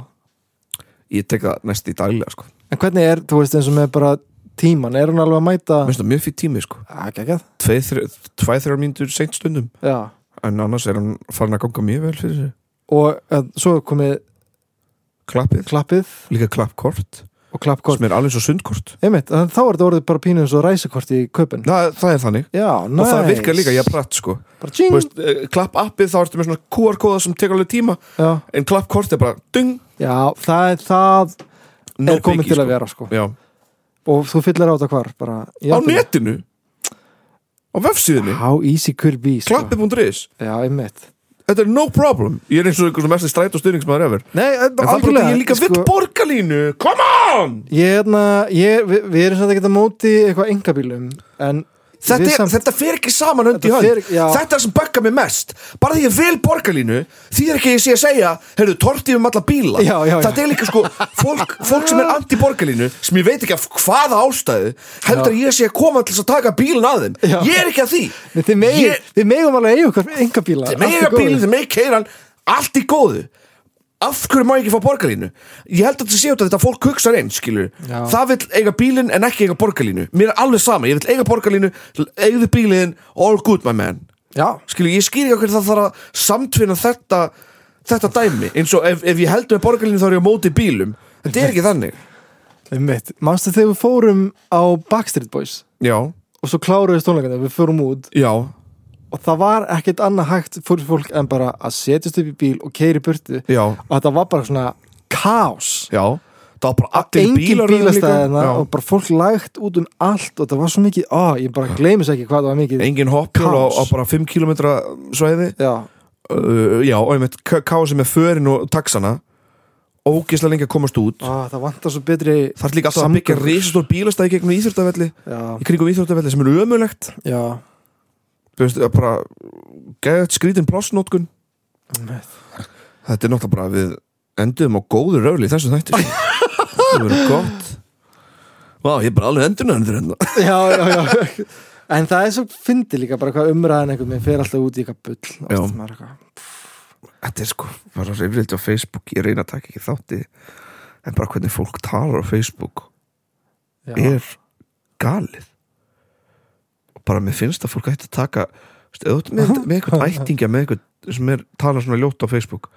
[SPEAKER 1] ég tek það næst í daglega sko
[SPEAKER 2] En hvernig er, þú veist, eins og með bara tíman Er hún alveg að mæta
[SPEAKER 1] mér finnst það mjög fyrir tími sko
[SPEAKER 2] Ægægæð
[SPEAKER 1] tveið, þrjá, tveið, þrjá mínútur seint stundum
[SPEAKER 2] Já
[SPEAKER 1] en annars er hann farin að ganga mjög vel fyrir þessu
[SPEAKER 2] Og uh, svo er komið
[SPEAKER 1] klappið,
[SPEAKER 2] klappið
[SPEAKER 1] líka klappkort
[SPEAKER 2] og klappkort
[SPEAKER 1] sem er alveg svo sundkort
[SPEAKER 2] Einmitt, en þá er þetta orðið bara pínu eins og ræsikort í kaupin
[SPEAKER 1] það, það er þannig
[SPEAKER 2] Já, næs
[SPEAKER 1] og það virkar líka, ég er pratt sko
[SPEAKER 2] Bara tjing
[SPEAKER 1] Þú veist, eh, klappappið þá ertu með svona QR-kóða sem tekur alveg tíma
[SPEAKER 2] Já,
[SPEAKER 1] en klappkort er bara dung
[SPEAKER 2] já það, er- það
[SPEAKER 1] no
[SPEAKER 2] er komið
[SPEAKER 1] biggie,
[SPEAKER 2] til
[SPEAKER 1] sko.
[SPEAKER 2] að vera sko
[SPEAKER 1] Já.
[SPEAKER 2] og þú fyllir á þetta hvar bara,
[SPEAKER 1] á netinu á vefsíðinni,
[SPEAKER 2] How easy could be sko.
[SPEAKER 1] klappið.is
[SPEAKER 2] Já, einmitt
[SPEAKER 1] Þetta er no problem Ég er eins og einhver sem mest stræt og stuðningsmaður efer En
[SPEAKER 2] Nei, en
[SPEAKER 1] það er bara því ég líka sko... vill borgarlínu Come on
[SPEAKER 2] Ég, hérna, ég, við, við erum samt ekkert að móti eitthvað engabílum en
[SPEAKER 1] Þetta,
[SPEAKER 2] við
[SPEAKER 1] er, þetta fer ekki saman hönd í
[SPEAKER 2] Þetta
[SPEAKER 1] hönd
[SPEAKER 2] fer- já.
[SPEAKER 1] Þetta er sem bakka mig mest Bara því ég vil borgarlínu Því er ekki að ég sé að segja Heyrðu, tortið um alla bíla
[SPEAKER 2] Já, já, já.
[SPEAKER 1] Þetta er líka sko Fólk, fólk sem er anti-borgarlínu Sem ég veit ekki af hvaða ástæðu Heldur að ég sé að koma til þess að taka bílinn að þeim
[SPEAKER 2] Já.
[SPEAKER 1] Ég er ekki að því
[SPEAKER 2] Nei, þið, megin,
[SPEAKER 1] Ég-
[SPEAKER 2] þið megum alveg eigu eitthvað engabíla
[SPEAKER 1] Þeir mega bílinn, þeir mega keiran Allt í góðu Af hverju má ég ekki fá borgarlínu? Ég held að þetta sé út að þetta fólk hugsa eins, skilur
[SPEAKER 2] Já.
[SPEAKER 1] Það vill eiga bílinn en ekki eiga borgarlínu Mér er alveg sama, ég vill eiga borgarlínu Eigðu bílinn, all good my man
[SPEAKER 2] Já,
[SPEAKER 1] Skilur, ég skýr ekki okkur það þarf að samtvinna þetta Þetta dæmi Eins og ef, ef ég held með borgarlínu þá er ég á móti bílum Þetta er ekki þannig
[SPEAKER 2] einmitt Manstu þegar við fórum á Backstreet Boys
[SPEAKER 1] Já,
[SPEAKER 2] og svo kláruðist tónleikana, við fórum út
[SPEAKER 1] já,
[SPEAKER 2] og það var ekkert annað hægt fyrir fólk en bara að setjast upp í bíl og keiri burtu
[SPEAKER 1] já,
[SPEAKER 2] og þetta var bara svona kaos
[SPEAKER 1] já Það var bara allir
[SPEAKER 2] engin
[SPEAKER 1] bílar
[SPEAKER 2] bílastæðina og
[SPEAKER 1] Já.
[SPEAKER 2] bara fólk lægt út um allt og það var svo mikið, á, ég bara gleymis ekki hvað það var mikið
[SPEAKER 1] Engin hoppjól á,
[SPEAKER 2] Kaos.
[SPEAKER 1] á bara 5 km svæði
[SPEAKER 2] já,
[SPEAKER 1] uh, já, og einmitt kási með förin og taxana ógeðslega lengi að komast út
[SPEAKER 2] á, það vantar svo betri
[SPEAKER 1] það er líka alltaf að byggja
[SPEAKER 2] Samgöngur.
[SPEAKER 1] risastór bílastæði gegnum íþjórtafelli
[SPEAKER 2] já,
[SPEAKER 1] í kringum íþjórtafelli sem er ömulegt
[SPEAKER 2] já,
[SPEAKER 1] þú veist, það er bara geðvægt skrítin plássnótkun
[SPEAKER 2] einmitt.
[SPEAKER 1] þetta er náttúrulega bara að við endum á góðu röfli í þessu þætti sko. það [laughs] verður gott Vá, ég er bara alveg endurnaður hérna.
[SPEAKER 2] já, já, já en það er svo fyndi líka bara hvað umræðan einhvern veginn fer alltaf út í eitthvað bull og
[SPEAKER 1] Já.
[SPEAKER 2] allt maður eitthvað.
[SPEAKER 1] Þetta er sko, bara reyfrildi á Facebook Ég reyna að taka ekki þátti En bara hvernig fólk talar á Facebook
[SPEAKER 2] já,
[SPEAKER 1] er galið og bara mér finnst að fólk ætti að taka þú veist, ef þú ert með, með eitthvað ættingja með eitthvað sem er tala svona ljótt á Facebook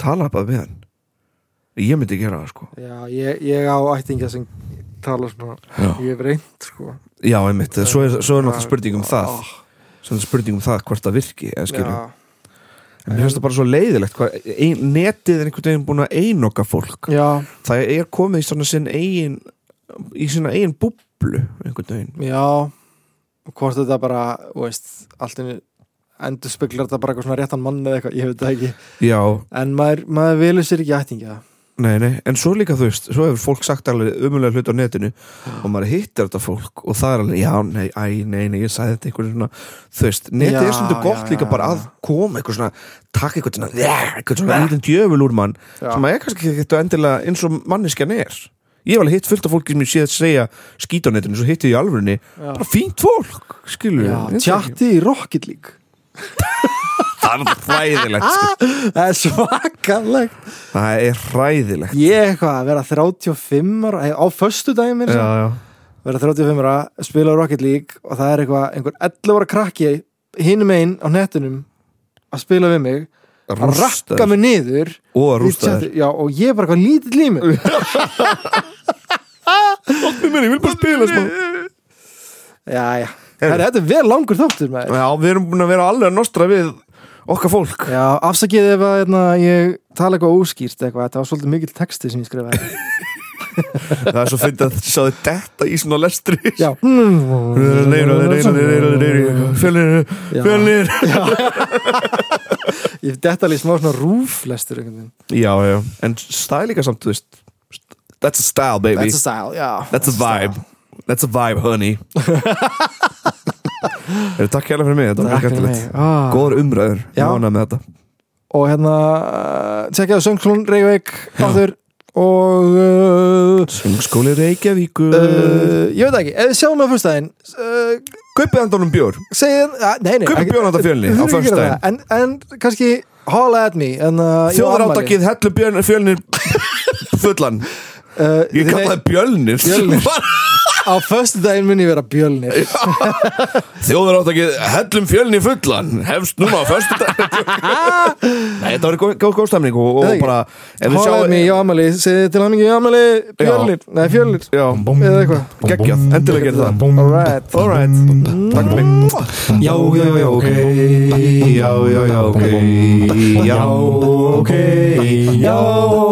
[SPEAKER 1] tala bara við hann ég myndi gera það sko
[SPEAKER 2] já ég, ég á ættingja sem tala svona
[SPEAKER 1] já,
[SPEAKER 2] ég hef reynd sko
[SPEAKER 1] já einmitt, svo er, svo er náttúrulega spurning um það
[SPEAKER 2] Ó,
[SPEAKER 1] svo er spurning um það hvort það virki en skilur,
[SPEAKER 2] Ah. já.
[SPEAKER 1] en mér finnst það bara svo leiðilegt hvað, ein, netið er einhvern veginn búin að einoka fólk
[SPEAKER 2] já,
[SPEAKER 1] það er komið í svona sinn eigin í sína eigin búblu einhvern veginn
[SPEAKER 2] já og hvort þetta bara, þú veist, allt inni endur speklar þetta bara eitthvað svona réttan mann eða eitthvað, ég veit það ekki
[SPEAKER 1] já,
[SPEAKER 2] en maður, maður velur sér ekki ættingja
[SPEAKER 1] nei, nei, en svo líka þú veist svo hefur fólk sagt alveg umulega hlut á netinu og maður hittir þetta fólk og það er alveg, já, nei, æ, nei, nei, ég sagði þetta einhvern svona, þú veist, netið
[SPEAKER 2] Já,
[SPEAKER 1] er svolítið gott
[SPEAKER 2] já,
[SPEAKER 1] líka
[SPEAKER 2] já,
[SPEAKER 1] bara að koma eitthvað svona, takk eitthvað svona eitthvað svona lítið djöful úr mann
[SPEAKER 2] Já.
[SPEAKER 1] sem maður er kannski ekki þetta endilega eins og manneskjan er ég hef alveg hitt fullt af fólki sem ég séð að segja skít á netinu, svo hitti ég í alvörunni bara fínt fólk, skilur
[SPEAKER 2] Já, tjatti í Rocket League
[SPEAKER 1] það er hræðilegt
[SPEAKER 2] [laughs]
[SPEAKER 1] sko.
[SPEAKER 2] það er svakalegt
[SPEAKER 1] það er hræðilegt
[SPEAKER 2] ég eitthvað, að vera 35 ára eh, á föstu daginn mér
[SPEAKER 1] já, já.
[SPEAKER 2] vera 35 ára, spila á Rocket League og það er eitthvað, einhver 11 ára krakki hinum einn á netinum að spila við mig að
[SPEAKER 1] Rústaður.
[SPEAKER 2] rakka mig niður
[SPEAKER 1] og að
[SPEAKER 2] í
[SPEAKER 1] rústa þér
[SPEAKER 2] chati- já, og ég er bara eitthvað lítill í mig
[SPEAKER 1] mér, ég vil bara spila smá
[SPEAKER 2] Já, já. Herri, þetta er vel langur þáttur maður.
[SPEAKER 1] Já, við erum búin að vera alveg að nostra við okkar fólk
[SPEAKER 2] Já, afsakið ef að hérna, ég tala eitthvað óskýrt eitthvað, þetta var svolítið mikill texti sem ég skrifaði.
[SPEAKER 1] Það er svo fyndið að þið sáðu detta í svona lestri
[SPEAKER 2] Já.
[SPEAKER 1] Fjölnir,
[SPEAKER 2] Já.
[SPEAKER 1] fjölnir
[SPEAKER 2] Ég detta alveg í smá svona rúflestur einhvern veginn.
[SPEAKER 1] Já, já, en það er líka samt, þú veist That's a style, baby
[SPEAKER 2] That's a style, já.
[SPEAKER 1] That's a vibe That's a vibe, [laughs] honey Eru, Takk hérna fyrir mig, þetta var
[SPEAKER 2] Takk
[SPEAKER 1] mjög
[SPEAKER 2] fyrir
[SPEAKER 1] gætilegt
[SPEAKER 2] mig. Ah.
[SPEAKER 1] Góður umræður,
[SPEAKER 2] Já.
[SPEAKER 1] ég ánað með þetta
[SPEAKER 2] Og hérna, uh, tjekkjaðu Söngslun Reykjavík áttur og uh,
[SPEAKER 1] Sungskóli Reykjavíkur
[SPEAKER 2] uh, ég veit ekki, ef við sjáum á fyrstæðin, uh,
[SPEAKER 1] Kaupið andanum bjór
[SPEAKER 2] segið, uh, nei, nei.
[SPEAKER 1] Kaupið
[SPEAKER 2] ekki-
[SPEAKER 1] bjór handa fjölni á
[SPEAKER 2] Þú þurfir ekki að gera
[SPEAKER 1] föstudaginn
[SPEAKER 2] það, En, en kannski, holla at me. en, uh, ég á
[SPEAKER 1] Þjóðar
[SPEAKER 2] afmæli.
[SPEAKER 1] átakið hellu björn, fjölnir [laughs] fullan
[SPEAKER 2] Uh,
[SPEAKER 1] Ég
[SPEAKER 2] þið-
[SPEAKER 1] kalla það bjölnir [laughs]
[SPEAKER 2] Bjölnir. á föstu daginn mun ég vera bjölnir
[SPEAKER 1] Þjóðar átakið hellum fjölnir fullan Hefst núna á [laughs] föstudaginn Nei, þetta var góð, góð, góð stemning og,
[SPEAKER 2] Það
[SPEAKER 1] og
[SPEAKER 2] ekki.
[SPEAKER 1] bara ef við
[SPEAKER 2] Hólaði
[SPEAKER 1] sjáum-
[SPEAKER 2] mig í ámali, segði til hann ekki í ámali Björnir, nei fjörnir
[SPEAKER 1] Já,
[SPEAKER 2] Eða eitthvað.
[SPEAKER 1] geggjað, endilega gerð það
[SPEAKER 2] Alright,
[SPEAKER 1] Alright, takk fyrir mig Já, já, já, ok Já, já, já, ok Já, ok Já,